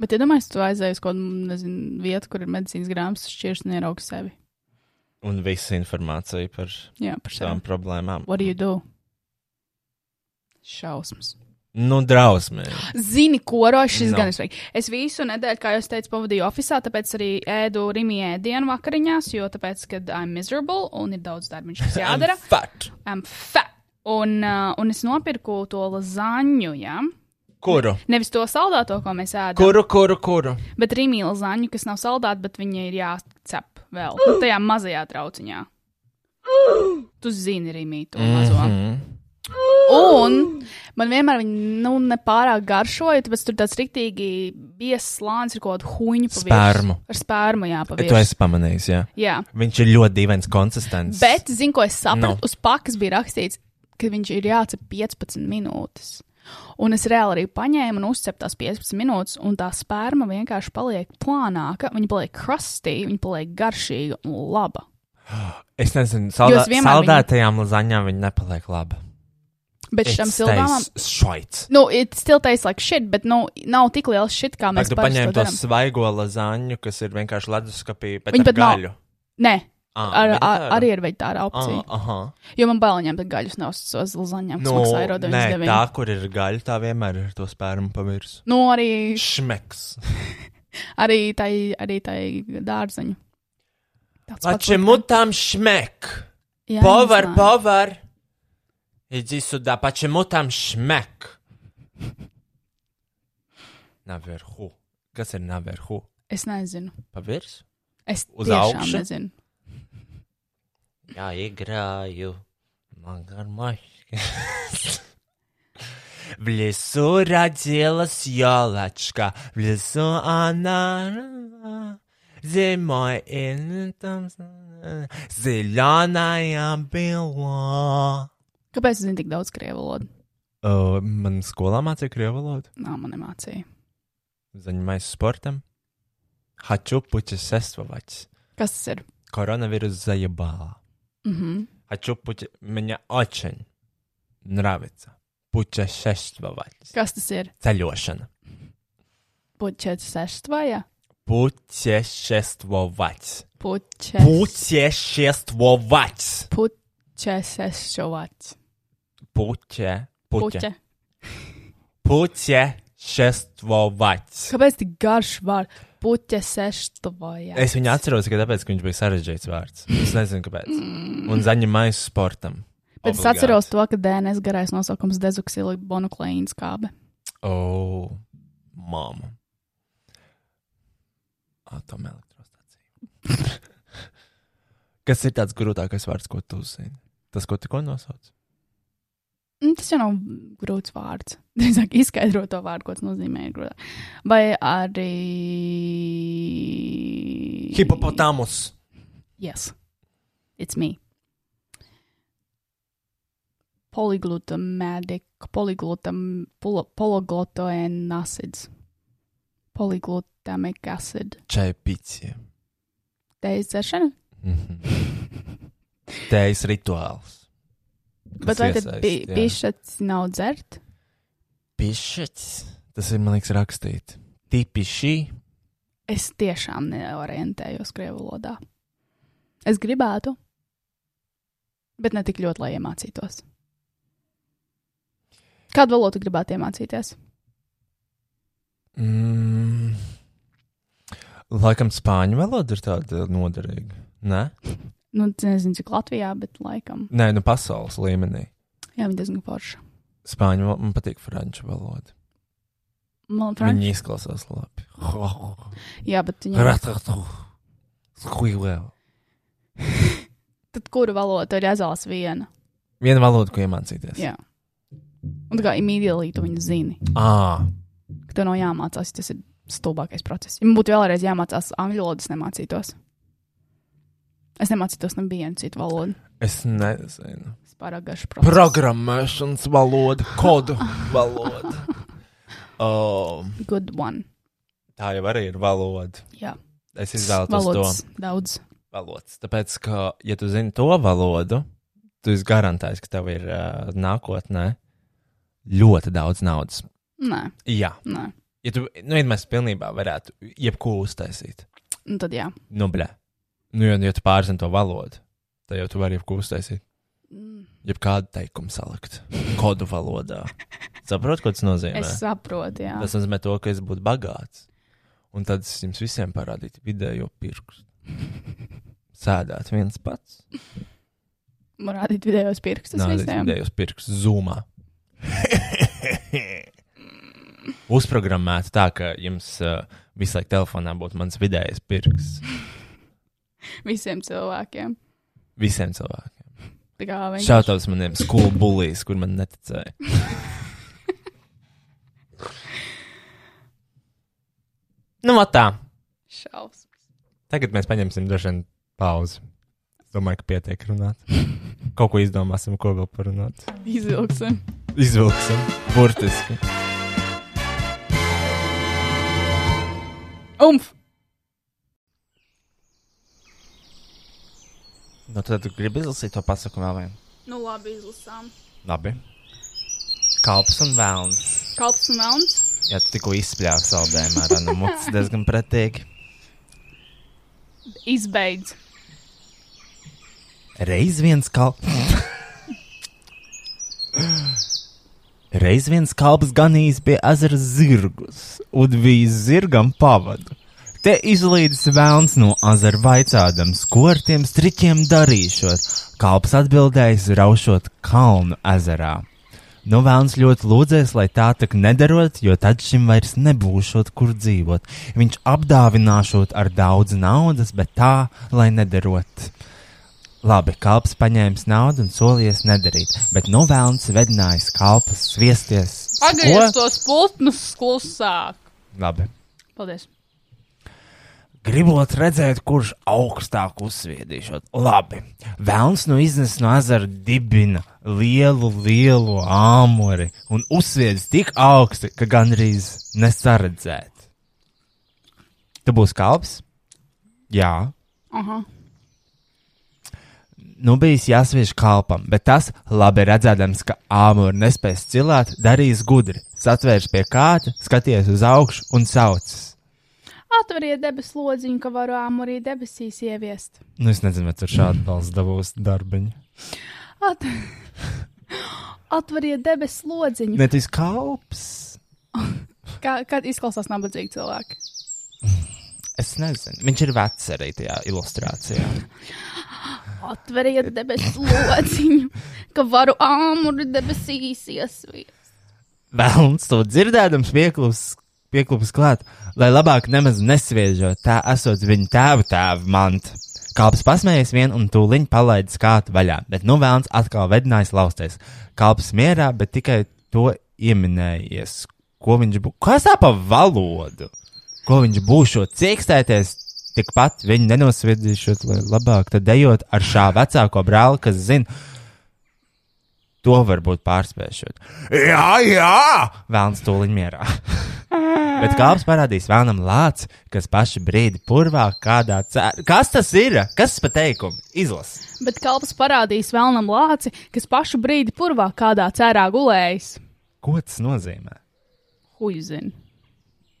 Bet, ja domāju, tu aizēji uz kaut kādu nezinu, vietu, kur ir medicīnas grāmatas, šķirs un ieraugs sevi.
Un visa informācija par
Jā, par
tām
sevi.
problēmām.
What do you do? Šausmas.
Nu, drausmīgi.
Zini, ko
No.
rošis no. gan es veicu. Es visu nedēļu, kā jau es teicu, pavadīju oficiālā, tāpēc arī ēdu rīmiņā dienu vakariņās, jo tāpēc, kad I'm miserable un ir daudz darbiņš, kas jādara.
Fakt.
I'm fat. Un, uh, un es nopirku to lasaņu, ja?
Kuru?
Nevis to saldāto, ko mēs ēdam,
Kuru, kuru, kuru?
bet rīmiņa lasaņu, kas nav saldāta, bet viņa ir jācep vēl nu, tajā mazajā trauciņā. Tu zini, rīmiņa, to mazo. Mm -hmm.
Mhm.
Un man vienmēr viņa nu, nepārāk garšoja, tāpēc tur tāds rīktīgi biezs slānis ar kaut kādu huņu pa virsmu.
Spērmu.
Ar spērmu, jā,
To
pavisam.
es pamanīju, jā.
Jā,
Viņš ir ļoti dīvains konsistents.
bet zinu, ko es sapratu.
No.
No. Uz pakas bija rakstīts, ka viņš ir jācep 15 minūtes. Un es reāli arī paņēmu un uzcepu tās 15 minūtes, un tā sperma vienkārši paliek plānāka, viņa paliek krustīga, viņa paliek garšīga un laba.
Es nezinu, saldā,
Jūs vienmēr viņu-
saldētajām lazaņām viņa nepaliek laba.
Bet
It
šitam silvām,
tastes shite.
nu, it still tastes like shit, bet nu, nav tik liels shit, kā
Mēs
mēs
tu
parasti
paņēmi
to
to
darām.
svaigo lazaņu, kas ir vienkārši leduskapī, bet
Viņa
ar
pat nav
gaļu.
Nē,
Ā,
ar,
viņa
ar,
tā ir.
arī ir veģetārā opcija.
Ā, Aha.
Jo man bail ņemt gaļas no savas lazaņas, kas
Ah. Nu,
maksā eiro
nē,
99.
tā, kur ir gaļa, tā vienmēr ir to spērumu pavirs.
Nu, arī,
Šmeks.
arī tai, arī tai dārzeņu. Tāds pats
Pače
likums.
mutām šmek.
Jā, es
Povar,
zinu.
povar. Idzi sudā, pače mutām šmek. Naverhu. Kas ir naverhu?
Es nezinu.
Pavirs?
Es
Uz
tiešām
augšu?
nezinu.
Jā, играю. Магармашки. В лесу родилась елочка, в лесу она росла. зимой и летом зеленая была.
Kāpēc es zinu tik daudz krievu valodu?
Man skolā mācīja krievu valodu.
Nā, man nemācīja.
Zaņemais sportam.
Хочу путешествовать.
Kas tas ir?
Коронавирус заебала.
Mhm.
Хочу пути... Мне очень нравится путешествовать.
Kas tas ir?
Целешина.
Puķets seštvajā?
Путешествовать.
Puķets.
Путешествовать.
Puķets seštvajā.
Путе. Путе.
Puķe.
Путешествовать.
Kāpēc tik garš vārds? Puķets seštvajā.
Es viņu atceros tikai tāpēc, ka viņš bija sarežģīts vārds. Es nezinu, kāpēc. Un zaņemais sportam.
Bet es atceros to, ka DNS garais nosaukums dezoksila bonukleīna skābe.
Oh, mama. Ah, Atomelektrostacija. Kas ir tāds grūtākais vārds, ko tu uzzini? Tas, ko tikko nosauc?
Nu, Tas jau nav grūts vārds. Drīzāk izskaidrot to vārdu, ko tas nozīmē. ir grūtāk. Vai arī.
Hipopotamus.
Yes. It's me. Polyglutamatic, polyglutam, polo- polyglutoan acids. Polyglutamic acid.
Čai pici.
Teiz dzeršana?
Mhm. Tējas rituāls.
Bet vai tad bi-
jā.
bišats nav dzert?
Pišķis. Tas ir, man liekas, rakstīts. Tipiši.
Es tiešām neorientējos krievu valodā. Es gribētu, bet ne tik ļoti, lai iemācītos. Kādu valodu gribētu iemācīties?
Mm. Laikam spāņu valoda ir tāda noderīga. Nē,
Nu, es nezinu, cik Latvijā, bet laikam.
Nē nu pasaules līmenī.
Jā, viņa diezgan forša.
Spāņu valoda man patīk franču valoda.
Man
Franč?
liekas,
Viņi izklausās labi.
jā, bet viņa.
Ratatu. Skuilēl.
Tad kuru valodu ir jāzās viena?
Viena valoda, ko iemācīties.
Jā. Un tā kā imīdīgi tu viņu zini,
Ā,
ka tev nav jāmācās, tas ir stulbākais process. Ja man būtu vēlreiz jāmācās angļu valodas, nemācītos. Es nemācītos nevienu citu valodu.
es nezinu.
Tas pārāk garš process.
Programmēšanas valoda, kodu valoda. Oh,
Good one.
tā jau arī ir valoda.
Jā,
Es izvēlos to.
valodas daudz.
valodas. Tāpēc, ka, ja tu zini to valodu, tu esi garantējis, ka tev ir uh, nākotnē ļoti daudz naudas.
Nē,
Jā,
nē.
ja tu nu, ja mēs pilnībā varētu jebko uztaisīt,
Nu, tad jā.
nu, blē. Nu, jo, ja tu pārzini to valodu, tad jau tu vari jebko uztaisīt.
Mm,
Jebkādu teikumu salikt kodu valodā. Saproti, ko tas nozīmē?
Es saprotu, jā.
Tas nozīmē to, ka es būtu bagāts. Un tad es jums visiem parādītu vidējo pirkstu. Sēdēt viens pats.
Man rādīt vidējos pirkstus
Nāc,
visiem.
vidējos pirkstus zumā. Uzprogrammēta tā, ka jums uh, visu laiku telefonā būtu mans vidējais pirksts
Visiem cilvēkiem.
visiem cilvēkiem.
Tā kā viņi.
Šāds maniem skolu bulīs, kur man neticēja. nu, vat tā.
Šausmas.
Tagad mēs paņemsim dažu pauzi. Es domāju, ka pietiek runāt. Kaut ko izdomāsim, ko vēl parunāt.
Izvilksim.
Izvilksim. Burtiski.
Umf!
Nu, tad tu gribi izlasīt to pasaku vēl vien.
Nu, labi, izlasām.
Labi. Kalps un vēlns.
Kalps un melns.
Jā, tu tikko izspļāvi saldējumu ar no mutes diezgan pretīgi.
Izbeidz.
Reiz viens kalps. Reiz viens kalps ganījis pie ezera zirgus un bija zirgam pavadu. Te izlīdzis vēlns no ezera vaicādams, ko ar tiem striķiem darīšot. Kalps atbildējis, raušot kalnu ezerā. Nu, vēlns ļoti lūdzēs, lai tā tak nedarot, jo tad šim vairs nebūšot, kur dzīvot. Viņš apdāvināšot ar daudz naudas, bet tā, lai nedarot. Labi, kalps paņēmis naudu un solījies nedarīt, bet nu vēlns vedinājis kalpu sviesties.
Pagriez
Ko?
tos pultnus klusāk.
Labi.
Paldies.
Gribot redzēt, kurš augstāk uzsviedīšot. Labi, vēlns nu iznes no ezera dibina lielu, lielu āmuri un uzsviedis tik augsti, ka gandrīz nesaredzēt. Tu būsi kalps? Jā.
Aha.
Nu, bijis jāsviež kalpam, bet tas, labi redzēdams, ka āmuri nespēs cilāt, darīs gudri. Satvērs pie kāta, skaties uz augšu un saucas.
Atveriet debesu lodziņu, ka varu āmurī debesīs ieviest.
Nu, es nezinu, vai tur šādi balsts dabūs darbiņu.
At... Atveriet debesu lodziņu.
Ne tas kalps.
Kā, kad izklausās nabadzīgi cilvēki?
Es nezinu. Viņš ir vecs arī tajā ilustrācijā.
Atveriet debesu lodziņu, ka varu āmuri debesīs iesviest.
Vēlams to dzirdēdams, pieklūps, pieklūps klāt, lai labāk nemaz nesviežot, tā esot viņa tēva tēva manta. Kalps pasmējies vien un tūlīt palaidis kātu vaļā, bet nu vēlams atkal vedinājis lausties. Kalps mierā, bet tikai to ieminējies, ko viņš būs. Kas tā pa valodu? Ko viņš būs šo ciekstēties? Tikpat viņu nenosviedīšot, lai labāk tad dejot ar šā vecāko brāli, kas zina, to varbūt pārspēšot. Jā, jā! Vēlams tūlīt mierā. Bet kāps parādīs vēlnam lācis, kas paši brīdi purvā kādā cēlā. Kas tas ir? Kas tas par teikumu? Izlasi.
Bet kalps parādīs vēlnam lāci, kas pašu brīdi purvā kādā cērā gulējis.
Ko tas nozīmē?
Huizin.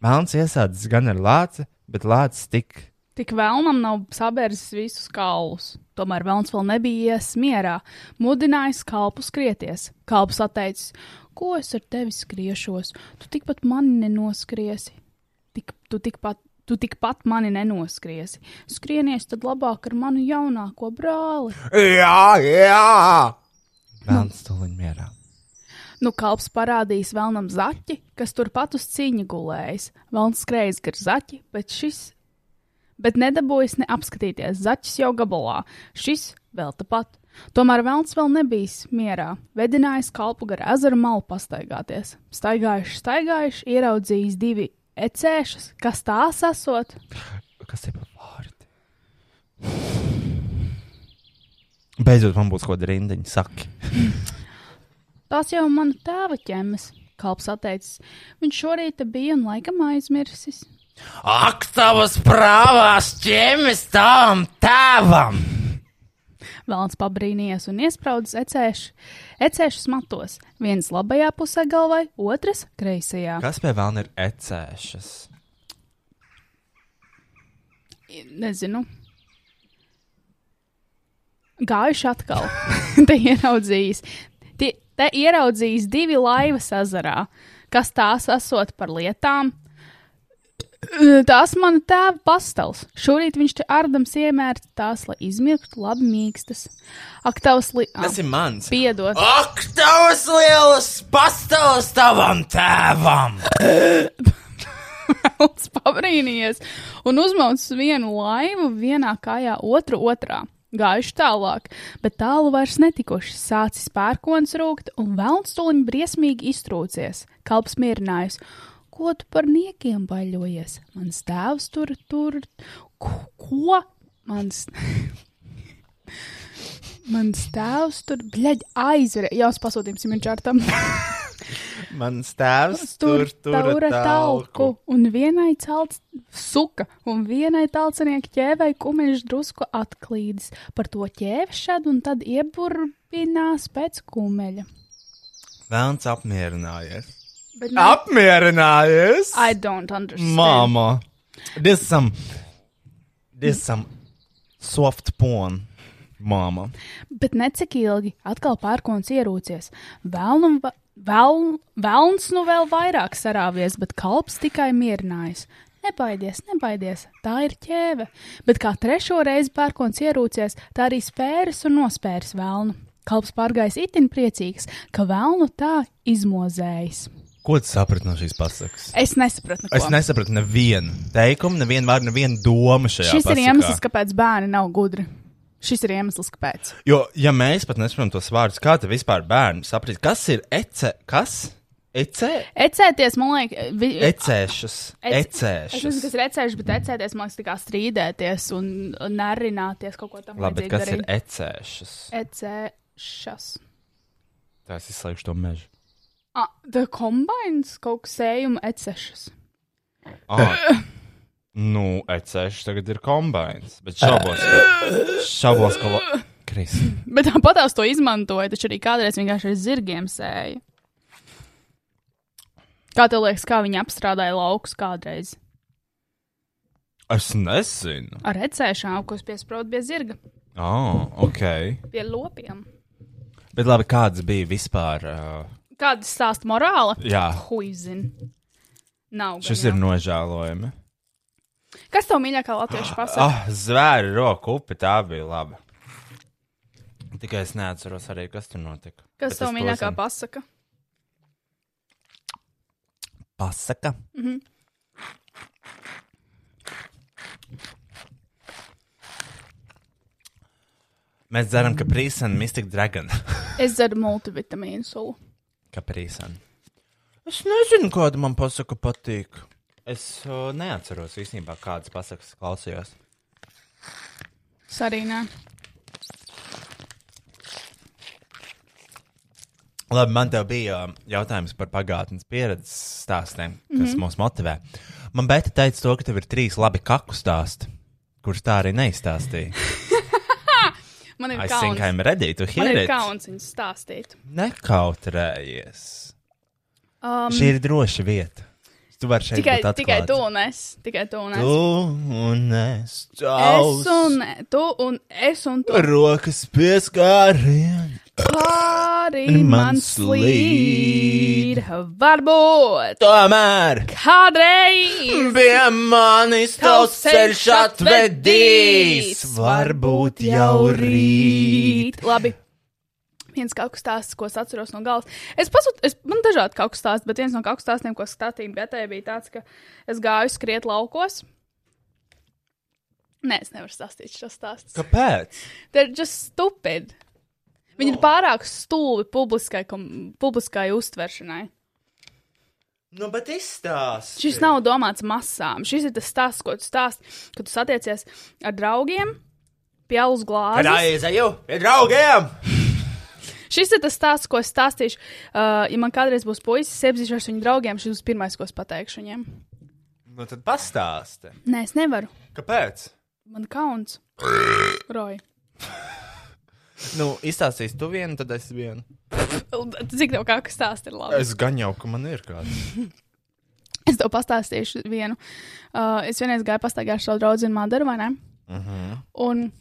Melns iesācis gan ar lāci, bet lācis tik.
Tik vēlnam nav sabērzis visus kaulus. Tomēr vēlns vēl nebija ies mierā, mudinājis kalpu skrieties. Kalps atteicis, ko es ar tevi skriešos, tu tikpat mani nenoskriesi. Tik, tu tikpat Tu tikpat mani nenoskriesi. Skrienies tad labāk ar manu jaunāko brāli.
Jā, jā! Melns tūlīt mierā.
Nu, kalps parādījis vēlnam zaķi, kas turpat uz cīņa gulējis. Vēlns skrējas gar zaķi, bet šis. Bet nedabūjis ne apskatīties, zaķis jau gabalā, šis vēl tepat. Tomēr vēlns vēl nebija mierā, vedinājis kalpu gar ezeru malu pastaigāties. Staigājuši, staigājuši, ieraudzījis divi ecēšas, kas tās esot.
Kas tie par vārdi? Beidzot, man būs kaut kāda rindiņa, saki.
Tās jau mana tēva ķemes, kalps atteicis. Viņš šorīt te bija un laikam aizmirsis.
Ak, tavas prāvās ķēmis tam tēvam!
Vēlams pabrīnījies un iesprūdis ecēšu, ecēšu matos, viens labajā pusē galvai, otrs kreisajā.
Kas pie vēlna ir ecēšas?
I- Nezinu. Gājuši atkal. te ieraudzījis. Tie, te ieraudzījis divi laivas ezerā, kas tās esot par lietām. Tās mana tēva pastels. Šorīt viņš te ardams iemērts tās, lai izmirktu labi mīkstas. Ak, tavs li...
Tas ir mans. Oh!
Piedod.
Ak, tavs lielas pastāvs tavam tēvam!
Velns pabrīnījies un uzmaucis vienu laivu vienā kājā, otru otrā. Gājuši tālāk, bet tālu vairs netikuši. Sācis pērkons rūkt, un velns tuliņi briesmīgi iztrūcies. Kalps mierinājis. Ko tu par niekiem baļojies? Mans tēvs tur tur. Ko? Mans. Mans tēvs tur, bļaļ, aizvērē. Jā, es pasūtīju Simčārtam.
Mans tēvs tur tur
taura talku. Un vienai celts suka, un vienai talcinieki ķēvai kumeļš drusku atklīdis. Par to ķēvšad un tad ieburbinās pēc kumeļa.
Vēlns apmierinājies.
Bet man-
Apmierinājies!
I don't understand.
Mama! This some, this some soft porn, mama.
Bet necik ilgi atkal pērkons ierūcies. Vēl un va- vēl, velns nu vēl vairāk sarāvies, bet kalps tikai mierinājis. Nebaidies, nebaidies, tā ir ķēve. Bet kā trešo reizi pērkons ierūcies, tā arī spēris un nospēris velnu. Kalps pārgājis itin priecīgs, ka velnu tā izmozējis.
Ko tu saprati no šīs pasakas?
Es nesapratu,
Es
ko
nesapratu nevienu teikumu, nevienu vārdu, nevienu domu šajā
Šis ir
pasakā.
iemesls, kāpēc bērni nav gudri. Šis ir iemesls, kāpēc.
Jo, ja mēs pat nesaprotam tos vārdus, kā tad vispār bērni saprast, kas ir ece, kas? Ece?
Ecēties, man liekas, vi-
Ecēšas.
Ec- Es nezinu,
Ecēšas.
kas ir ecēšana, bet ecēties, man liekas, tā kā strīdēties un nerināties kaut ko tam
Labi, bet
līdzīgu
kas ir
darīt.
ecēšas?
Ecēšas.
Tā es izslēgšu to mežu.
Ah, the combines kaut kas sējuma ecēšas.
Ah. Nu, ecēšas tagad ir kombinācijas, bet šaubos, ka... Šaubos, ka... la- Kris.
Bet tāpat tās to izmantoja, taču arī kādreiz vienkārši ar zirgiem sēja. Kā tev liekas, kā viņi apstrādāja laukus kādreiz?
Es nezinu.
Ar ecēšanu, ko piesprāda pie zirga,
Ah, ok.
pie lopiem.
Bet labi, kāds bija vispār... Uh...
Kāda stāsta morāla?
Jā.
Huizina. Nav. gan
Šis
jau.
ir nožēlojami.
Kas tev mīļākā latviešu pasaka?
Ah, zvēri, roku upe, tā bija laba. Tikai es neatceros arī, kas tur notika.
Kas tev mīļākā pasaka?
pasaka? Mm
Mm-hmm.
-hmm. Mēs dzeram kaprīsu un Mystic Dragon.
Es dzeru multivitamīnu sulu.
kaprīsu. Es nezinu, kāda man pasaka patīk. Es uh, neatceros īstenībā, kādas pasakas klausījos.
Sarīnā.
Labi, man te bija um, jautājums par pagātnes pieredzes stāstiem, kas
Mhm.
mm -hmm. mūs motivē. Man Bēta teica, to, ka tev ir trīs labi kaku stāsti, kurus tā arī neizstāstīja.
Man ir
I think
kauns.
I'm ready to
Man
hear
ir
it.
kauns viņu stāstīt.
Nekautrējies. Um,
Um,
Šī ir droša vieta. Tu vari šeit
Tikai,
būt
tikai
atklāts.
tu un es. Tikai tu un es.
Tu un es.
Es
Čaus.
un tu un es un tu.
Rokas pieskārien.
Pāri
Un man
man slīd. Varbūt
Tomēr.
kādreiz.
Pie manis tavs ceļš atvedīs, varbūt jau rīt.
Labi. Viens kaut kas tāds, ko es atceros no galvas. Es pasūtu, es, man dažādi kaut kas tāds, bet viens no kaut kas tādiem, ko statījumi gatēji, bija tāds, ka es gāju skriet laukos. Nē, es nevaru stāstīt šo stāstu.
Kāpēc?
They're just stupid. Viņi ir pārāk stulbi publiskai, kom- publiskai uztveršanai.
Nu, bet izstāst.
Šis nav domāts masām. Šis ir tas stāsts, ko tu stāst, kad tu satiecies ar draugiem pie alus glāzes.
aizēju pie draugiem.
Šis ir tas stāsts, ko es stāstīšu. Uh, ja man kādreiz būs puisis, iepazīšos ar viņu draugiem, šis būs pirmais, ko es pateikšu viņiem.
Nu, tad pastāsti.
Nē, es nevaru.
Kāpēc?
Man kauns. Roja.
Nu, izstāstīs tu vienu, tad es vienu.
Cik tev kā kas stāsts ir labi? Es,
Es gan jau, ka man ir kāds.
es tev pastāstīšu vienu. Uh, es vienreiz gāju pastaigā ar savu draugu Madaru, vai ne? Uh -huh. Un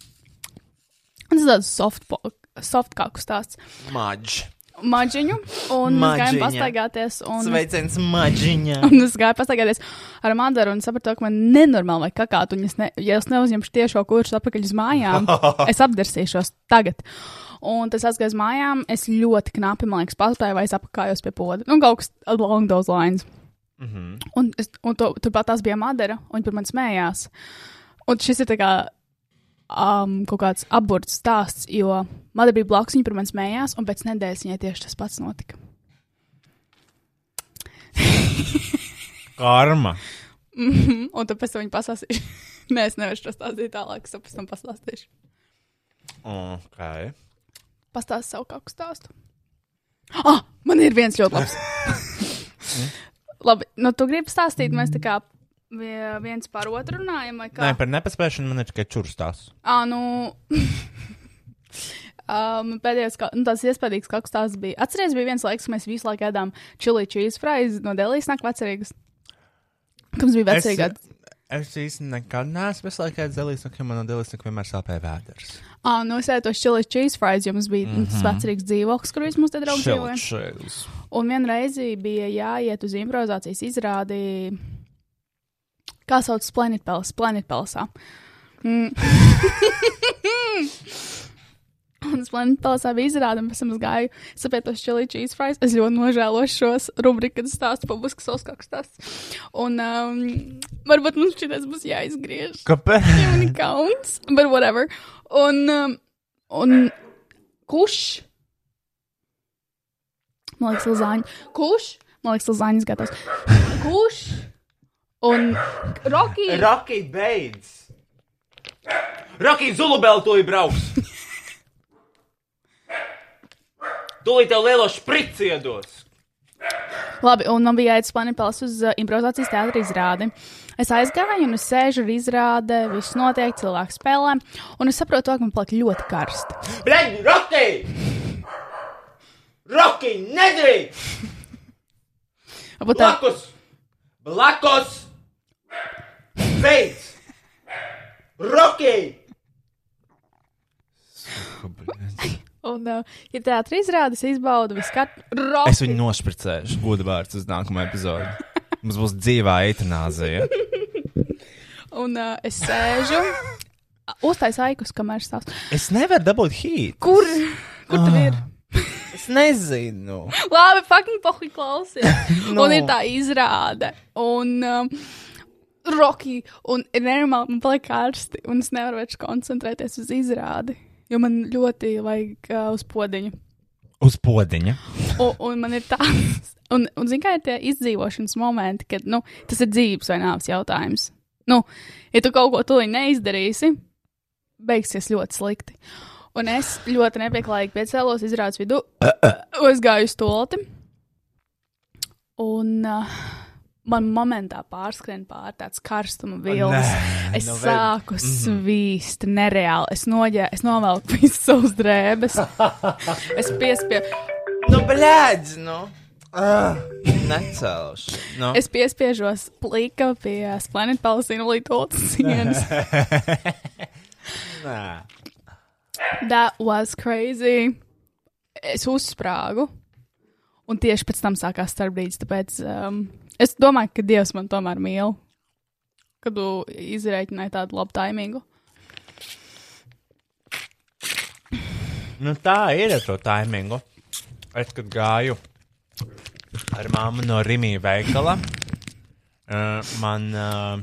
un tas ir tāds soft, po- soft kāku stāsts.
Maģis.
Maģiņu. Un mēs gājām
Maģiņa.
pastaigāties. Un...
Sveiciens maģiņā.
Un es gāju pastaigāties ar Madaru un sapratu, ka man nenormāli vajag kakāt. Un es ne, ja es neuzņemšu tiešo kursu atpakaļ uz mājām, es apdarsīšos tagad. Un tas aizgāja uz mājām. Es ļoti knapi, man liekas, pastāju vai es apakājos pie poda. Nu, kaut kas along those lines. Mm -hmm. Un, es, un to, turpat tās bija Madara, un viņa par mani smējās. Un šis ir tā kā um, kaut kāds aburts stāsts, jo Madara bija blakus, viņa par mani smējās, un pēc nedēļas viņai tieši tas pats notika.
Karma.
Un tad pēc tam viņa pastāstīšu. Nē, es nevaru to stāstīt tālāk, es to pēc tam pastāstīšu.
Ok.
Pastāsti savu kādu stāstu. Ah, man ir viens ļoti labs. Labi, nu tu gribi stāstīt, mēs tā kā vie- viens par otru runājam, vai kā?
Nē, par nepaspēšanu man ir tikai čurstās.
À, nu, um, pēdējais, ka, nu, tas iespaidīgs kaut kas tāds bija. Atcerieties, bija viens laiks, kad mēs visu laiku ēdām čili cheese fries no Delijas, nāk vecerīgas. Kāds bija vecerīgā? Es...
Es īstenībā nekad neesmu visu laiku dzelzs, un man no dzelzs vienmēr sāpēja vēders.
Ah, nu es ēdu tos čili cheese fries, jo mums bija mm -hmm. tas vecerīgs dzīvoklis, kur visi mūsu te draugi dzīvoja.
Šilčēlis.
Un vienreiz bija jāiet uz improvizācijas izrādi, kā sauc planētas, planētasā. Mm. Un planētasā bija izrāde, un pēc tam es gāju, sapratu, tas čili cheese fries. Es ļoti nožēloju šos rubrikas, kad stāstu publiski savus kā stāstus. Un um, varbūt mums šis būs jāizgriež.
Kāpēc?
Jau man ir kauns, but whatever. Un, um, un kurš? Man liekas, Lazāņa. Kurš? Man liekas, Lazāņas gatavs. Kurš? Un Rocky.
Rocky beidz! Rocky Zulubēlu to ir brauks! Tūlīt tev lielo šprici iedos!
Labi, un man bija jāiet planētas uz uh, improvizācijas teātra izrādi. Es aizgāju, un es sēžu ar izrādi, viss notiek, cilvēks spēlē, un es saprotu, to, ka man paliek ļoti karsti.
Bļaigi, Rocky! Rocky, nedrīkst!
Varbūt tā-
Blakus! Blakus! Beidz! Rocky!
Un, uh, ja teātris izrādās, izbaudu visu katru. Rocky!
Es viņu nošpricēšu, gudri vārds uz nākamo epizodu. Mums būs dzīvā eitanāzija.
Un uh, es sēžu, uztaisīju aikus, kamēr stāstu.
Es nevaru dabūt hīt.
Kur? Kur tu ir?
Es nezinu.
Labi, fucking pohi klausies. no. Un ir tā izrāde. Un um, roki, un ir nenormāli, man paliek karsti, un es nevaru vairs koncentrēties uz izrādi. Jo man ļoti vajag uh, uz podziņu.
Uz podziņa.
Un, un man ir tāds, un, un zini, kā ir tie izdzīvošanas momenti, kad nu, tas ir dzīves vai nāves jautājums. Nu, ja tu kaut ko tuliņ neizdarīsi, beigsies ļoti slikti. Un es ļoti nepieklājīgi piecēlos, izrādījos vidū, es gāju uz tolti. Un uh, man momentā pārskrien pār tāds karstuma vilnis. Es
nu
no
vēl.
sāku svīst nereāli. Es, noģē, es novelku visas savas drēbes. es piespiedu.
Nu, blēdz, nu. Ah, necelšu. Nu.
Es piespiežos plīka pie planētas Palestīna līdz sienas.
Nē.
That was crazy. Es uzsprāgu. Un tieši pēc tam sākās starpbrīdis, tāpēc um, es domāju, ka Dievs man tomēr mīl. Kad tu izreikināji tādu labu taimingu.
Nu, tā ir ar to taimingu. Es kad gāju ar māmu no Rimija veikala, uh, man uh,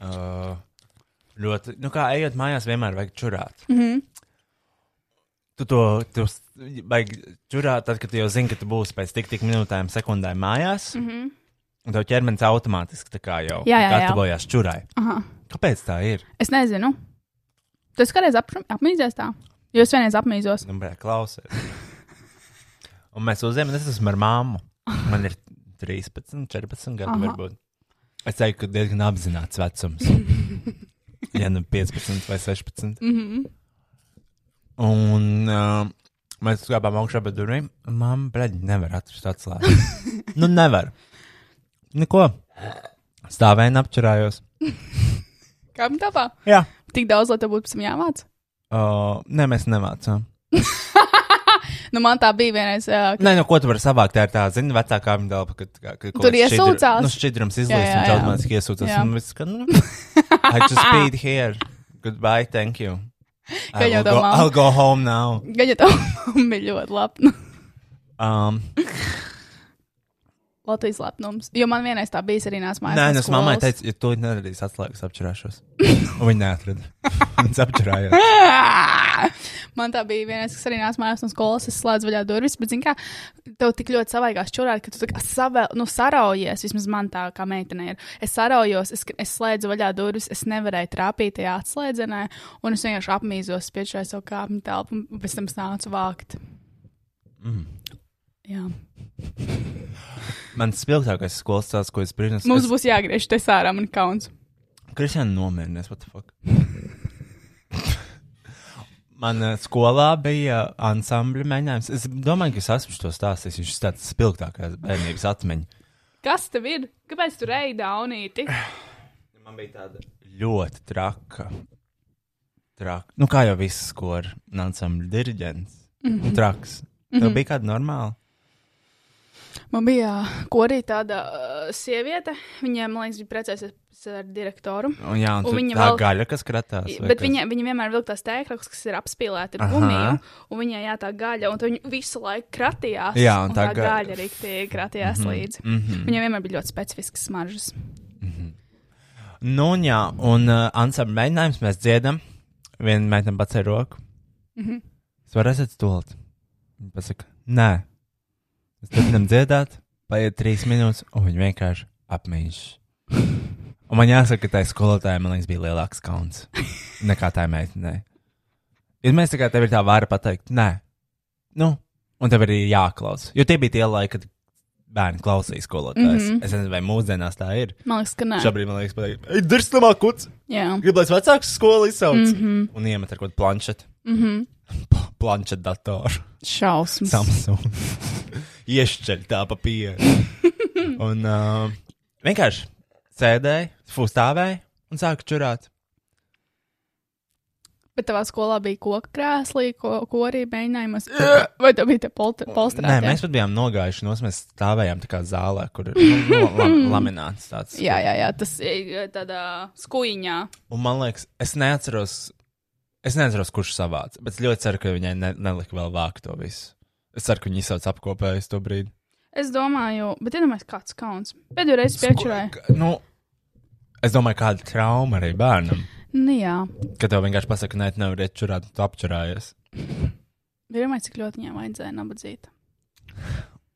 uh, ļoti, nu kā ejot mājās, vienmēr vajag čurāt. Mm -hmm.
Mhm.
Tu to tu s- vajag čurāt, tad, kad tu jau zini, ka tu būsi pēc tik tik minūtēm, sekundēm mājās. Mm -hmm. Un tev ķermenis automātiski tā kā jau
Mhm. Jā, jā, jā.
gatavojās čurai.
Aha.
Kāpēc tā ir?
Es nezinu. Tu esi kādreiz apš- apmīdzies tā? Jo es vienreiz apmīdzos.
Nu, brāl, klausies. Un mēs uzzīmējam, es esmu ar māmu. Man ir 13, 14 gadi,
Aha.
varbūt. Es teiktu, ka diezgan apzināts vecums. ja nu 15 vai 16. Mm -hmm. Un uh, mēs gājām augšā pa durvīm. un Māma, brāl, nevar atrast atslēgu. nu, nevar. Neko. Stāvēju un apčurājos.
Kā man tāpā?
Jā.
Tik daudz, lai tev būtu pēc tam jāmāc.
Uh, nē, mēs nemācām.
Nu, man tā bija vienreiz. Uh,
Nē, no ko tu vari savākt? Tā ir tā, zini, vecākā apgabala, kad, kad, kad
Tur iesūcās.
Nu, šķidrums izlīst,
jā,
viņš
jā.
automātiski iesūcās.
Jā.
Un viss, ka, nu, I just paid here. Goodbye, thank you. I
Kaļo
will go,
domā.
I'll go home now.
Gan jau tā bija ļoti labi.
Um,
Latvijas lepnums. Jo man vienreiz tā bija arī nāca mājās.
nē,
no
nu, es mammai
skolas.
teicu, ja tu nedarīsi atslēgas, apčurāšos. Un viņa neatrada. Viņa apčurājās.
Man tā bija viena, kas arī nāca mājās no skolas, es slēdzu vaļā durvis, bet, zini, kā tev tik ļoti savaigās čurāt, ka tu tā kā savēl, nu, saraujies, vismaz man tā kā meitene ir. Es saraujos, es, es slēdzu vaļā durvis, es nevarēju trāpīt tajā atslēdzenē, un es vienkārši apmīzos, spiečoju savu kāpņu telpu, un pēc tam es nācu vākt.
Mm.
Jā.
Mans spilgtākais skolas stāsts, ko es brīnos,
Mums būs jāgriež te sārā, man kauns.
Kristiāna nomierinies, what the fuck. Man uh, skolā bija eh, ansambļa mēģinājums. Es domāju, ka es esmu to stāstījis. Viņš ir tāds spilgtākais bērnības atmiņa.
Kas tev ir? Kāpēc tu reidi daunīti?
Man bija tāda ļoti traka. Traka. Nu, kā jau viss, ko ar ansambļa diriģents. Mm
Mhm.
-hmm. Traks. Mm -hmm. Tev bija kāda normāla?
Man bija korī tāda uh, sieviete, viņai, man liekas, bija precējusies ar direktoru.
Un, jā, un,
Un
un
viņa
viņa tā
vēl-
vēl... gaļa, kas kratās. vai
Bet
kas?
viņa, viņa vienmēr vilka tās tēkļus, kas ir apspīlēti ar
Aha.
gumiju, un viņai jā, tā gaļa, un tad viņa visu laiku kratījās.
Jā, un
un
tā
tā
ga-
gaļa rīktīgi kratījās līdzi.
mhm.
Viņai vienmēr bija ļoti specifiskas smaržas.
Nu, un jā, un uh, ansambļa mēģinājums mēs dziedam. Viena meitene pats ar roku.
Mhm.
Es varu aiziet stulti. Viņa pasaka, nē. Mēs turpinām dziedāt, paiet trīs minūtes, un viņa vienkārši apmīž. Un man jāsaka, ka tai skolotājai, man liekas, bija lielāks kauns nekā tai meitenei. Ir mēs tikai tev ir tā vara pateikt, nē. Nu, un tev arī jāklausa. Jo tie bija tie laiki, kad bērni klausīja skolotājus. Mm
Mhm.
-hmm. Es nezinu, vai mūsdienās tā ir.
Man liekas, ka nē.
Šobrīd man liekas, pateikt, ej, dirstamā kuts!
Jā,
Gribu, lai es vecāks skolu izsauc. Mm -hmm. Un iemet ar kaut kādu planšetu. Mm
Mhm.
Planšetu datoru.
šausmas.
Samsung. Iešķeļ tā papīra. un uh, vienkārši sēdēja, fūstāvēja un sāka čurāt.
Bet tavā skolā bija koka krēslī, ko, ko arī mēģinājumos. Vai tev bija te polta- polsterā?
Nē, mēs pat bijām nogājuši no mēs stāvējām tā kā zālē, kur ir nu, nu, la, lamināts tāds.
Jā, jā, jā, tas ir tādā skuiņā.
Un man liekas, es neatceros, es neatceros kurš savāca, bet es ļoti ceru, ka viņai ne, nelika vēl vākt to visu. Es ceru, ka viņi izsauc apkopējus to brīdi.
Es domāju, bet iedomājos, kāds kauns. Pēdējo reizi piečurēju.
Ko- Nu, es domāju, kāda trauma arī bērnam.
Nu, jā.
Kad tev vienkārši pasaka, nē, tu nevari iet čurāt, tu apčurājies.
Vienmēr cik ļoti viņai vajadzēja nabadzīt.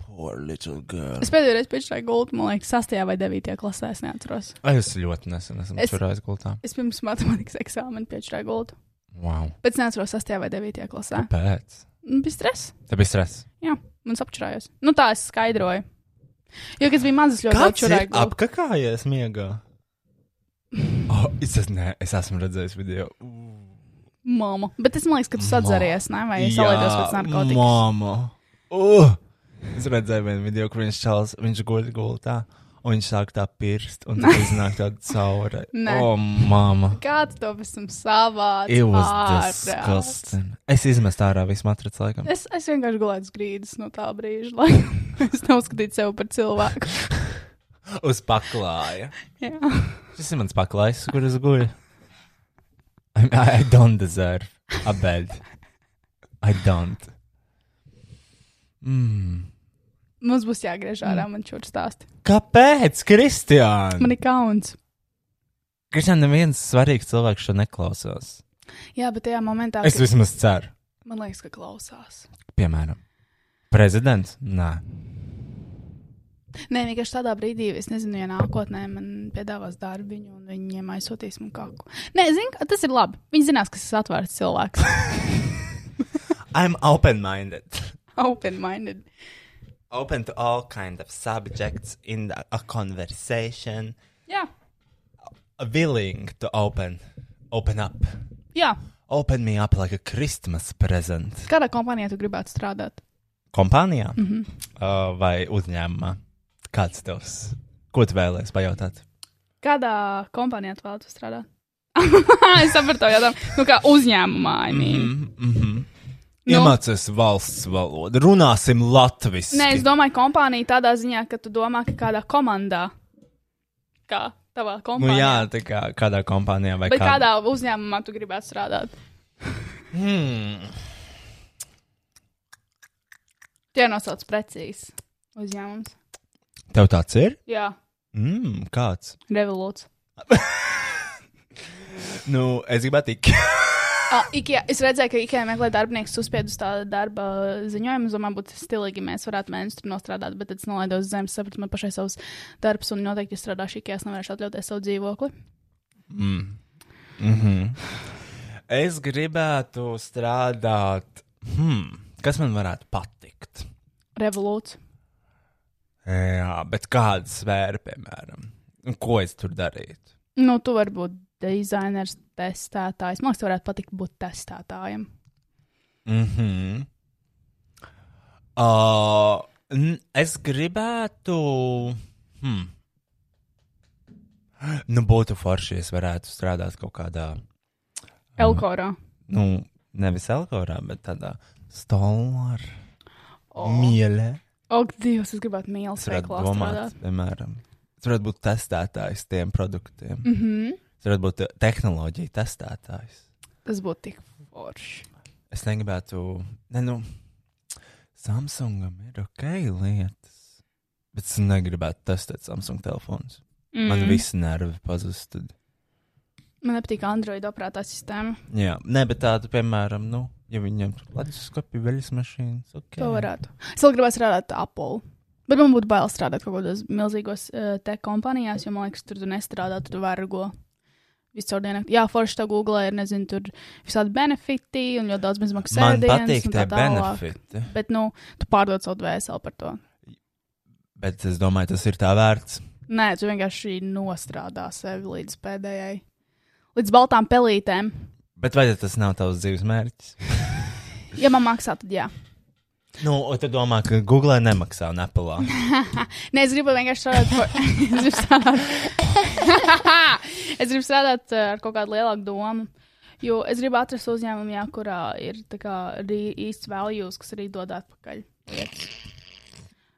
Poor little girl.
Es pēdējo reizi piečurēju gultu, man liekas, 6. vai 9. klasē, es neatceros.
Ai, es ļoti nesen esmu
Es-
es... čurājis gultā.
Es pirms matemātikas eksāmena piečurēju gultu.
Wow.
Pēc tam neatceros 6. vai 9. klasē.
Pēc.
Nu, Bija stress.
Tev bija stress.
Jā, man sapčurājos. Nu, tā es skaidroju. Jo, kad es biju mazs, ļoti daudz
Kāds ir
čurēju gultu.
apkakājies miegā? Oh, es, es, ne, es esmu redzējis video.
Māma. Bet es domāju, ka tu
Mā-
sadzēries, ne? Vai salīdzinājies pēc narkotikas?
Māma. Uh! Es redzēju vienu video, kur viņš čels, viņš guļ gultā, un viņš sāk tā pirst, un tad iznāk tāda caura.
Nē.
O, māma.
Kā tu to pēc tam savāc?
It was
ārā?
disgusting. Es izmetu ārā visu matracu laikam.
Es, es vienkārši gulēju uz grīdas no tā brīža, lai es neuzskatītu sevi par cilvēku.
Uz paklāja.
Jā.
Šis ir mans paklājs, kur es guļu. I, I don't deserve a bed. I don't. Mm.
Mums būs jāgriež ārā, man šur stāst.
Kāpēc, Kristiāna?
Man ir kauns.
Kristiāna, neviens svarīgs cilvēks šo neklausās.
Jā, bet tajā momentā,
Es
kad
vismaz ceru.
man liekas, ka klausās.
Piemēram, prezidents? Nē.
Nē, vienkārši tādā brīdī, es nezinu, ja nākotnē man piedāvās darbiņu, un viņiem aizsūtīs man kaut ko. Nē, zinu, tas ir labi. Viņi zinās, ka es esmu atvērts cilvēks.
I'm open-minded.
Open-minded.
Open to all kind of subjects in a conversation.
Jā,
willing to open, open up,
jā.
open me up like a Christmas present.
Kādā kompānijā tu gribētu strādāt?
Kompānijā mm
Mhm.
-hmm. uh, vai uzņēmumā? Kāds tavs? Ko tu vēlēsies pajautāt?
Kādā kompānijā tu vēlaties strādāt? es sapratu, jau tādā nu, kā uzņēmumā. I mean.
Mm -hmm.
Nu.
Iemācies valsts valodu, runāsim latviešu.
Nē, es domāju, kompānija tādā ziņā, ka tu domā, ka kādā komandā, kā tavā
Nu,
kompānijā,
jā, tā kā kādā kompānijā vai
bet kādā uzņēmumā tu gribētu strādāt.
Hmm.
Tie nosauc precīzi uzņēmums.
Tev tāds ir?
Jā,
Mm, kāds?
revolūts.
Nu, es gribētu tikt.
Ah, Ikea, es redzēju, ka Ikea meklē darbinieku uzspiedu tādu darba ziņojumu. Es domāju, būtu stilīgi, ja mēs varētu mēnesi tur nostrādāt, bet tad es nolaidos uz zemes, sapratu, man pašai savs darbs, un noteikti, ja strādāšu Ikea, es nevarēšu atļauties savu dzīvokli.
Es gribētu strādāt. Hmm, kas man varētu patikt?
Revolūcija.
Jā, bet kāda sfēra, piemēram, Un ko es tur darītu?
Nu, tu vari būt dizainers, testētājs. Man liekas, tev varētu patikt būt testētājam.
Mhm. Uh, n- es gribētu. Hmm. Nu, būtu forši, ja es varētu strādāt kaut kādā,
Elkorā.
nu, nevis alkoholā, bet tādā stūlā,
O,
mīlē.
oh, Dievs, es gribētu mīlēt,
Es
kā
varētu domāt, piemēram, es varētu būt testētājs tiem produktiem.
Mm -hmm.
Es varētu būt eh, tehnoloģija testētājs.
Tas būtu tik forši.
Es negribētu, ne, nu, Samsungam ir ok lietas, bet es negribētu testēt Samsung telefonus. Mm. Man viss nervi pazust. Tad.
Mhm. Man nepatīk Android operētā sistēma.
Jā, nē, bet tādu, piemēram, nu, ja viņam tur leduskapī veļas mašīnas, ok.
To varētu. Es vēl gribētu strādāt Apple. Bet man būtu bail strādāt kaut kādos milzīgos uh, tech kompānijās, jo man liekas, tur tu nestrādā, tur tu vergo. Visur dienā. Jā, forši tā Google ir, nezinu, tur visādi benefiti un ļoti daudz bezmaksas
Man
sēdienas
patīk
un
tie
tā tālāk.
benefiti,
Bet, nu, tu pārdod savu dvēseli par to.
bet es domāju, tas ir tā vērts.
Nē, tu vienkārši nostrādā sevi līdz pēdējai, līdz baltām pelītēm.
Bet vai tas nav tavs dzīves mērķis?
Ja man maksā, tad jā.
Nu, un tu domā, ka Google nemaksā un Apple.
Nē, es gribu vienkārši strādāt. par- es gribu strādāt, es gribu strādāt eh, ar kaut kādu lielāku domu. Jo es gribu atrast uzņēmumu, jā, kurā ir tā kā arī īsts values, kas arī dod atpakaļ. lietas.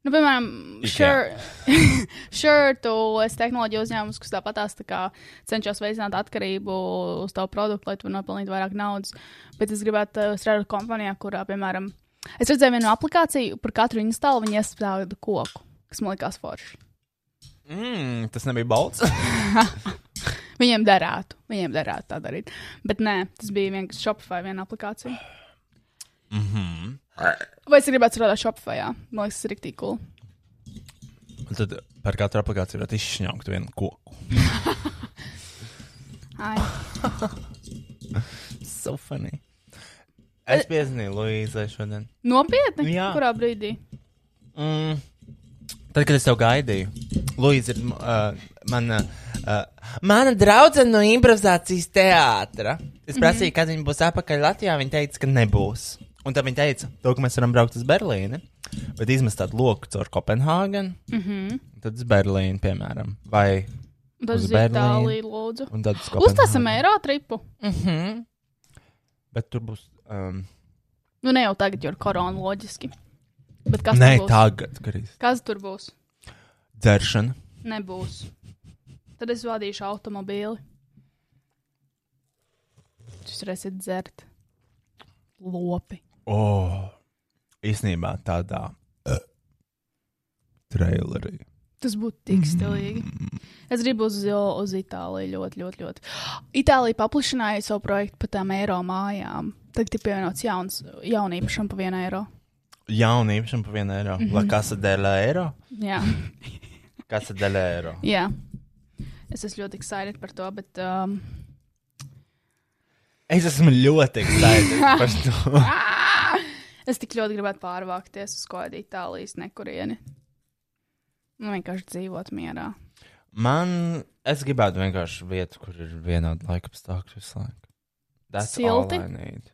Nu, piemēram,
Ikea.
šurtu es tehnoloģiju uzņēmumus, kas tāpat tās tā kā cenšas veicināt atkarību uz tavu produktu, lai tu nopelnītu vairāk naudas. Bet es gribētu eh, strādāt kompānijā, kurā, piemēram, es redzēju vienu aplikāciju, par katru instālu viņi iestāda koku, kas man likās forši.
Mm, tas nebija balts.
Viņiem derētu, viņiem derētu tā darīt. Bet nē, tas bija vienkārši Shopify viena aplikācija.
Mhm.
Vai es gribētu strādāt Shopify? Jā? Man liekas, tas ir rīktīgi cool.
Un tad par katru aplikāciju varētu izšņaukt vienu koku.
Ai.
So funny. Es piezvanīju Luīzai šodien.
Nopietni?
Jā.
Kurā brīdī?
Mm. Tad, kad es tev gaidīju, Luīza ir uh, mana, uh, mana draudzene no improvizācijas teātra. Es prasīju, mm -hmm. kad viņa būs atpakaļ Latvijā. Viņa teica, ka nebūs. Un tad viņa teica, to, ka mēs varam braukt uz Berlīni, bet izmest tādu loku caur Kopenhāgenu. Mm -hmm. Tad uz Berlīnu, piemēram, vai
Tas
Uz
ir
Berlīni.
Itālija, lūdzu.
un tad uz Kopenhāgenu.
Uztāsim eiro tripu.
Mhm. Bet tur būs. Um,
Nu, ne jau tagad, jo ir korona loģiski. Bet kas
nē,
tur būs?
tagad, Kristija.
Kas tur būs?
Dzeršana.
Nebūs. Tad es vadīšu automobīli. Jūs varēsiet dzert lopi.
Oh, īsnībā tādā uh, trailerī.
Tas būtu tik stilīgi. Es gribu uz, uz Itāliju ļoti, ļoti, ļoti. Itālija paplašināja savu projektu par tām eiro mājām. Tagad ir pievienots jauns, jaunu īpašumu par vienu eiro.
Jauna īpašuma par vienu eiro. La casa del eiro.
Jā,
Casa del eiro.
jā. Es esmu ļoti excited par to, bet. Um,
Es esmu ļoti excited par to.
Ah! Es tik ļoti gribētu pārvākties uz kaut kādu Itālijas nekurieni. Nu, vienkārši dzīvot mierā.
Man, es gribētu vienkārši vietu, kur ir vienāda laika apstākļi visu laiku. That's all
Silti?
I need.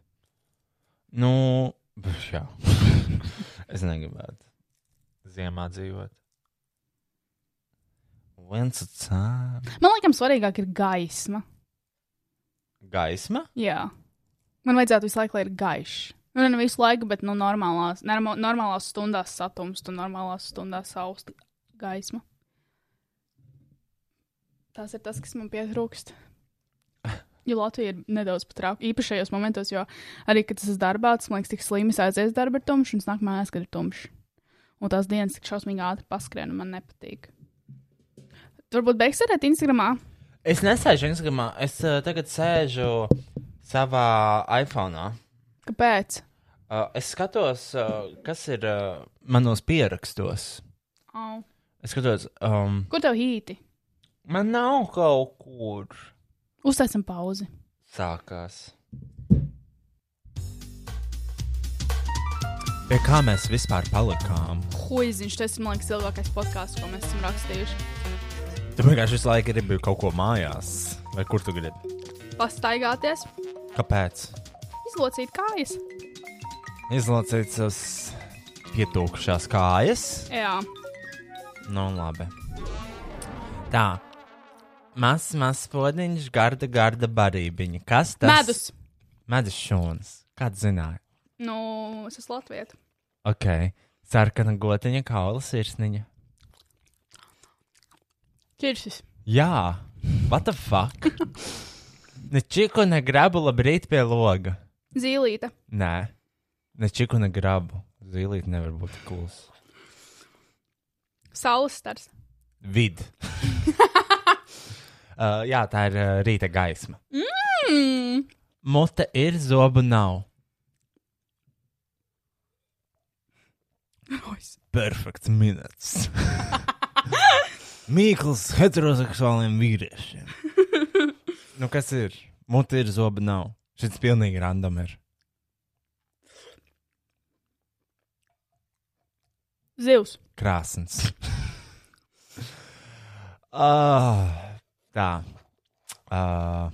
Nu, pf, jā. es negribētu. Ziemā dzīvot. Viens cēl.
Man liekas, svarīgāk ir gaisma.
Gaisma?
Jā. Man vajadzētu visu laiku, lai ir gaišs. Nu, ne visu laiku, bet nu, normālās, norma, normālās stundās satums, tu normālās stundās saust gaisma. Tas ir tas, kas man pietrūkst. Jo Latvija ir nedaudz patrauka īpašajos momentos, jo arī, kad tas ir darbā, tas man liekas, tik slimi es aizies darba ir tumšs, un es nāk mājās, kad ir tumšs. Un tās dienas tik šausmīgi ātri paskrien, un man nepatīk. Varbūt beigsiet Instagramā.
Es nesēžu Instagramā, es uh, tagad eh, sēžu savā iPhone.
Kāpēc?
Uh, es skatos, uh, kas ir uh, manos pierakstos.
Au.
Es skatos, um,
Kur tev īti?
man nav kaut kur
Uztaisim pauzi.
sākās. Pie kā mēs vispār palikām?
Huiziņš, tas ir, man liekas, ilgākais podkāsts, ko mēs esam rakstījuši.
Tu vienkārši visu laiku gribi kaut ko mājās, vai kur tu gribi?
Pastaigāties,
Kāpēc?
izlocīt kājas.
Izlocīt savas pietūkušās kājas.
Jā,
Nu, labi. Tā. Mazs, mazs podziņš, garda, garda barībiņa. Kas tas
tas... medus.
Medus šūns. Kāds zināja?
Nu, es esmu Latvijas.
Ok. Sarkana gotiņa, kaula sirsniņa.
Čirsis.
Jā, what the fuck? ne čiku, ne grabu, labrīt pie loga.
Zīlīte.
Nē, ne čiku, ne grabu. Zilīt nevar būt kūls.
Saules stars.
Vid. uh, jā, tā ir uh, rīta gaisma.
Mm.
Mute ir, zobu nav. perfekts minēts. Mīkls heteroseksuāliem vīriešiem. nu, kas ir? Mute ir zoba nav. Šis pilnīgi random ir.
Zivs.
Krāsns. uh, tā. Uh,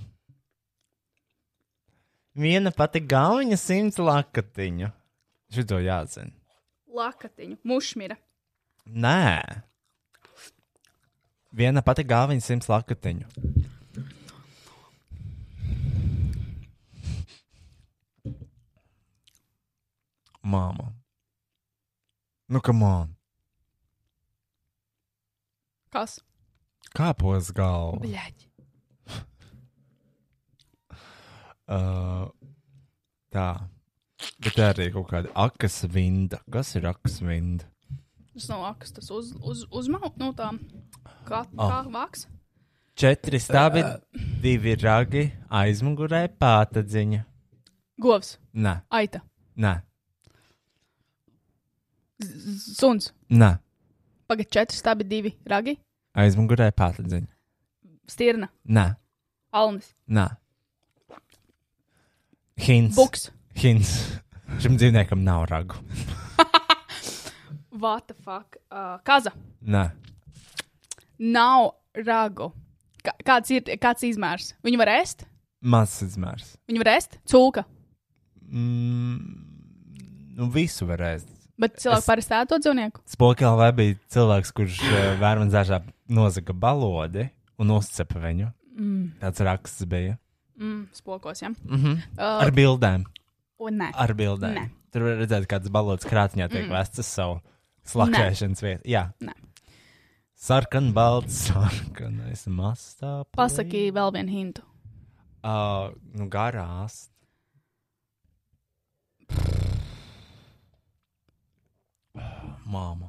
viena pati gauna simts lakatiņu. Šito jāzina.
Lakatiņu. Mušmira.
Nē. Viena pati galviņa simts lakatiņu. Māma. Nu, kam on?
Kas?
Kāpos galva?
Bļaģi.
Uh, tā. Bet tā arī kaut kāda akas vinda. Kas ir akas vinda?
Tas nav akas, tas uz, uz, uzmaut no tām. Kā,
Ah.
kā vāks?
Četri stāvi, divi ragi, aizmugurē pātadziņa.
Govs.
Nē,
Aita.
nē,
Z- Suns.
nē.
Pagad četri stabi, divi ragi.
Aizmugurē pātadziņa.
Stirna.
Nē,
Alnis.
nē. Hints.
Buks.
Hints. Šim dzīvniekam nav ragu.
What the fuck? Uh, kaza.
Nē,
Nav ragu. Kā, kāds ir kāds izmērs? Viņu var ēst?
mazs izmērs.
Viņu var ēst? Cūka.
Mm, nu, visu varēs.
Bet cilvēki
Es-
es... parasti ēd to dzīvnieku.
Spokēlā vēl bija cilvēks, kurš eh, vērmens dažā nozaga balodi un uzcepa viņu.
Mm,
Tāds raksts bija.
mm, spokos, jā. Ja?
Mm -hmm.
Uh,
Ar bildēm.
o, nē.
Ar bildēm.
Nē.
Tur var redzēt, kādas balodas krātņā tiek mm. vestas savu slakēšanas vietu. Jā.
Nē.
Sarkan, balts, sarkanais mastā.
Pasaki vēl vienu hintu.
Uh, nu, garās. Māma.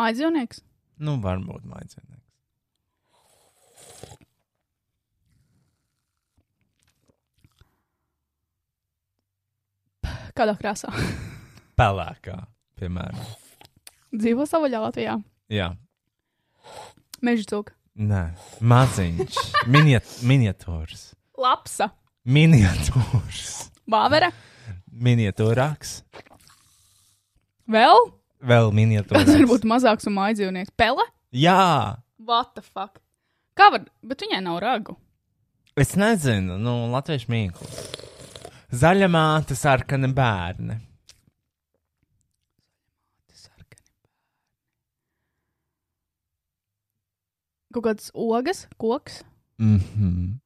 Mājas dzīvnieks.
Nu, varbūt mājdzīvnieks.
Kādā krāsā?
Pelēkā, piemēram.
Dzīvo savā Latvijā.
Jā,
Meža cūka.
nē, maziņš. Miniat miniatūrs.
Lapsa.
Miniatūrs.
Bāvera.
Miniatūrāks.
Vēl?
Vēl
Tas
miniatūrāks.
var būt mazāks un mājas dzīvnieks. Pele.
Jā,
What the fuck? Kā var? Bet viņai nav ragu.
es nezinu, nu, latviešu mīklu. Zaļa māte, sarkana bērni.
Kaut kāds ogas, koks.
Mhm.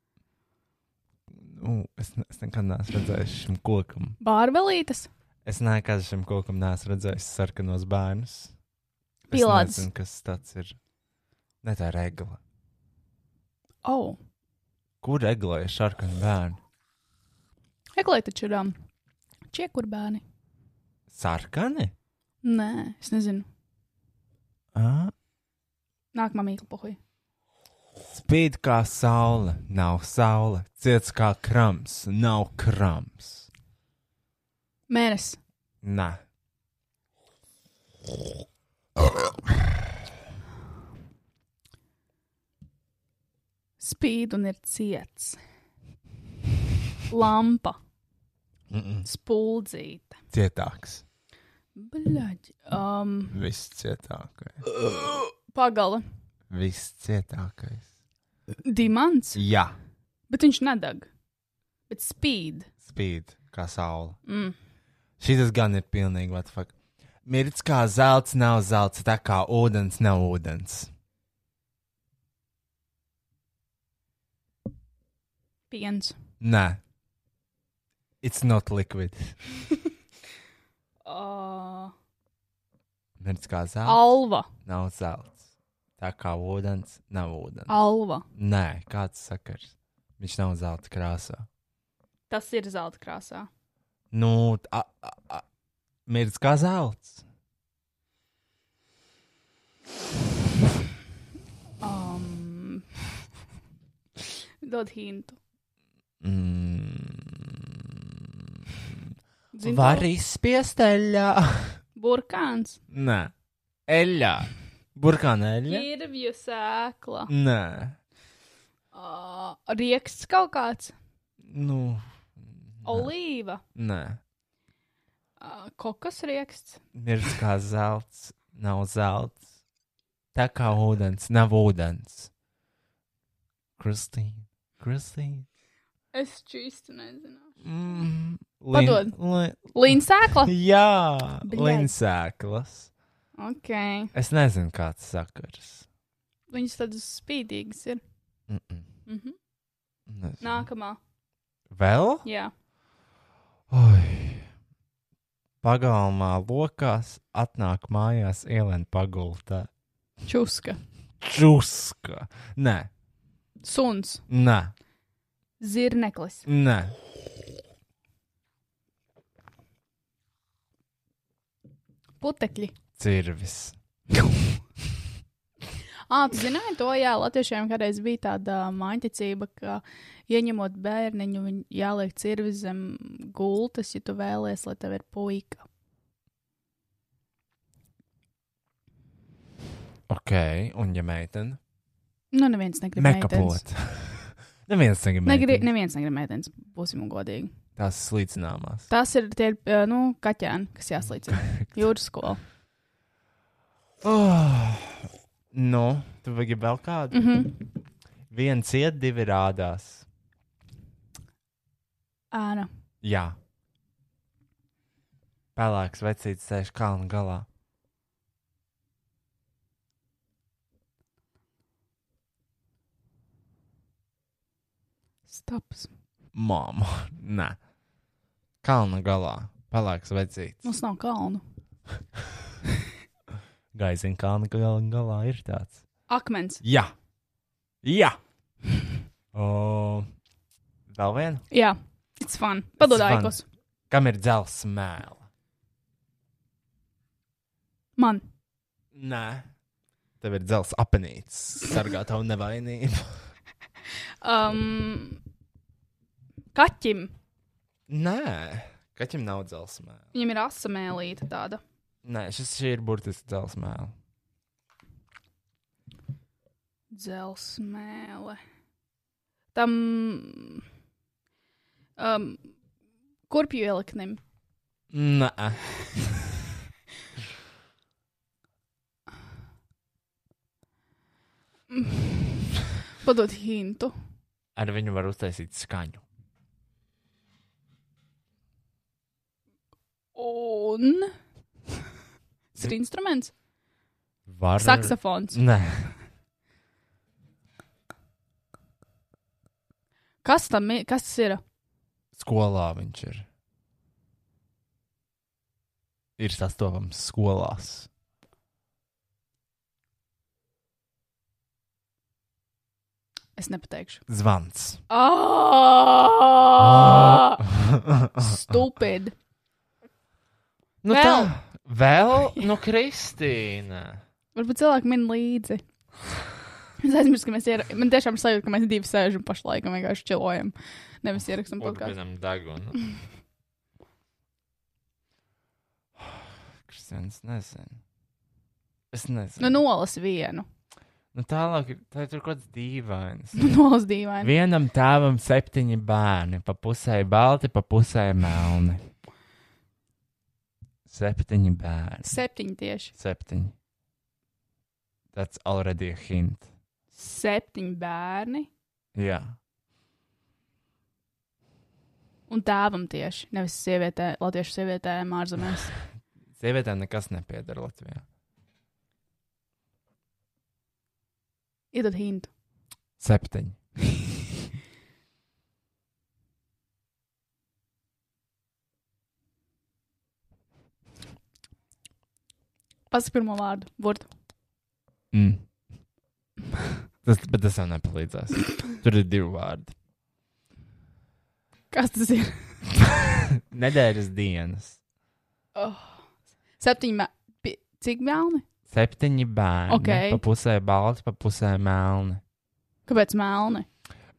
Nu, es, ne, es nekad neesmu redzējis šim kokam.
Bārvelītes.
Es nekad šim kokam neesmu redzējis sarkanos bērnus. Es
Pilāds.
nezinu, Kas tas ir? Ne tā ir regla.
Oh.
Kur regulēja sarkanu bērnu?
Eklai taču ir um, čiekurбērni.
Sarkani?
Nē, es nezinu.
Ah,
Nākamā mīkla pohuja.
Spīd kā saule, nav saule, ciets kā krams, nav krams.
Mēnesis.
Nē,
Spīd un ir ciets. Lampa. Spuldzīte.
cietāks,
Bļaģ. Um,
viscietākais,
pagala.
viscietākais.
Dimants.
Jā,
Bet viņš nedeg. Bet spīd.
spīd kā saule.
Mm.
Šis gan ir pilnīgi what the fuck. Mirts kā zelts, nav zelts, tā kā ūdens, nav ūdens.
Piens.
Nē, it's not liquid.
Uh,
Mirts kā zelts,
alva.
nav zelts, tā kā ūdens, nav ūdens.
Alva.
Nē, kāds sakars. Viņš nav zelta krāsā.
Tas ir zelta krāsā.
Nu, a- a- a- mirdz kā zelts.
Um, dod hintu.
Mm.
Zini
Var
ko?
izspiest eļļā.
Burkāns.
Nē, eļļā. Burkāna eļļa.
Kirvju sēkla.
Nē,
Uh, rieksts kaut kāds.
nu,
Olīva.
nē.
Uh, kokas rieksts.
Mirdz kā zelts, nav zelts. Tā kā ūdens, nav ūdens. Kristīna, Kristīna.
Es čīstu nezinu.
Mm.
Padod.
Lin,
Līna sēkla.
Jā,
Bļaigi.
linsēklas.
ok.
Es nezinu, kāds sakars.
Viņas tādas spīdīgas ir.
Mm -mm.
Mm -hmm.
Nezinu.
Nākamā.
Vēl?
Jā.
Oi. Pagalmā lokās atnāk mājās ielēna pagultā.
Čuska.
Čuska. Nē,
Suns.
nē,
Zirneklis.
nē.
Putekļi.
Cirvis.
Ah, tu zināji to, jā, latviešiem kādreiz bija tāda mājiņticība, ka ieņemot bērniņu, viņu jāliek cirvis zem gultas, ja tu vēlies, lai tev ir puika.
Ok, un ja meitene?
Nu, neviens negrib meitenes.
Mekaplot. Neviens negrib.
Negri,
meiteni.
neviens negrib meitenes, būsim godīgi.
Tās slīcināmās.
Tas ir tie, ir, eh, nu, kaķēni, kas jāslīcina. Jūras skola.
Oh. Nu, tu vajag vēl kādu?
Mm -hmm.
Viens iet, divi rādās.
Ēna.
Jā. Pelēks vecītis sēž kalnu galā.
Stops.
Māma, nē. Kalnu galā. Pelēks vecītis.
Mums nav kalnu.
Gaisina kalnu galā, galā ir tāds.
Akmens.
Jā. Jā. o, vēl viena.
Jā, it's fun. Padod
It's fun.
aikos.
Kam ir dzels mēla?
Man.
Nē. Tev ir dzels apenīts. Sargā tavu nevainību.
Um, kaķim.
nē. Kaķim nav dzels mēla.
Viņam ir asa mēlīte tāda.
Nē, šis šī ir burtiski dzels mēla.
Dzelsmēle. Tam um, kurpju ieliknim.
Nē.
Padod hintu.
Ar viņu var uztaisīt skaņu.
Un. Tas ir instruments.
Var...
Saksofons.
Nē,
Kas tam ir? Kas tas ir?
skolā viņš ir. Ir sastopams skolās.
Es nepateikšu.
Zvans.
Ah! Stupid.
Nu
Vēl.
tā, vēl, nu, Kristīna.
Varbūt cilvēki min līdzi. Es aizmirsu, ka mēs ir. Man tiešām ir sajūta, ka mēs divi sēžam pašlaik un vienkārši čilojam. Nevis ierakstam
Otra
kaut
pēc
kādu.
tam deguna.
nu. Kristians, nezinu. Es nezinu.
Nu, nolas vienu.
nu tālāk, ir- tā ir tur kaut kāds dīvains.
Nu, Nolas dīvaini.
Vienam tēvam septiņi bērni, pa pusē balti, pa pusē melni. Septiņi bērni.
Septiņi tieši.
Septiņi. That's already a hint.
Septiņi bērni.
Jā.
Un tēvam tieši. Nevis sievietē, latviešu sievietēm ārzemēs.
Sievietēm nekas nepieder Latvijā.
Iedod hintu.
Septiņi.
Pasaka pirmo vārdu. Burtu.
Mm. Tas, bet tas jau nepalīdzēs. Tur ir divi vārdi.
Kas tas ir?
Nedēļas dienas.
Oh. Septiņi. mē- pi- Cik melni?
Septiņi bērni.
Ok.
Pa pusē balti, pa pusē melni.
Kāpēc melni?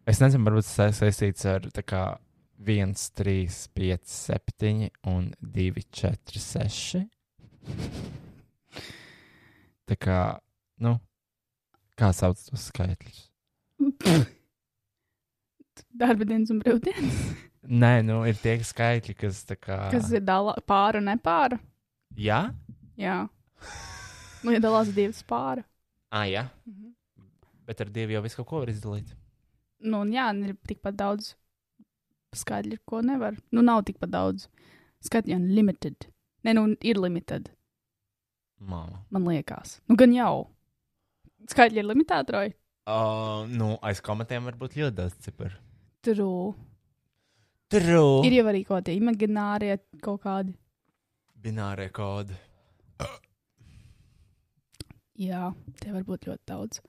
Es nezinu, varbūt tas ir saistīts ar tā kā 1, 3, 5, 7 un 2, 4, 6. Tā kā, nu, kā sauc tos skaitļus?
Darba dienas un brīvdienas.
Nē, nu, ir tie skaitļi, kas tā kā.
Kas ir dalā, pāra un nepāra?
Jā?
Jā. Nu, ja dalās divas pāra.
Ah, jā.
Mhm.
Bet ar diviem jau visu kaut ko var izdalīt.
Nu, un jā, un ir tikpat daudz skaidri, ko nevar. Nu, nav tikpat daudz. Skaidri, un limited. Nē, nu, ir limited,
Māma.
man liekas. Nu, gan jau. Skaidri ir limited, roj.
Uh, nu, aiz komatiem var būt ļoti daudz ciparu.
True.
True.
Ir jau arī kaut kādi imaginārie kaut kādi.
Binārie kodi.
Jā, tie var būt ļoti daudz.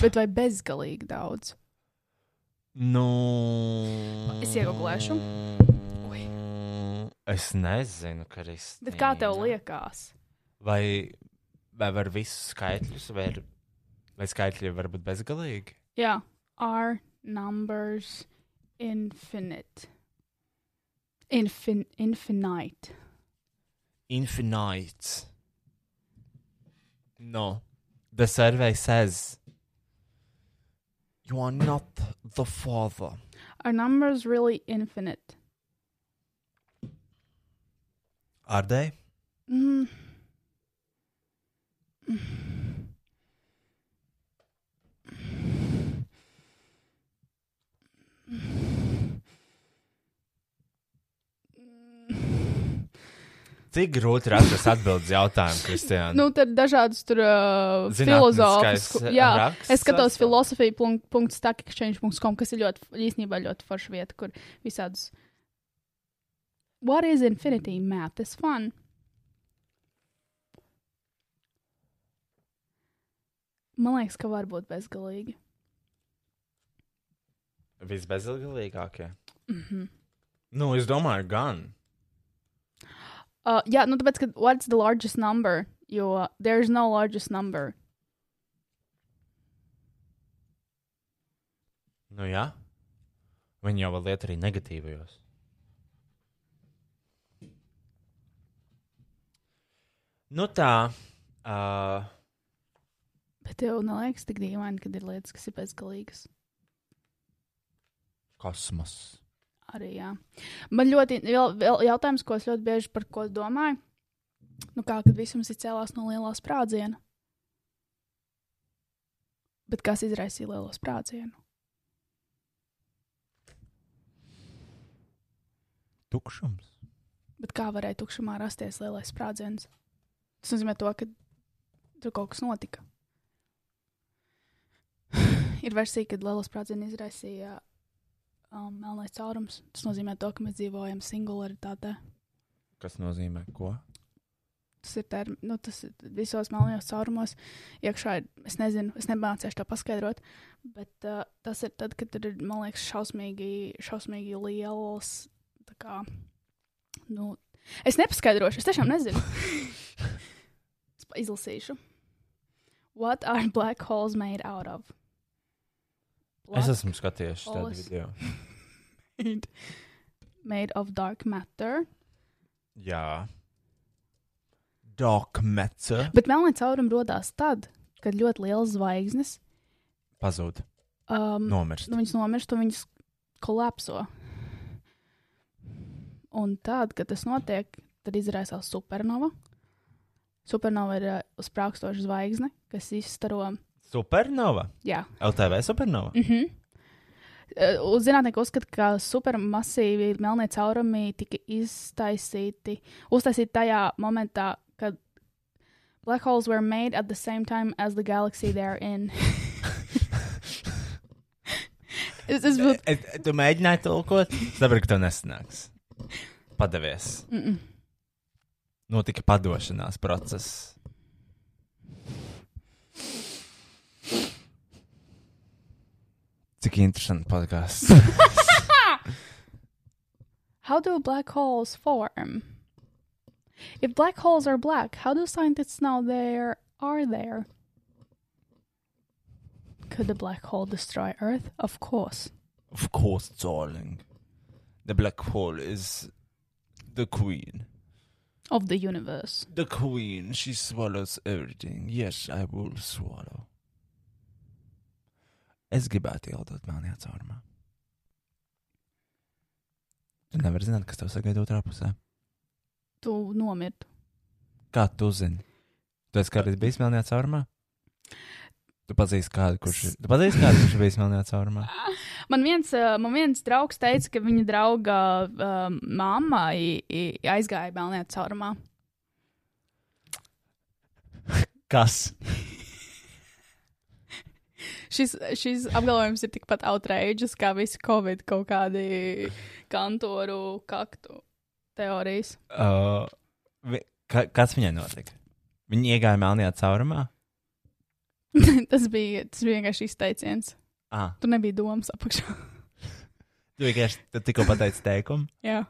Bet vai bezgalīgi daudz?
Nu,
Es iegooglēšu. Ui.
Es nezinu, Kristīna.
Bet kā tev liekas?
Vai, vai var visus skaitļus, vai, ir- vai skaitļi var būt bezgalīgi?
Jā, are numbers infinite? Infin infinite.
Infinite. No. The survey says you are not the father.
Are numbers really infinite?
Are they?
Mm.
Cik grūti ir atrast atbildes jautājumu, Kristija?
Nu, tad dažādas tur uh,
Zinātniskais
filozofiskas. Jā,
raksts
es skatos
sastāv.
filozofiju.stackexchange.com, kas ir ļoti, īstenībā ļoti forša vieta, kur visādus. What is infinity? Math is fun. Man liekas, ka var būt bezgalīgi.
visbezgalīgākie.
Mm -hmm.
Nu, es domāju, gan.
uh, jā, nu tāpēc, ka what's the largest number? Jo there's no largest number.
Nu, jā. Viņi jau var liet arī negatīvajos. Nu tā, uh,
Bet tev neliekas tik dīvaini, kad ir lietas, kas ir bezgalīgas.
kosmos.
Arī, jā. Man ļoti, vēl, vēl jautājums, ko es ļoti bieži par ko domāju. Nu, kā kad visums ir cēlās no lielā sprādziena. Bet kas izraisīja lielo sprādzienu?
Tukšums.
Bet kā varēja tukšumā rasties lielais sprādziens? Tas nozīmē, to, ka tur kaut kas notika. Ir versija, kad lielais sprādziens izraisīja um, melnais caurums. Tas nozīmē, to, ka mēs dzīvojam singularitātē.
Kas nozīmē ko?
Tas ir term, nu, tas ir visos melnajos caurumos. Iekšā ir, es nezinu, es nemācīšu to paskaidrot, bet uh, tas ir tad, kad tur ir, man liekas, šausmīgi, šausmīgi liels. tā Kā, nu, es nepaskaidrošu, es tiešām nezinu. es pa- izlasīšu. What are black holes made out of?
Es
Black
esmu skatījies šo
Olas.
video.
made- made of dark matter.
Jā. Dokmece
Bet melnā cauruma radās tad, kad ļoti liels zvaigznes
pazūd,
um,
nomirst.
nu, viņas nomirst un viņas kolapso. Un tad, kad tas notiek, tad izraisās supernova. Supernova ir uh, sprākstoša zvaigzne, kas izstaro.
Supernova.
Jā,
LTV supernova.
mm -hmm. uh, zinātnieki uzskata, ka supermasīvi melnie caurumi tika iztaisīti, uztaisīti tajā momentā, kad black holes were made at the same time as the galaxy they are in. es, es būtu
Es, tu mēģināji tulkot? Sapratu, ka tev nesanāks. Padavies.
Mm -mm.
Notika padošanās process. Cik interesanti podkāsts.
How do black holes form? If black holes are black, how do scientists know they are there? Could the black hole destroy Earth? Of course.
Of course, darling. The black hole is the queen.
Of the universe.
The queen, she swallows everything. Yes, I will swallow. Es gribētu ielidot melnajā caurumā. Tu nevari zināt, kas tev sagaida otrā pusē.
Tu nomirtu.
Kā tu zini? Tu esi kādreiz bijis melnajā caurumā? Tu pazīsti kādu, kurš ir. Tu pazīsti kādu, kurš ir bijis melnajā caurumā?
Man viens, eh, man viens draugs teica, ka viņa drauga um, mamma i- i- aizgāja melnajā caurumā.
Kas?
Šis, šis apgalvojums ir tikpat outrageous kā visi covid kaut kādi kantoru kaktu teorijas.
Uh, vi- ka, kas viņai notika? Viņa iegāja melnajā caurumā.
tas, bija, tas bija vienkārši izteiciens.
Ah,
Tur nebija domas apakšā.
tu vienkārši tu tikko pateici teikumu.
Jā.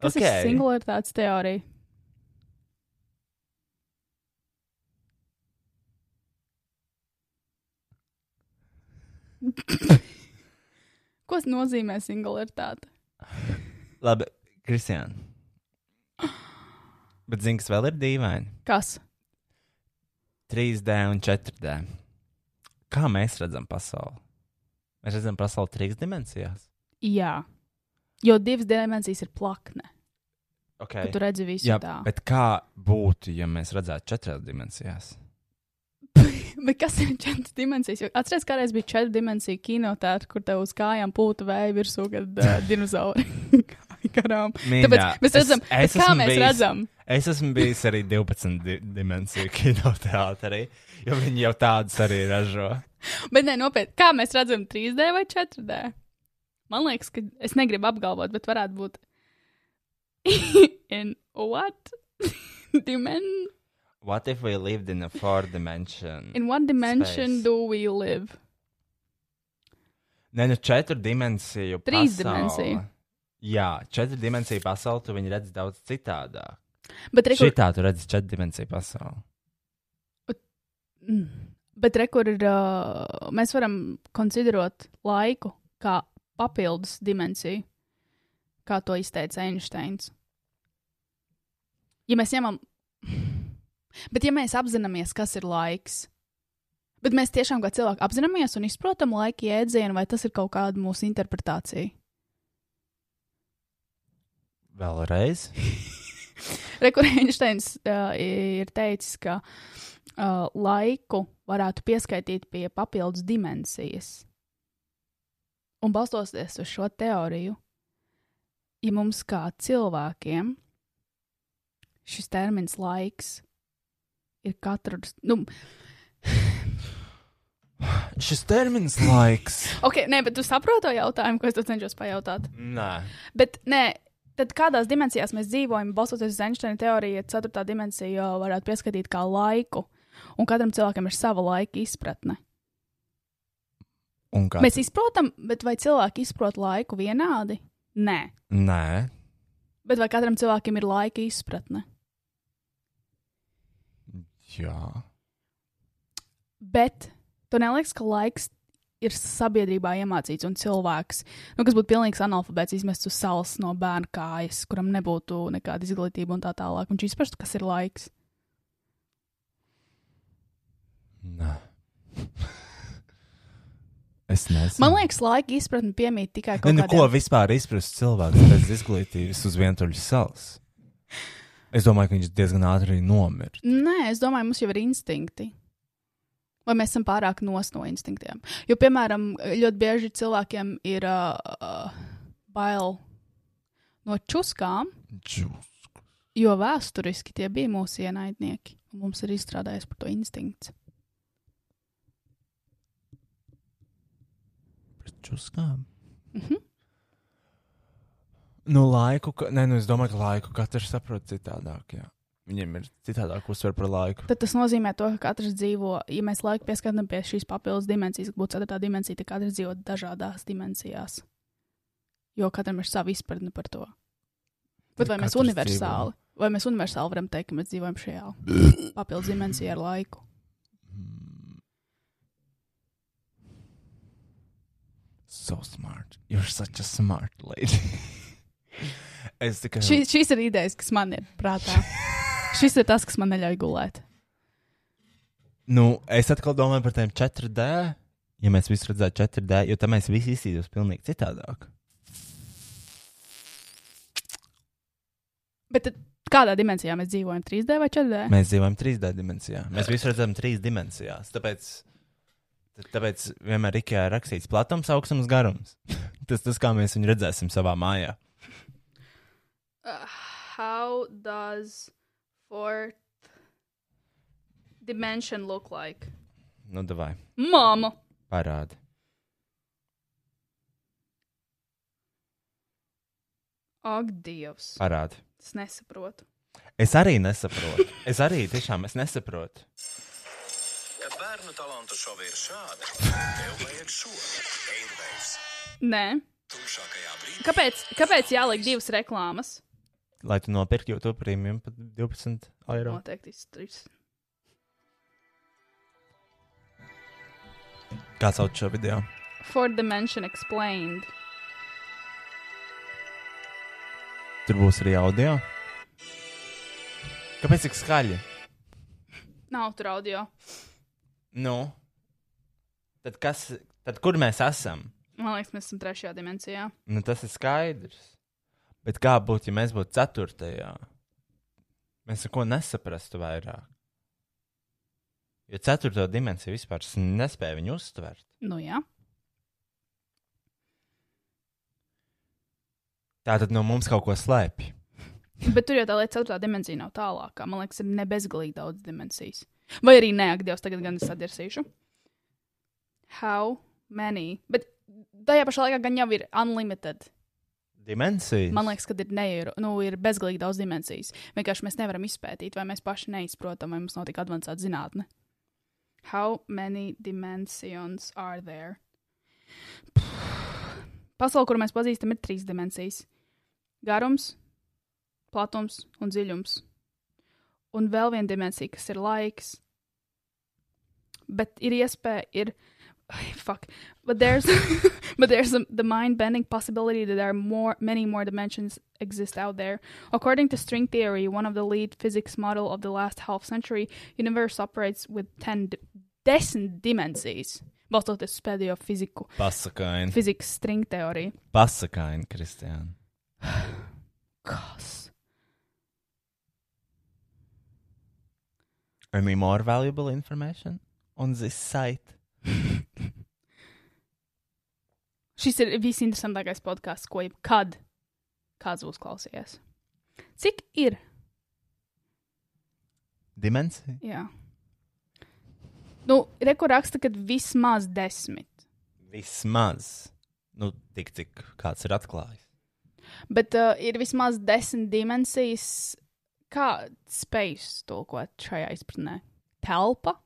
Kas okay.
Okei.
ir singularitātes teorija? Ko nozīmē singularitāte?
Labi, Kristiāna. Bet zini, kas vēl ir dīvaini?
Kas?
3D un 4D. Kā mēs redzam pasauli? Mēs redzam pasauli trīs dimensijās.
Jā. Jo divas dimensijas ir plakne.
Okay.
Kad tu redzi visu
Jā,
tā.
bet kā būtu, ja mēs redzētu četrās dimensijās?
Bet kas ir četras dimensijas? Jo Atceries, kādreiz bija četru dimensiju kinotēta, kur tev uz kājām pūta vēja virsū, kad uh, dinozauri gāja garām. Tāpēc
Mīļā,
mēs redzam,
es,
es, kā
esmu
mēs
bijis-
bijis... redzam.
Es esmu bijis arī 12 di dimensiju kinoteātrī, jo viņi jau tādas arī ražo.
Bet nē, nopietni, kā mēs redzam 3D vai 4D? Man liekas, ka es negribu apgalvot, bet varētu būt. In what? Dimen...
What if we lived in a four dimension?
In what dimension
Space.
Space. do we live?
Nē, nu četru dimensiju.
Trīs
pasaule.
dimensiju.
Jā, četru dimensiju pasauli tu viņu redz daudz citādāk.
Bet rekur,
Šitā tu redz četru dimensiju pasauli.
Mm. Bet rekur ir. Uh, mēs varam konsiderot laiku kā papildus dimensiju, kā to izteica Einsteins. Ja mēs ņemam. Bet ja mēs apzināmies, kas ir laiks, bet mēs tiešām kā cilvēki apzināmies un izprotam laika jēdzienu, vai tas ir kaut kāda mūsu interpretācija.
Vēlreiz.
Rekurents Einsteins uh, ir teicis, ka uh, laiku varētu pieskaitīt pie papildus dimensijas. Un balstoties uz šo teoriju, ja mums kā cilvēkiem šis termins laiks ir katru. Nu,
Šis termins laiks.
ok, nē, bet tu saproti to jautājumu, ko es tev cenšos pajautāt.
Nē.
Bet nē, tad kādās dimensijās mēs dzīvojam, balstoties uz Einsteina teoriju, ja ceturtā dimensija jau varētu pieskatīt kā laiku, un katram cilvēkam ir sava laika izpratne.
Un kā?
Mēs izprotam, bet vai cilvēki izprot laiku vienādi? Nē,
Nē.
bet vai katram cilvēkam ir laika izpratne?
Jā.
Bet tu neliekas, ka laiks ir sabiedrībā iemācīts un cilvēks, nu, kas būtu pilnīgs analfabēts, izmests uz salas no bērna kājas, kuram nebūtu nekāda izglītība un tā tālāk. Viņš izprastu, kas ir laiks.
Nē. es nezinu.
Man liekas, laika izpratne piemīt tikai
Ne,
kaut
nu, ko
kādiem.
vispār izprast cilvēks bez izglītības uz vientuļas salas? Es domāju, ka viņš diezgan ātri nomira.
Nē, es domāju, mums jau ir instinkti. Vai mēs esam pārāk nos no instinktiem? Jo, piemēram, ļoti bieži cilvēkiem ir uh, bail no čuskām,
Džūs.
jo vēsturiski tie bija mūsu ienaidnieki. un Mums ir izstrādājis par to instinkts.
Pret čuskām.
Mhm.
Nu, laiku, ka- nē, nu, es domāju, ka laiku katrs saprot citādāk. Jā. Viņiem ir citādāk uzsver par laiku.
Tad tas nozīmē, to, ka katrs dzīvo, ja mēs laiku pieskatāmies pie šīs papildus dimensijas, ka būtu ceturtā dimensija, tad katrs dzīvo dažādās dimensijās. Jo katram ir sava izpratne par to. Bet
Ja
vai mēs
katrs
universāli, vai mēs universāli varam teikt, ka mēs dzīvojam šajā papildus dimensijā ar laiku?
Mm. So smart. You're such a smart lady. es tikai.
Šī, šīs ir idejas, kas man ir prātā. Šis ir tas, kas man neļauj gulēt.
Nu, es atkal domāju par tiem 4D. Ja mēs visi redzētu 4D, jo tad mēs visi izskatītos pilnīgi citādāk.
Bet tad kādā dimensijā mēs dzīvojam? 3D vai 4D?
Mēs dzīvojam 3D dimensijā. Mēs visi redzam trīs dimensijās. Tāpēc, tāpēc vienmēr Ikea ir rakstīts platums, augstums, garums. tas tas, kā mēs viņu redzēsim savā mājā.
Uh, how does fourth dimension look like?
Nu, davai,
Mama!
parādi.
Ak, Dievs!
parādi.
Es nesaprotu.
Es arī nesaprotu. Es arī tiešām es nesaprotu.
Ja bērnu talantu šovi ir šāda, tev vajag šo Airwaves.
Nē,
Tumšākajā brīdī
kāpēc, kāpēc jāliek divas reklāmas?
Lai tu nopirktu YouTube premium par 12 eiro.
Noteikti trīs.
Kā sauc šo video?
Fourth dimension explained.
Tur būs arī audio. Kāpēc tik skaļi?
Nav tur audio.
Nu, tad kas, tad kur mēs esam?
Man liekas, mēs esam trešajā dimensijā.
Nu, tas ir skaidrs. Bet kā būtu, ja mēs būtu ceturtajā? Mēs neko nesaprastu vairāk. Jo ceturto dimensiju vispār s- nespēja viņu uztvert.
Nu jā.
Tā tad no mums kaut ko slēpj.
Bet tur jau tā līnija, ceturtā dimensija nav tālākā. Man liekas, ir nebezgalīgi daudz dimensijas. Vai arī nē, ak, Dievs, tagad gan es sadirsīšu. How many? Bet tajā pašā laikā gan jau ir unlimited.
Dimensijas.
Man liekas, ka ir, neieru, nu, ir bezgalīgi daudz dimensijas. Vienkārši mēs nevaram izpētīt, vai mēs paši neizprotam, vai mums nav tik avansēta zinātne. How many dimensions are there? Pasaulē, kur mēs pazīstam, ir trīs dimensijas - garums, platums un dziļums. Un vēl viena dimensija, kas ir laiks. Bet ir iespēja, ir. Ai, Fuck. But there's but there's the, the mind-bending possibility that there are more many more dimensions exist out there. According to string theory, one of the lead physics model of the last half century, universe operates with 10 d- desmit dimensijas. Balstoties uz pēdējo fiziku,
Pasakaini.
fizikas string teoriju.
Pasakaini, Kristiāna.
Kas?
Any more valuable information on this site?
Šis ir visinteresantākais podkāsts, ko jebkad kāds būs klausījies. Cik ir?
Dimensija?
Jā. Nu, rekur raksta, ka vismaz desmit.
Vismaz. Nu, tik cik kāds ir atklājis.
Bet uh, ir vismaz desmit dimensijas, kā space tulkot šajā izpratnē. Telpa,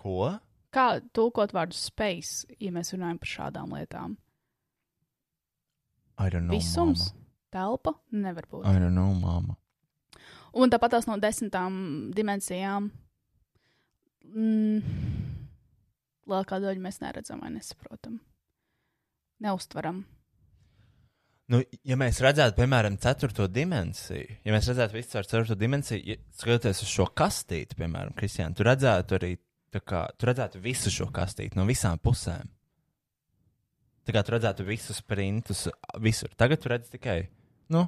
Ko?
kā tulkot vārdu space, ja mēs runājam par šādām lietām.
I don't know. Nu,
Visums, telpa nevar būt.
Mama. I don't know, mama.
Un tāpat tās no desmitām dimensijām. Mm, lielākā daļa mēs neredzam vai nesaprotam. Neustvaram.
Nu, ja mēs redzētu, piemēram, ceturto dimensiju, ja mēs redzētu visu ar ceturto dimensiju, ja skatoties uz šo kastīti, piemēram, Kristiāna, tu redzētu arī tā kā, tu redzētu visu šo kastīti no visām pusēm. Tā kā tu redzētu visus printus visur. Tagad tu redz tikai nu,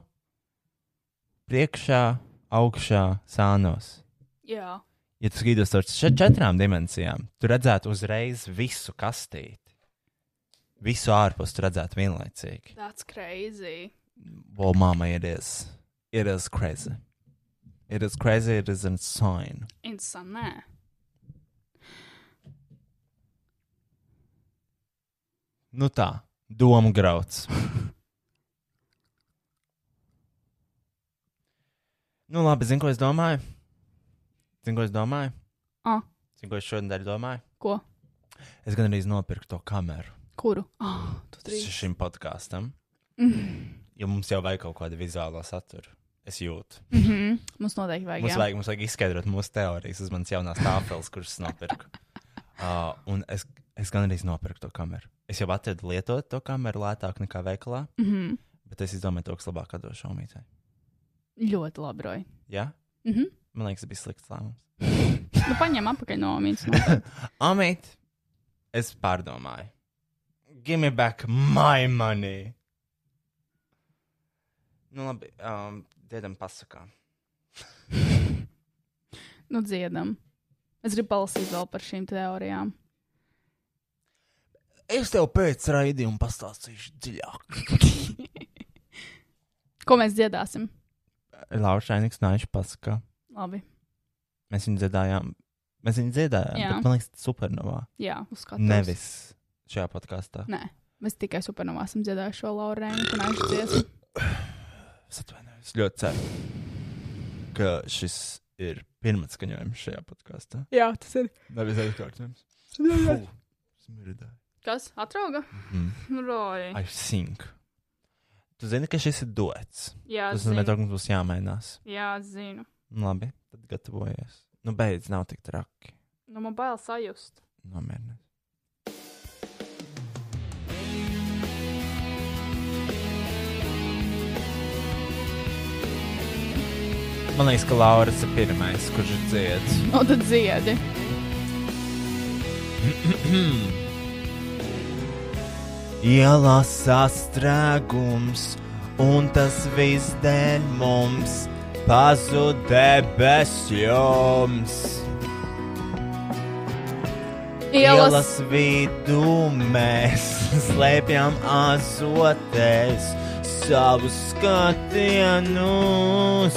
priekšā, augšā, sānos.
Jā.
Ja tu skatītos uz še- četrām dimensijām, tu redzētu uzreiz visu kastīti. Visu ārpus tu redzētu vienlaicīgi.
That's crazy.
Well, Mama, it is. It is crazy. It is crazy. It is insane.
Insanē.
Nu tā, domu grauds. nu labi, zinu, ko es domāju. Zinu, ko es domāju.
Ah.
Zinu, ko es šodien domāju.
Ko?
Es gan arī nopirku to kameru
Kuru? Ah, tu trīs.
šim podkāstam,
Mm
jo mums jau vajag kaut kādu vizuālo saturu. Es jūtu.
-hmm. Mums noteikti vajag.
Mums
jā.
vajag, mums vajag izskaidrot mūsu teorijas, uz manas jaunās tāfeles, kuras es nopirku. Uh, un es, es gan arī nopirku to kameru. Es jau atradu lietot to kameru lētāk nekā veikalā,
Mm -hmm.
bet es izdomāju to, kas labāk atdos šaumītē.
Ļoti labi, Roja.
Jā,
Mm -hmm.
man liekas, tas bija slikts lēmums.
Nu, paņem apakaļ no mītnes.
Amīt, es pārdomāju. Give me back my money. Nu, labi, um, dēdam pasakām.
nu, dziedam. Es gribu palasīt vēl par šīm teorijām.
Es tev pēc raidījuma pastāstīšu dziļāk.
Ko mēs dziedāsim?
Laušainīgs nājuši pasakām.
Labi.
Mēs viņu dziedājām. Mēs viņu dziedājām.
Jā.
Bet, man liekas, tas ir supernovā.
Jā, uzskatām.
Nevis šajā podkāstā.
Nē, mēs tikai supernovā esam dziedājuši šo Laurēnu un Aišu dziesmu.
Es atvainojos. Ļoti ceru, ka šis ir pirmais skaņojums šajā podkāstā.
Jā, tas ir.
Nevis aizkārtojums. Smirdēju.
Kas atrauga?
Mm.
Roja.
Mhm. I think. Tu zini, ka šis ir dots.
Jā,
Tas nozīmē, ka mums būs jāmainās.
Jā, zinu.
Nu, Labi, tad gatavojies. Nu, beidz, nav tik traki.
Nu, man bail sajust.
Nomierinies. Man liekas, ka Lauris ir pirmais, kurš dzied.
Nu, tad dziedi.
Ielās sastrēgums, un tas viss dēļ mums pazud debesjums. Ielas vidū mēs slēpjam azotēs savus skatienus.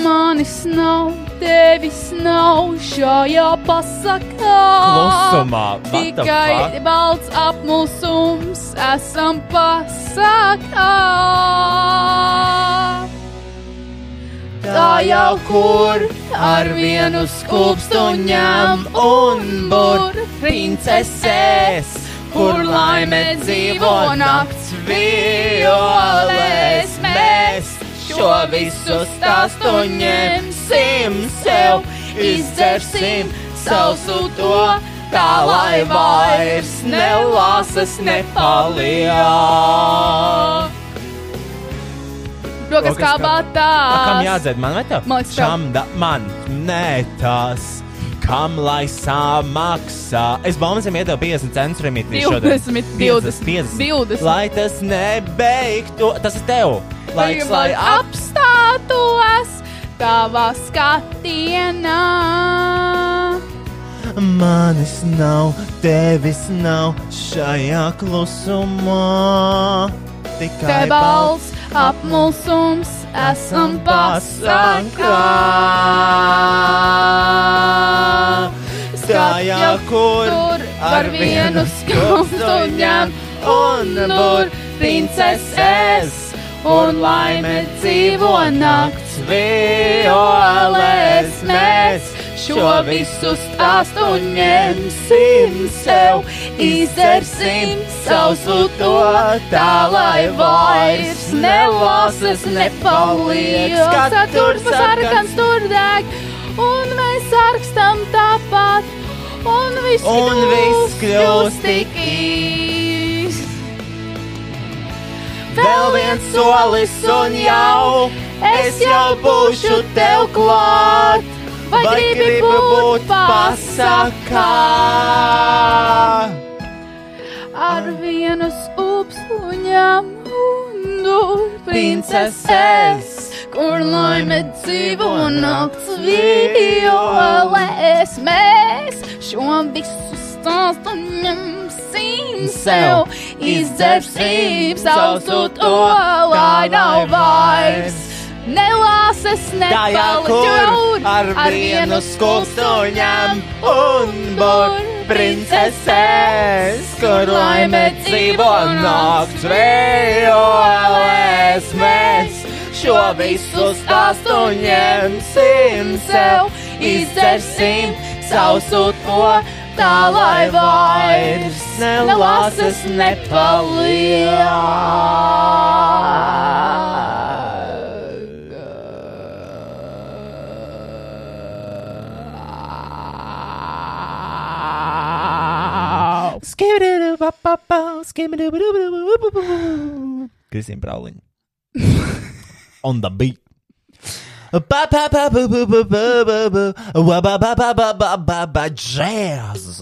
Manis nav, tevis nav šajā pasakā.
Klusumā, what the fuck?
Tikai balts apmulsums esam pasakā. Tā jau kur ar vienu skūpstuņam un bur princeses, kur laime dzīvo nakts violes. Mēs šo visu stāstu ņemsim sev, izdzersim sausu to, tā lai vairs nelāsas nepaliek. Rokas kā
Kam
batā!
jādzird man vai tev?
Man liekas, tev.
Šam da man nē tas. Kam lai samaksā? Es baumasiem iedevu 50 centus remitī šodien.
20, 20, 20.
Lai tas nebeigtu. Tas ir tev. Laiks,
Tagad
lai ap.
apstātos tavā skatienā.
Manis nav, tevis nav šajā klusumā. Tikai
Te balss apmulsums esam pasakā.
Stājā, kur
tur ar vienu skumstuņam un nur princeses. Un laime dzīvo nakts violes mēs šo visu stāstu ņemsim sev,
Izdarsim sausu to tā, lai vairs nelosas nepaliek. Saturs sarkans tur deg, un mēs sarkstam tāpat, un viss
Un
kļūst,
viss
kļūst
kļūst
tik īsts.
Vēl viens solis un jau
es jau būšu tev klāt, vai gribi būt pasakā? Ar vienu upspuņam un princeses, kur laime dzīvo nakts violes. Mēs šo visu stāstu ņemsim sev, izdzersim sausu to, lai nav vairs. Nelāses
Tajā, kur
nepalikt
ar vienu skulptūņām un burprinceses, kur laime dzīvo nakts vējoles mēs. Šo visu stāstu ņemsim sev, izdzersim sausu to, tā lai vairs nelāses nepaliek. Kristīna Brauliņa. On the beat. Ba, ba, ba, bu, bu, bu, bu, bu, bu, wa, ba, ba, ba, ba, ba, ba, ba, Jazz.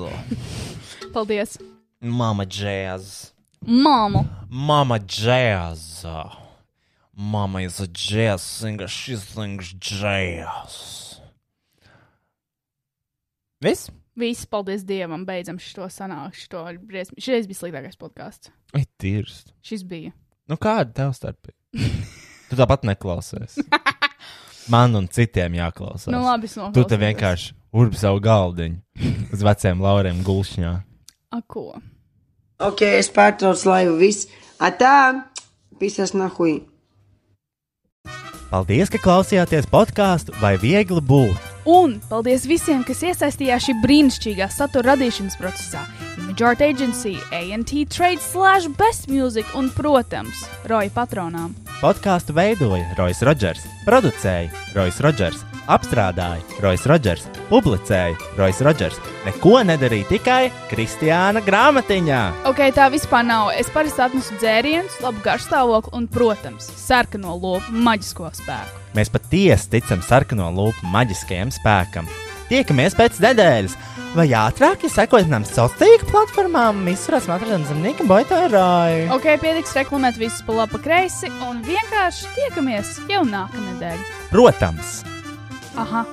Paldies!
Mama jazz.
Māmu!
Mama jazz. Mama is a jazz singer. She sings jazz. Viss?
Viss, paldies Dievam, beidzam šo sanākšu. Šo briesmi- Šis bija sliktākais podkāsts.
Ir tīrs.
Šis bija.
Nu, kāda tev starpība? tu tāpat neklausies. Man un citiem jāklausās.
Nu, labi, es noklausījos.
tu te vienkārši urbi savu galdiņu uz veciem lauriem gulšņā.
A, ko?
Ok, es pārtraucu laivu viss. Atā, pisas nahui.
Paldies, ka klausījāties podkāstu vai viegli būt.
Un paldies visiem, kas iesaistījās šī brīnišķīgā satura radīšanas procesā. Majority Agency, ANT Trade, Slash, Best Music un, protams, Roja patronām.
Podkāstu veidoja Rois Rodžers, producēja Rois Rodžers, apstrādāja Rois Rodžers, publicēja Rois Rodžers. Neko nedarīja tikai Kristiāna grāmatiņā.
Ok, tā vispār nav. Es parasti atnesu dzērienus, labu garšstāvokli un, protams, sarkano lopu maģisko spēku.
Mēs patiesi ticam sarkano lupu maģiskajam spēkam. Tiekamies pēc nedēļas, vai ātrāk, ja sekojat mums sociālajām tīkla platformām, visurās matradienas zemnieka boitārāju.
Ok, pietiks reklamēt visus pa labi, pa kreisi un vienkārši tiekamies jau nākamnedēļ.
Protams!
Aha!